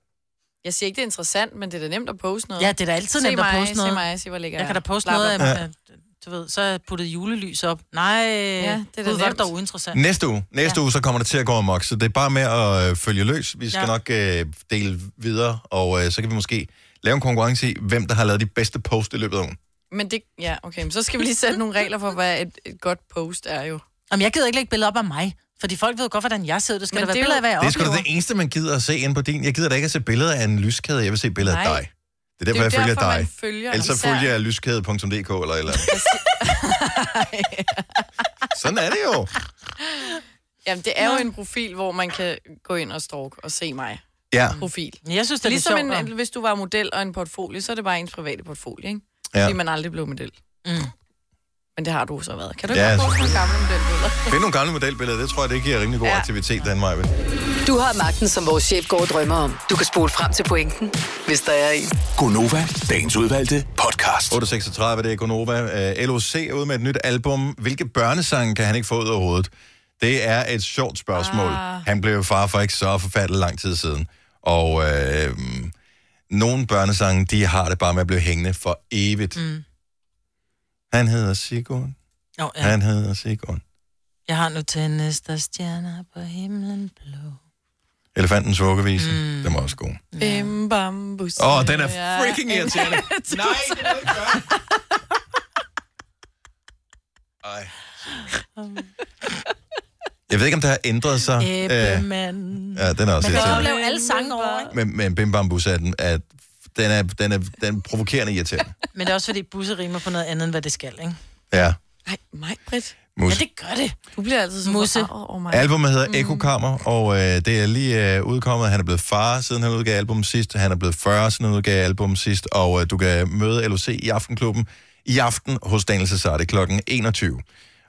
Speaker 3: Jeg siger ikke, det er interessant, men det er da nemt at poste noget.
Speaker 2: Ja, det er da altid
Speaker 3: se
Speaker 2: nemt at
Speaker 3: mig,
Speaker 2: poste noget.
Speaker 3: Se mig, se hvor ligger
Speaker 2: Jeg kan da poste
Speaker 3: Bla, bla,
Speaker 2: noget,
Speaker 3: bla.
Speaker 2: af, du ved, så har jeg puttet julelys op. Nej, ja, det er
Speaker 3: da
Speaker 2: det var
Speaker 3: nemt.
Speaker 2: det dog uinteressant.
Speaker 1: Næste uge. Næste ja. uge, så kommer det til at gå amok, så det er bare med at øh, følge løs. Vi skal ja.
Speaker 2: Ja.
Speaker 1: nok øh, dele videre, og øh, så kan vi måske lave en konkurrence i, hvem der har lavet de bedste post i løbet af ugen.
Speaker 3: Men det, ja, okay, men så skal vi lige sætte nogle regler for, hvad et, et godt post er jo.
Speaker 2: Jamen, jeg gider ikke lægge billeder op af mig, fordi folk ved jo godt, hvordan jeg ser ud. Det skal
Speaker 3: Men
Speaker 2: der være
Speaker 3: det er jo-
Speaker 2: billeder af, hvad jeg
Speaker 1: det er sgu da
Speaker 2: oplever.
Speaker 1: det eneste, man gider at se ind på din. Jeg gider da ikke at se billeder af en lyskæde, jeg vil se billeder af
Speaker 2: Nej.
Speaker 1: dig. Det er
Speaker 2: Det er jo
Speaker 1: derfor, jeg følger
Speaker 2: derfor,
Speaker 1: dig.
Speaker 2: man følger
Speaker 1: Ellers så
Speaker 2: især-
Speaker 1: følger jeg lyskæde.dk eller et eller andet. Sådan er det jo.
Speaker 3: Jamen, det er jo en profil, hvor man kan gå ind og stalk og se mig.
Speaker 1: Ja.
Speaker 3: Profil.
Speaker 2: Jeg synes, det er lidt
Speaker 3: ligesom
Speaker 2: sjovt,
Speaker 3: en, hvis du var model og en portfolio, så er det bare ens private portfolio, ikke?
Speaker 1: Ja.
Speaker 3: Ja. Fordi man aldrig blev model.
Speaker 2: Mm.
Speaker 3: Men det har du så været. Kan du
Speaker 1: Ja,
Speaker 3: ja, ikke bare poste
Speaker 1: selvfølgelig.
Speaker 3: nogle gamle modelbilleder?
Speaker 1: Find nogle gamle modelbilleder, det tror jeg, det giver rimelig god
Speaker 15: Ja.
Speaker 1: aktivitet, den vej.
Speaker 15: Du har magten, som vores chef går og drømmer om. Du kan spole frem til pointen, hvis der er en.
Speaker 1: Gonova, dagens udvalgte podcast. 8.36, det er Gonova. Øh, LOC er ude med et nyt album. Hvilke børnesange kan han ikke få ud af hovedet? Det er et sjovt spørgsmål. Ah. Han blev jo far for ikke så forfærdelig lang tid siden. Og øh, nogle børnesange, de har det bare med at blive hængende for evigt. Mm. Han hedder Sigurd.
Speaker 2: Oh,
Speaker 1: Ja. Han hedder Sigurd.
Speaker 2: Jeg har nu øh, tændest der stjerner på himlen blå.
Speaker 1: Elefantens vuggevise. Mm. Den var også god.
Speaker 3: Bim bambus.
Speaker 1: Åh, den er freaking irriterende.
Speaker 3: Nej,
Speaker 1: Ej. Jeg ved ikke, om det har ændret sig. Øh, ja, den er
Speaker 2: Man
Speaker 1: også
Speaker 2: kan jo
Speaker 1: irriterende.
Speaker 2: lave alle sange over, ikke?
Speaker 1: Men, men Bim Bam Bus er den, at den er, den er, den er provokerende irriterende.
Speaker 2: Men det er også, fordi busser rimer på noget andet, end hvad det skal, ikke?
Speaker 1: Ja.
Speaker 2: Nej, mig, Britt.
Speaker 1: Mus.
Speaker 2: Ja, det gør det. Du bliver altid så Musse. Oh, oh
Speaker 1: Albummet hedder Ekokammer, og øh, det er lige øh, udkommet. Han er blevet far, siden han udgav album sidst. Han er blevet 40, siden han udgav album sidst. Og øh, du kan møde LOC i Aftenklubben i aften hos Daniel Cesarte kl. 21.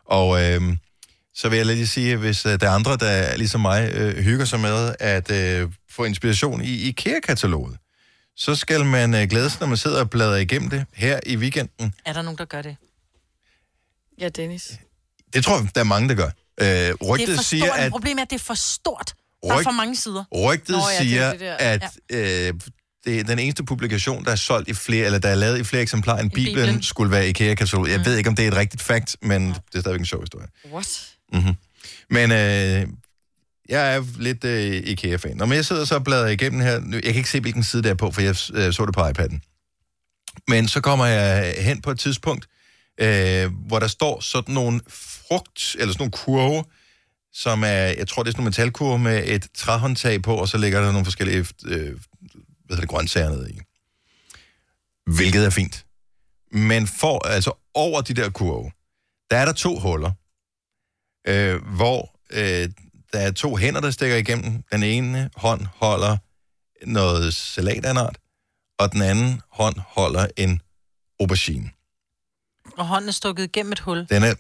Speaker 1: Og øh, så vil jeg lige sige, hvis øh, der er andre, der ligesom mig øh, hygger sig med at øh, få inspiration i IKEA-kataloget, så skal man øh, glæde sig, når man sidder og bladrer igennem det her i weekenden.
Speaker 2: Er der nogen, der gør det? Ja, Dennis.
Speaker 1: Det tror jeg, der er mange, der gør. Øh,
Speaker 2: det er for
Speaker 1: rygtet siger,
Speaker 2: stort.
Speaker 1: at
Speaker 2: Problemet er, at det er for stort. Der er
Speaker 1: Ryg-
Speaker 2: for mange sider.
Speaker 1: Rygtet
Speaker 2: Nå, ja,
Speaker 1: ja,
Speaker 2: det er
Speaker 1: siger,
Speaker 2: det der.
Speaker 1: at øh, det er den eneste publikation, der er solgt i flere, eller der er lavet i flere eksemplarer end Bibelen, Bibelen.
Speaker 2: Bibelen. Mm.
Speaker 1: skulle være IKEA-kataloget. Jeg ved ikke, om det er et rigtigt fact, men ja. det er stadigvæk en sjov historie.
Speaker 3: What?
Speaker 1: Mm-hmm. Men øh, jeg er lidt øh, IKEA-fan. Når jeg sidder så og bladrer igennem her, nu, jeg kan ikke se, hvilken side det er på, for jeg øh, så det på iPad'en. Men så kommer jeg hen på et tidspunkt, øh, hvor der står sådan nogle frugt, eller sådan nogle kurve, som er, jeg tror, det er sådan nogle metalkurve med et træhåndtag på, og så ligger der nogle forskellige øh, hvad hedder det, grøntsager nede i. Hvilket er fint. Men for, altså over de der kurve, der er der to huller, øh, hvor øh, der er to hænder, der stikker igennem. Den ene hånd holder noget salat af en art, og den anden hånd holder en aubergine.
Speaker 2: Og hånden er stukket igennem et hul.
Speaker 1: Den er,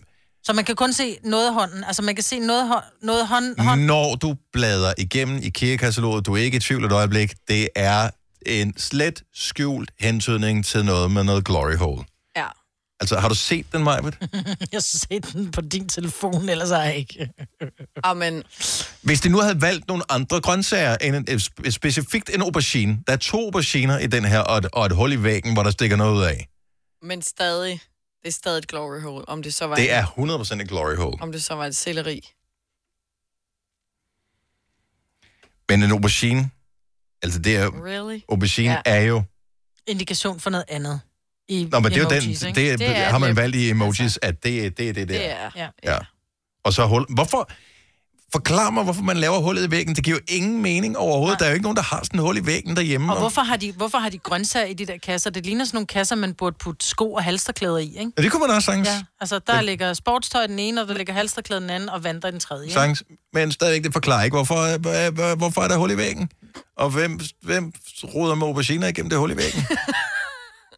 Speaker 2: Så man kan kun se noget af hånden. Altså, man kan se noget, af hånd, noget af
Speaker 1: Mm,
Speaker 2: hånden.
Speaker 1: Når du bladrer igennem IKEA-kataloget, du er ikke i tvivl et øjeblik, det er en slet skjult hentydning til noget med noget glory hole.
Speaker 3: Ja.
Speaker 1: Altså, har du set den, Majbet?
Speaker 2: jeg ser den på din telefon, ellers har jeg ikke.
Speaker 3: Amen.
Speaker 1: Hvis de nu havde valgt nogle andre grøntsager, end en, spe- specifikt en aubergine, der er to auberginer i den her, og et, og et hul i væggen, hvor der stikker noget ud af.
Speaker 3: Men stadig, det er stadig et glory hole, om det så var,
Speaker 1: Det er 100% et glory hole.
Speaker 3: om det så var et selleri.
Speaker 1: Men en aubergine, altså det er,
Speaker 2: Really?
Speaker 1: aubergine
Speaker 2: Ja.
Speaker 1: ja. er jo...
Speaker 2: Indikation for noget andet. I
Speaker 1: Nå, men det er jo den,
Speaker 2: emojis,
Speaker 1: det,
Speaker 2: ikke?
Speaker 1: det, det har man valgt i emojis, at det, er- det er det der.
Speaker 2: altså- Det er. Ja.
Speaker 1: Ja. Og så hul. Hvorfor? Forklar mig, hvorfor man laver hullet i væggen. Det giver jo ingen mening overhovedet. Der er jo ikke nogen, der har sådan et hul i væggen derhjemme.
Speaker 2: Og hvorfor har, de, hvorfor har de grøntsager i de der kasser? Det ligner sådan nogle kasser, man burde putte sko og halsterklæder i, ikke?
Speaker 1: Ja, det kunne man også sagtens. Ja.
Speaker 2: Altså, der ligger sportstøj i den ene, og der ligger halsterklæder i den anden, og vandrer i den tredje. ikke?
Speaker 1: Sagtens. Men stadigvæk, det forklarer ikke, hvorfor, hva- hva- hvorfor er der hul i væggen? Og hvem, hvem roder med auberginer igennem det hul i væggen?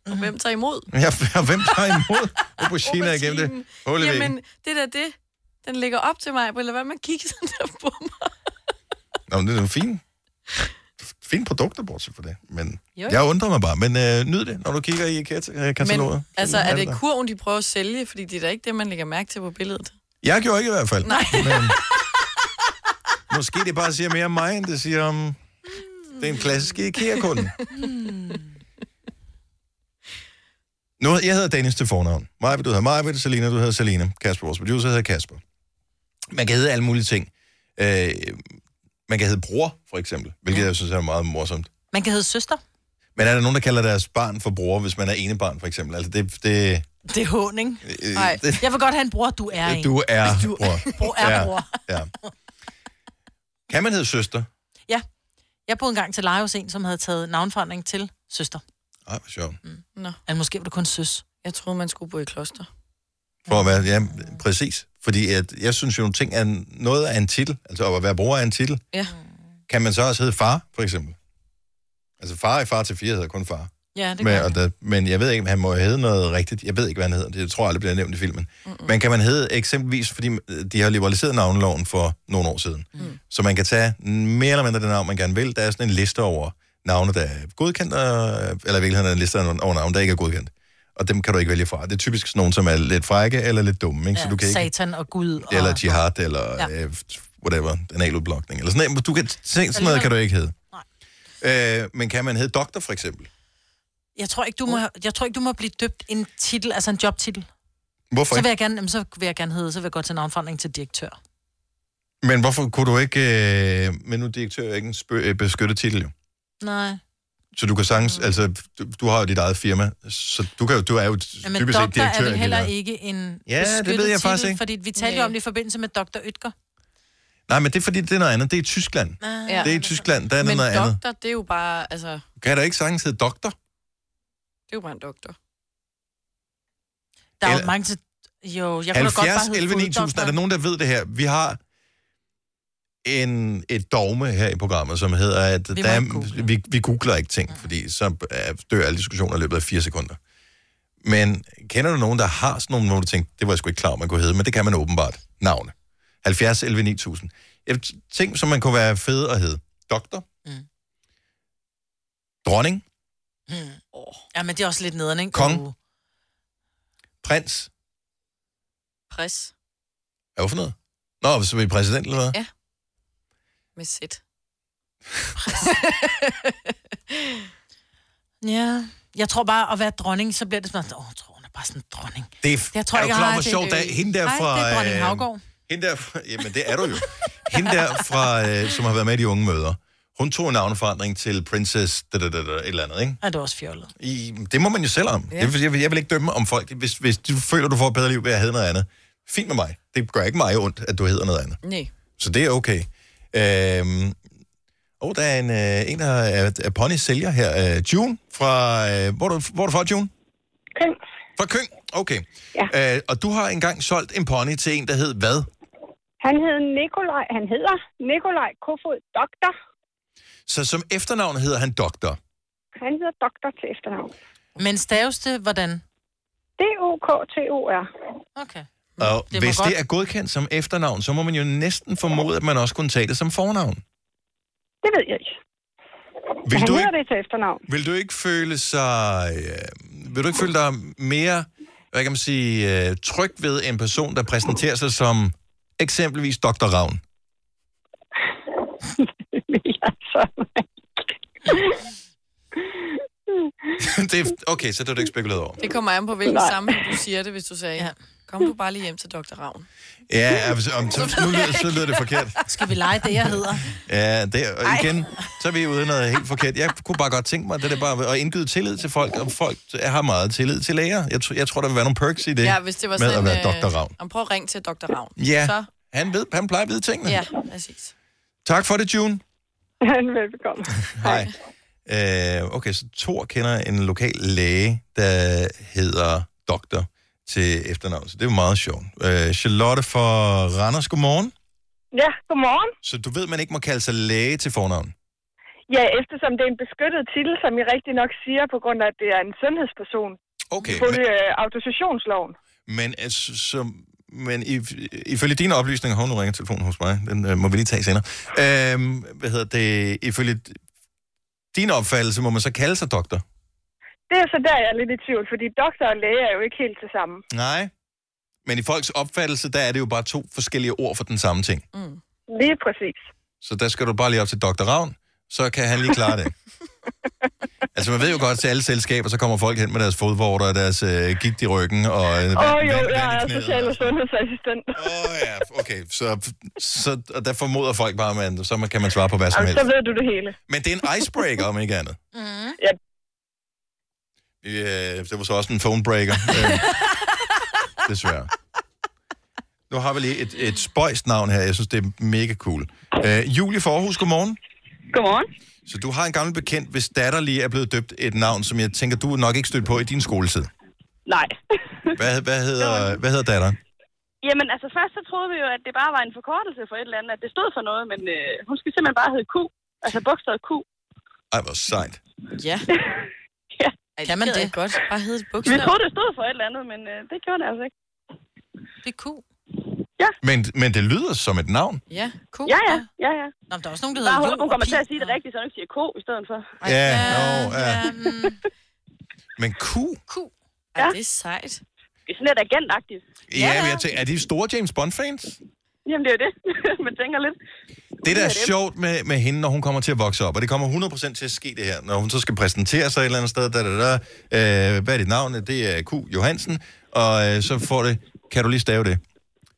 Speaker 2: Mhm.
Speaker 3: Og hvem tager imod?
Speaker 1: Ja, og hvem tager imod auberginer igennem det hul i væggen?
Speaker 3: Jamen, det der det, den ligger op til mig, eller hvad man kigger sådan der på mig.
Speaker 1: Nå, men det er en fin, fin produkter, bortset fra det. Men
Speaker 3: Jo.
Speaker 1: jo. jeg undrer mig bare. Men øh, nyd det, når du kigger i IKEA- øh, kataloget.
Speaker 3: Men, altså, er det kurven, de prøver at sælge? Fordi det er da ikke det, man lægger mærke til på billedet.
Speaker 1: Jeg gjorde ikke i hvert fald.
Speaker 3: Nej.
Speaker 1: Men, måske det bare siger mere om mig, end det siger om
Speaker 3: Hmm.
Speaker 1: den klassiske IKEA-kunde. Nu, jeg hedder Dennis til fornavn. Maja, du hedder Maja, Selina, du hedder Selina. Kasper, vores producer, hedder Kasper. Man kan hedde alle mulige ting. Øh, man kan hedde bror, for eksempel, hvilket jeg synes er meget morsomt.
Speaker 2: Man kan hedde søster.
Speaker 1: Men er der nogen, der kalder deres barn for bror, hvis man er ene barn, for eksempel? Altså, det, det,
Speaker 2: Det er håning.
Speaker 1: Øh,
Speaker 2: Nej.
Speaker 1: det-
Speaker 2: Jeg vil godt have en bror, du er en.
Speaker 1: du er
Speaker 2: Du
Speaker 1: bror.
Speaker 2: bror er
Speaker 1: Ja.
Speaker 2: bror.
Speaker 1: Ja. Kan man hedde søster?
Speaker 2: Ja. Jeg boede engang til leje hos en, som havde taget navnforandring til søster.
Speaker 1: Ej, hvor sjovt.
Speaker 2: Mm.
Speaker 3: Nå.
Speaker 2: Eller måske var det kun søs.
Speaker 3: Jeg troede, man skulle bo i kloster.
Speaker 1: For at være, ja, præcis. Fordi at, jeg synes jo, nogle ting er en- noget af en titel. Altså at være bror er en titel.
Speaker 3: Ja.
Speaker 1: Kan man så også hedde far, for eksempel? Altså far i far til fire hedder kun far.
Speaker 2: Ja, det
Speaker 1: Men,
Speaker 2: gør
Speaker 1: og da, men jeg ved ikke, han må jo hedde noget rigtigt. Jeg ved ikke, hvad han hedder. Det tror jeg aldrig bliver nævnt i filmen. Mm-mm. Men kan man hedde eksempelvis, fordi øh, de har liberaliseret navneloven for nogle år siden. Mm. Så man kan tage mere eller mindre det navn, man gerne vil. Der er sådan en liste over navne, der er godkendt, og, eller i virkeligheden er en liste over navne, der ikke er godkendt. Og dem kan du ikke vælge fra. Det er typisk sådan nogen, som er lidt frække eller lidt dumme. Ikke? Ja, så du kan ikke,
Speaker 2: Satan og Gud. Og...
Speaker 1: eller jihad, eller
Speaker 2: Ja.
Speaker 1: ja. øh, whatever, analudblokning, eller sådan noget. Du kan, sådan noget kan du ikke hedde. Nej. Øh, men kan man hedde doktor, for eksempel?
Speaker 2: Jeg tror, ikke, du må, jeg tror ikke, du må blive døbt en titel, altså en jobtitel.
Speaker 1: Hvorfor
Speaker 2: så
Speaker 1: ikke?
Speaker 2: vil jeg gerne, jamen, så vil jeg gerne hedde, så vil jeg godt til navnforandring til direktør.
Speaker 1: Men hvorfor kunne du ikke... Øh, men nu er direktør er ikke en spø- øh, beskyttet titel, jo.
Speaker 2: Nej.
Speaker 1: Så du kan
Speaker 2: Mm.
Speaker 1: sagtens... Altså, du, du har jo dit eget firma, så du, kan, jo- du er jo t-
Speaker 2: Jamen,
Speaker 1: typisk ikke
Speaker 2: doktor
Speaker 1: direktør.
Speaker 2: er vel
Speaker 1: i
Speaker 2: heller
Speaker 1: dit eget-
Speaker 2: ikke en
Speaker 1: Ja, det ved
Speaker 2: beskyttet
Speaker 1: jeg faktisk
Speaker 2: titel,
Speaker 1: ikke.
Speaker 2: Fordi vi talte jo om det i forbindelse med Dr. Ytger.
Speaker 1: Nej, men det er fordi, det er noget andet. Det er i Tyskland.
Speaker 2: Ah.
Speaker 3: Ja.
Speaker 1: Det er i Tyskland, der er det
Speaker 3: Men
Speaker 1: noget
Speaker 3: doktor,
Speaker 1: andet.
Speaker 3: det er jo bare, altså, det
Speaker 1: Kan der ikke sagtens hedde doktor?
Speaker 3: er jo bare en doktor.
Speaker 2: Der er jo
Speaker 1: Eller-
Speaker 2: mange til... Jo, jeg kunne da godt
Speaker 1: 70,
Speaker 2: bare hedde
Speaker 1: 11, 9000. Er der nogen, der ved det her? Vi har en, et dogme her i programmet, som hedder, at
Speaker 2: Vi
Speaker 1: vi,
Speaker 2: må
Speaker 1: der er,
Speaker 2: ikke
Speaker 1: vi, vi googler ikke ting, fordi så øh, dør alle diskussioner i løbet af fire sekunder. Men kender du nogen, der har sådan nogle, hvor du tænker, det var jeg sgu ikke klar, over, man kunne hedde, men det kan man åbenbart. Navne. 70, 11, 9000. Jeg t- Ting, som man kunne være fed at hedde. Doktor. Mm. Dronning.
Speaker 2: Hmm. Ja, men det er også lidt nederen, ikke?
Speaker 1: Kong.
Speaker 2: Uh,
Speaker 1: Prins.
Speaker 3: Pres
Speaker 1: Er jo for noget? Nå, så er vi præsident eller hvad?
Speaker 3: Ja. med sæt.
Speaker 2: ja. Jeg tror bare, at være dronning, så bliver det sådan, åh, oh, tror hun er bare sådan en dronning.
Speaker 1: Det er,
Speaker 2: Jeg tror
Speaker 1: er
Speaker 2: ikke,
Speaker 1: du
Speaker 2: jeg
Speaker 1: klar,
Speaker 2: har
Speaker 1: hvor
Speaker 2: det.
Speaker 1: sjovt det er? Hende der
Speaker 2: Nej,
Speaker 1: fra...
Speaker 2: det er dronning
Speaker 1: øh,
Speaker 2: Havgård.
Speaker 1: Hende der, fra- jamen det er du jo. Hende der fra, øh, som har været med i de unge møder, hun tog en navneforandring til Princess da, da, da, da, et eller andet, ikke?
Speaker 2: Er det er også fjollet?
Speaker 1: I, det må man jo selv om.
Speaker 2: Ja.
Speaker 1: Ja. Det vil, sige, jeg, vil, jeg vil ikke dømme om folk. Hvis, hvis du føler, du får et bedre liv ved at hedde noget andet, fint med mig. Det gør ikke mig ondt, at du hedder noget andet.
Speaker 3: Nej.
Speaker 1: Så det er okay. Øhm, og der er en, øh, en der er, er pony sælger her. Øh, June fra... Øh, hvor, er du, hvor er du fra, June?
Speaker 9: Køng.
Speaker 1: Fra Køng? Okay. Ja. Øh, og du har engang solgt en pony til en, der hed hvad?
Speaker 9: Han hed Nikolaj, han hedder Nikolaj Kofod Doktor.
Speaker 1: Så som efternavn hedder han Doktor.
Speaker 9: Han hedder Doktor til efternavn.
Speaker 2: Men staves det, hvordan?
Speaker 9: D-O-K-T-O-R.
Speaker 2: Okay.
Speaker 1: Og
Speaker 9: Mm. Det må
Speaker 1: det hvis
Speaker 9: godt-
Speaker 1: det er godkendt som efternavn, så må man jo næsten formode, at man også kunne tage det som fornavn.
Speaker 9: Det ved jeg ikke.
Speaker 1: Vil
Speaker 9: han
Speaker 1: du
Speaker 9: hedder det til efternavn.
Speaker 1: Vil du ikke føle sig... Øh, vil du ikke føle dig mere hvad kan man sige, øh, tryg ved en person, der præsenterer sig som eksempelvis Dr. Ravn? det er, okay, så det har du ikke spekuleret over.
Speaker 3: Det kommer an på, hvilken
Speaker 9: Nej.
Speaker 3: sammenhæng du siger det, hvis du sagde, ja. kom du bare lige hjem til Dr. Ravn.
Speaker 1: Ja, altså, om, så, nu lyder, så lyder det forkert.
Speaker 2: Skal vi lege det, jeg hedder?
Speaker 1: Ja, det, og igen, så er vi ude i noget helt forkert. Jeg kunne bare godt tænke mig, det der bare at indgyde tillid til folk, og folk har meget tillid til læger. Jeg, tr- jeg tror, der vil være nogle perks i det,
Speaker 3: ja, hvis det var
Speaker 1: med
Speaker 3: sådan,
Speaker 1: at være
Speaker 3: øh,
Speaker 1: Dr. Ravn.
Speaker 3: Om prøv at ringe til Dr. Ravn.
Speaker 1: Ja,
Speaker 3: Så,
Speaker 1: han, ved, han plejer at vide tingene.
Speaker 3: ja, præcis.
Speaker 1: Tak for det, June.
Speaker 9: Velbekomme.
Speaker 1: Hej. Øh, okay, så Thor kender en lokal læge, der hedder Doktor til efternavn, så det er jo meget sjovt. Øh, Charlotte fra Randers, godmorgen.
Speaker 23: Ja, godmorgen.
Speaker 1: Så du ved, man ikke må kalde sig læge til fornavn.
Speaker 23: Ja, eftersom det er en beskyttet titel, som I rigtig nok siger, på grund af, at det er en sundhedsperson.
Speaker 1: Okay,
Speaker 23: På men... autorisationsloven.
Speaker 1: Men, altså, så, men if- ifølge dine oplysninger, hov, nu ringer telefonen hos mig, den øh, må vi lige tage senere. Øh, hvad hedder det, ifølge d- din opfattelse, må man så kalde sig doktor?
Speaker 23: Det er så der, jeg er lidt i tvivl, fordi doktor og læge er jo ikke helt det samme.
Speaker 1: Nej. Men i folks opfattelse, der er det jo bare to forskellige ord for den samme ting.
Speaker 23: Lige præcis.
Speaker 1: Så der skal du bare lige op til Dr. Ravn, så kan han lige klare det. altså man ved jo godt, til alle selskaber, så kommer folk hen med deres fodvorter og deres øh, gigt i ryggen. Og, øh, vand-
Speaker 23: Åh oh, jo,
Speaker 1: vand-
Speaker 23: jeg
Speaker 1: vand i
Speaker 23: er
Speaker 1: knæet.
Speaker 23: social- og sundhedsassistent.
Speaker 1: Åh oh, ja, okay. Så, så og der formoder folk bare, at man, så man, kan man svare på hvad som
Speaker 23: Jamen,
Speaker 1: helst.
Speaker 23: så ved du det hele.
Speaker 1: Men det er en icebreaker, om ikke andet.
Speaker 23: Mm. Ja,
Speaker 1: Ja, øh, det var så også en phonebreaker. øh, Desværre. Nu har vi lige et, et spøjst navn her. Jeg synes, det er mega cool. Øh, Julie Forhus, godmorgen.
Speaker 23: Godmorgen.
Speaker 1: Så du har en gammel bekendt, hvis datter lige er blevet døbt et navn, som jeg tænker, du nok ikke stødt på i din skoletid.
Speaker 23: nej.
Speaker 1: Hvad, hvad, hedder, hvad hedder datteren?
Speaker 10: Jamen, altså først så troede vi jo, at det bare var en forkortelse for et eller andet, at det stod for noget, men øh, hun skal simpelthen bare hedde Q. Altså bogstavet Q.
Speaker 1: Ej, hvor sejt.
Speaker 3: Ja.
Speaker 10: ja.
Speaker 2: Kan man det?
Speaker 10: det?
Speaker 3: Godt, bare hedde et
Speaker 10: Vi
Speaker 3: bogstav.
Speaker 10: troede, det stod for et eller andet, men øh, det gjorde det altså ikke.
Speaker 2: Det er Q.
Speaker 1: Men, men det lyder som et navn.
Speaker 10: Ja, Q. Ja, ja, ja, ja.
Speaker 2: Nå, men der er også nogen, der
Speaker 10: Bare
Speaker 2: hedder Lo
Speaker 10: hun,
Speaker 2: og
Speaker 10: hun kommer
Speaker 2: Pi.
Speaker 10: til at sige det rigtigt, så hun ikke siger K i stedet for.
Speaker 1: Ja, nå, ja. Men Q?
Speaker 10: Q. Ja. det er sejt. Det er sådan lidt agentagtigt.
Speaker 1: Ja, men jeg tænker, er de store James Bond-fans?
Speaker 10: Jamen, det er jo det. Man tænker lidt.
Speaker 1: Det, der
Speaker 10: er
Speaker 1: er
Speaker 10: det.
Speaker 1: sjovt med, med hende, når hun kommer til at vokse op, og det kommer 100% til at ske det her, når hun så skal præsentere sig et eller andet sted, da, da, da, øh, hvad er dit navn? Det er Q. Johansen. og øh, så får det... Kan du lige stave det?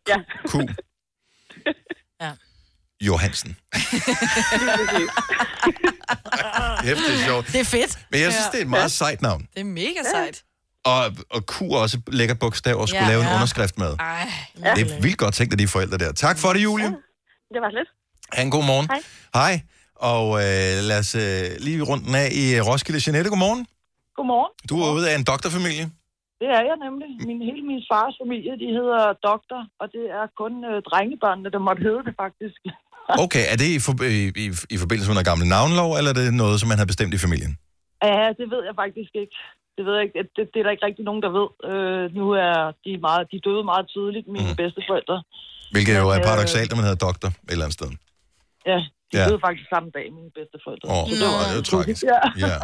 Speaker 24: Ja.
Speaker 1: Q.
Speaker 2: Ja.
Speaker 1: Johansen. Hæft, det er sjovt.
Speaker 2: Det er fedt.
Speaker 1: Men jeg synes, det er et meget sejt navn.
Speaker 3: Det er mega sejt.
Speaker 1: Og, og Q er også et lækkert bogstav og skulle
Speaker 3: Ja,
Speaker 1: ja, lave en
Speaker 3: ja.
Speaker 1: underskrift med.
Speaker 3: Ej.
Speaker 1: Ja. Det er vildt godt tænkt af de forældre der. Tak for det, Julie.
Speaker 24: Det var lidt.
Speaker 1: Ha' en god morgen.
Speaker 24: Hej.
Speaker 1: Hej. Og øh, lad os øh, lige rundt den af i øh, Roskilde. Jeanette, godmorgen.
Speaker 12: Godmorgen.
Speaker 1: Du er ude af en doktorfamilie.
Speaker 12: Det er jeg nemlig. Min, hele min fars familie, de hedder doktor, og det er kun øh, drengebørnene, der måtte hedde det faktisk.
Speaker 1: Okay, er det i, for, i, i, i forbindelse med noget gammel navnlov, eller er det noget, som man har bestemt i familien?
Speaker 12: Ja, det ved jeg faktisk ikke. Det ved jeg ikke. Det, det er der ikke rigtig nogen, der ved. Øh, nu er de, meget, de døde meget tidligt,
Speaker 1: Mhm.
Speaker 12: mine mm. bedsteforældre.
Speaker 1: Hvilket jo er
Speaker 12: øh,
Speaker 1: paradoxalt, når man hedder doktor et eller andet sted.
Speaker 12: Ja, de
Speaker 1: Ja.
Speaker 12: ja. døde faktisk samme dag, mine bedsteforældre.
Speaker 1: Åh,
Speaker 12: Så
Speaker 1: nå, det er jo tragisk.
Speaker 12: Ja.
Speaker 1: Ja.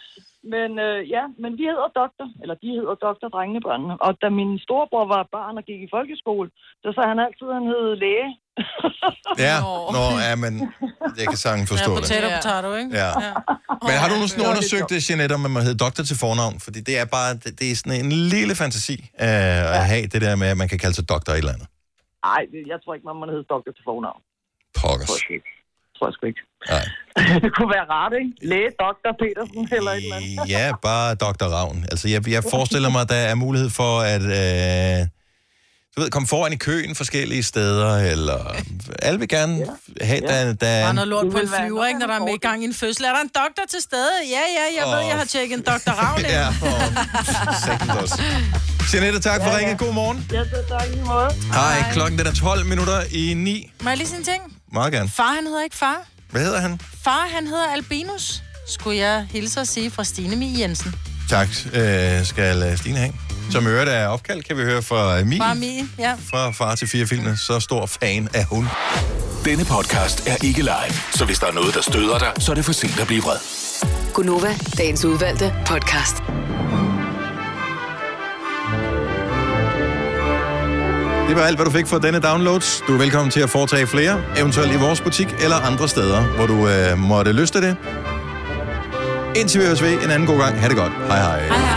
Speaker 12: men, øh, ja, men vi hedder doktor, eller de hedder doktor, drengebørnene. Og da min storebror var barn og gik i folkeskole, så sagde han altid, at han hed læge.
Speaker 1: Ja, nå, ja, men jeg kan sagtens forstå
Speaker 12: Ja,
Speaker 1: det.
Speaker 12: potato,
Speaker 2: potato, ikke?
Speaker 1: Ja. Men har du nu sådan
Speaker 12: Ja.
Speaker 1: undersøgt det, Jeanette, om man må hedde doktor til fornavn? Fordi det er bare, det, det er sådan en lille fantasi øh, at have det der med, at man kan kalde sig doktor et eller andet.
Speaker 12: Nej, jeg tror ikke, man må hedde doktor til fornavn.
Speaker 1: Pokkers.
Speaker 12: Tror jeg sgu ikke.
Speaker 1: Nej.
Speaker 12: det kunne være rart, ikke? Læge, doktor, Petersen eller et eller andet.
Speaker 1: Ja, bare Dr. Ravn. Altså, jeg, jeg forestiller mig, at der er mulighed for at... Øh, du ved, komme foran i køen forskellige steder, eller... Alle vil gerne ja. have, der, der er...
Speaker 2: Bare noget lort på en flyver, ikke, når der er med i gang i en fødsel. Er der en doktor til stede? Ja, ja, jeg oh. ved,
Speaker 1: Åh,
Speaker 2: jeg har tjekket en doktor Ravn. ind.
Speaker 1: Ja, og satan også. Jeanette, tak for ja, ja. ringet. God morgen.
Speaker 12: Ja, det er tak i måde.
Speaker 1: Hej, klokken den er 12 minutter i 9.
Speaker 2: Må jeg lige sige en ting?
Speaker 1: Meget gerne.
Speaker 2: Far, han hedder ikke far.
Speaker 1: Hvad hedder han?
Speaker 2: Far, han hedder Albinus, skulle jeg hilse og sige fra Stine Mie Jensen.
Speaker 1: Tak øh, skal øh, Stine have. Som i øvrigt er opkaldt, kan vi høre fra øh, Mie.
Speaker 2: Far Mie, ja.
Speaker 1: Fra far til fire filmene. Så stor fan er hun.
Speaker 5: Denne podcast er ikke live, så hvis der er noget, der støder dig, så er det for sent at blive vred.
Speaker 15: Gunova, dagens udvalgte podcast.
Speaker 1: Det var alt, hvad du fik for denne downloads. Du er velkommen til at foretage flere, eventuelt i vores butik eller andre steder, hvor du øh, måtte lyste det. Indtil vi høres ved en anden god gang. Ha' det godt. Hej hej. hej, hej.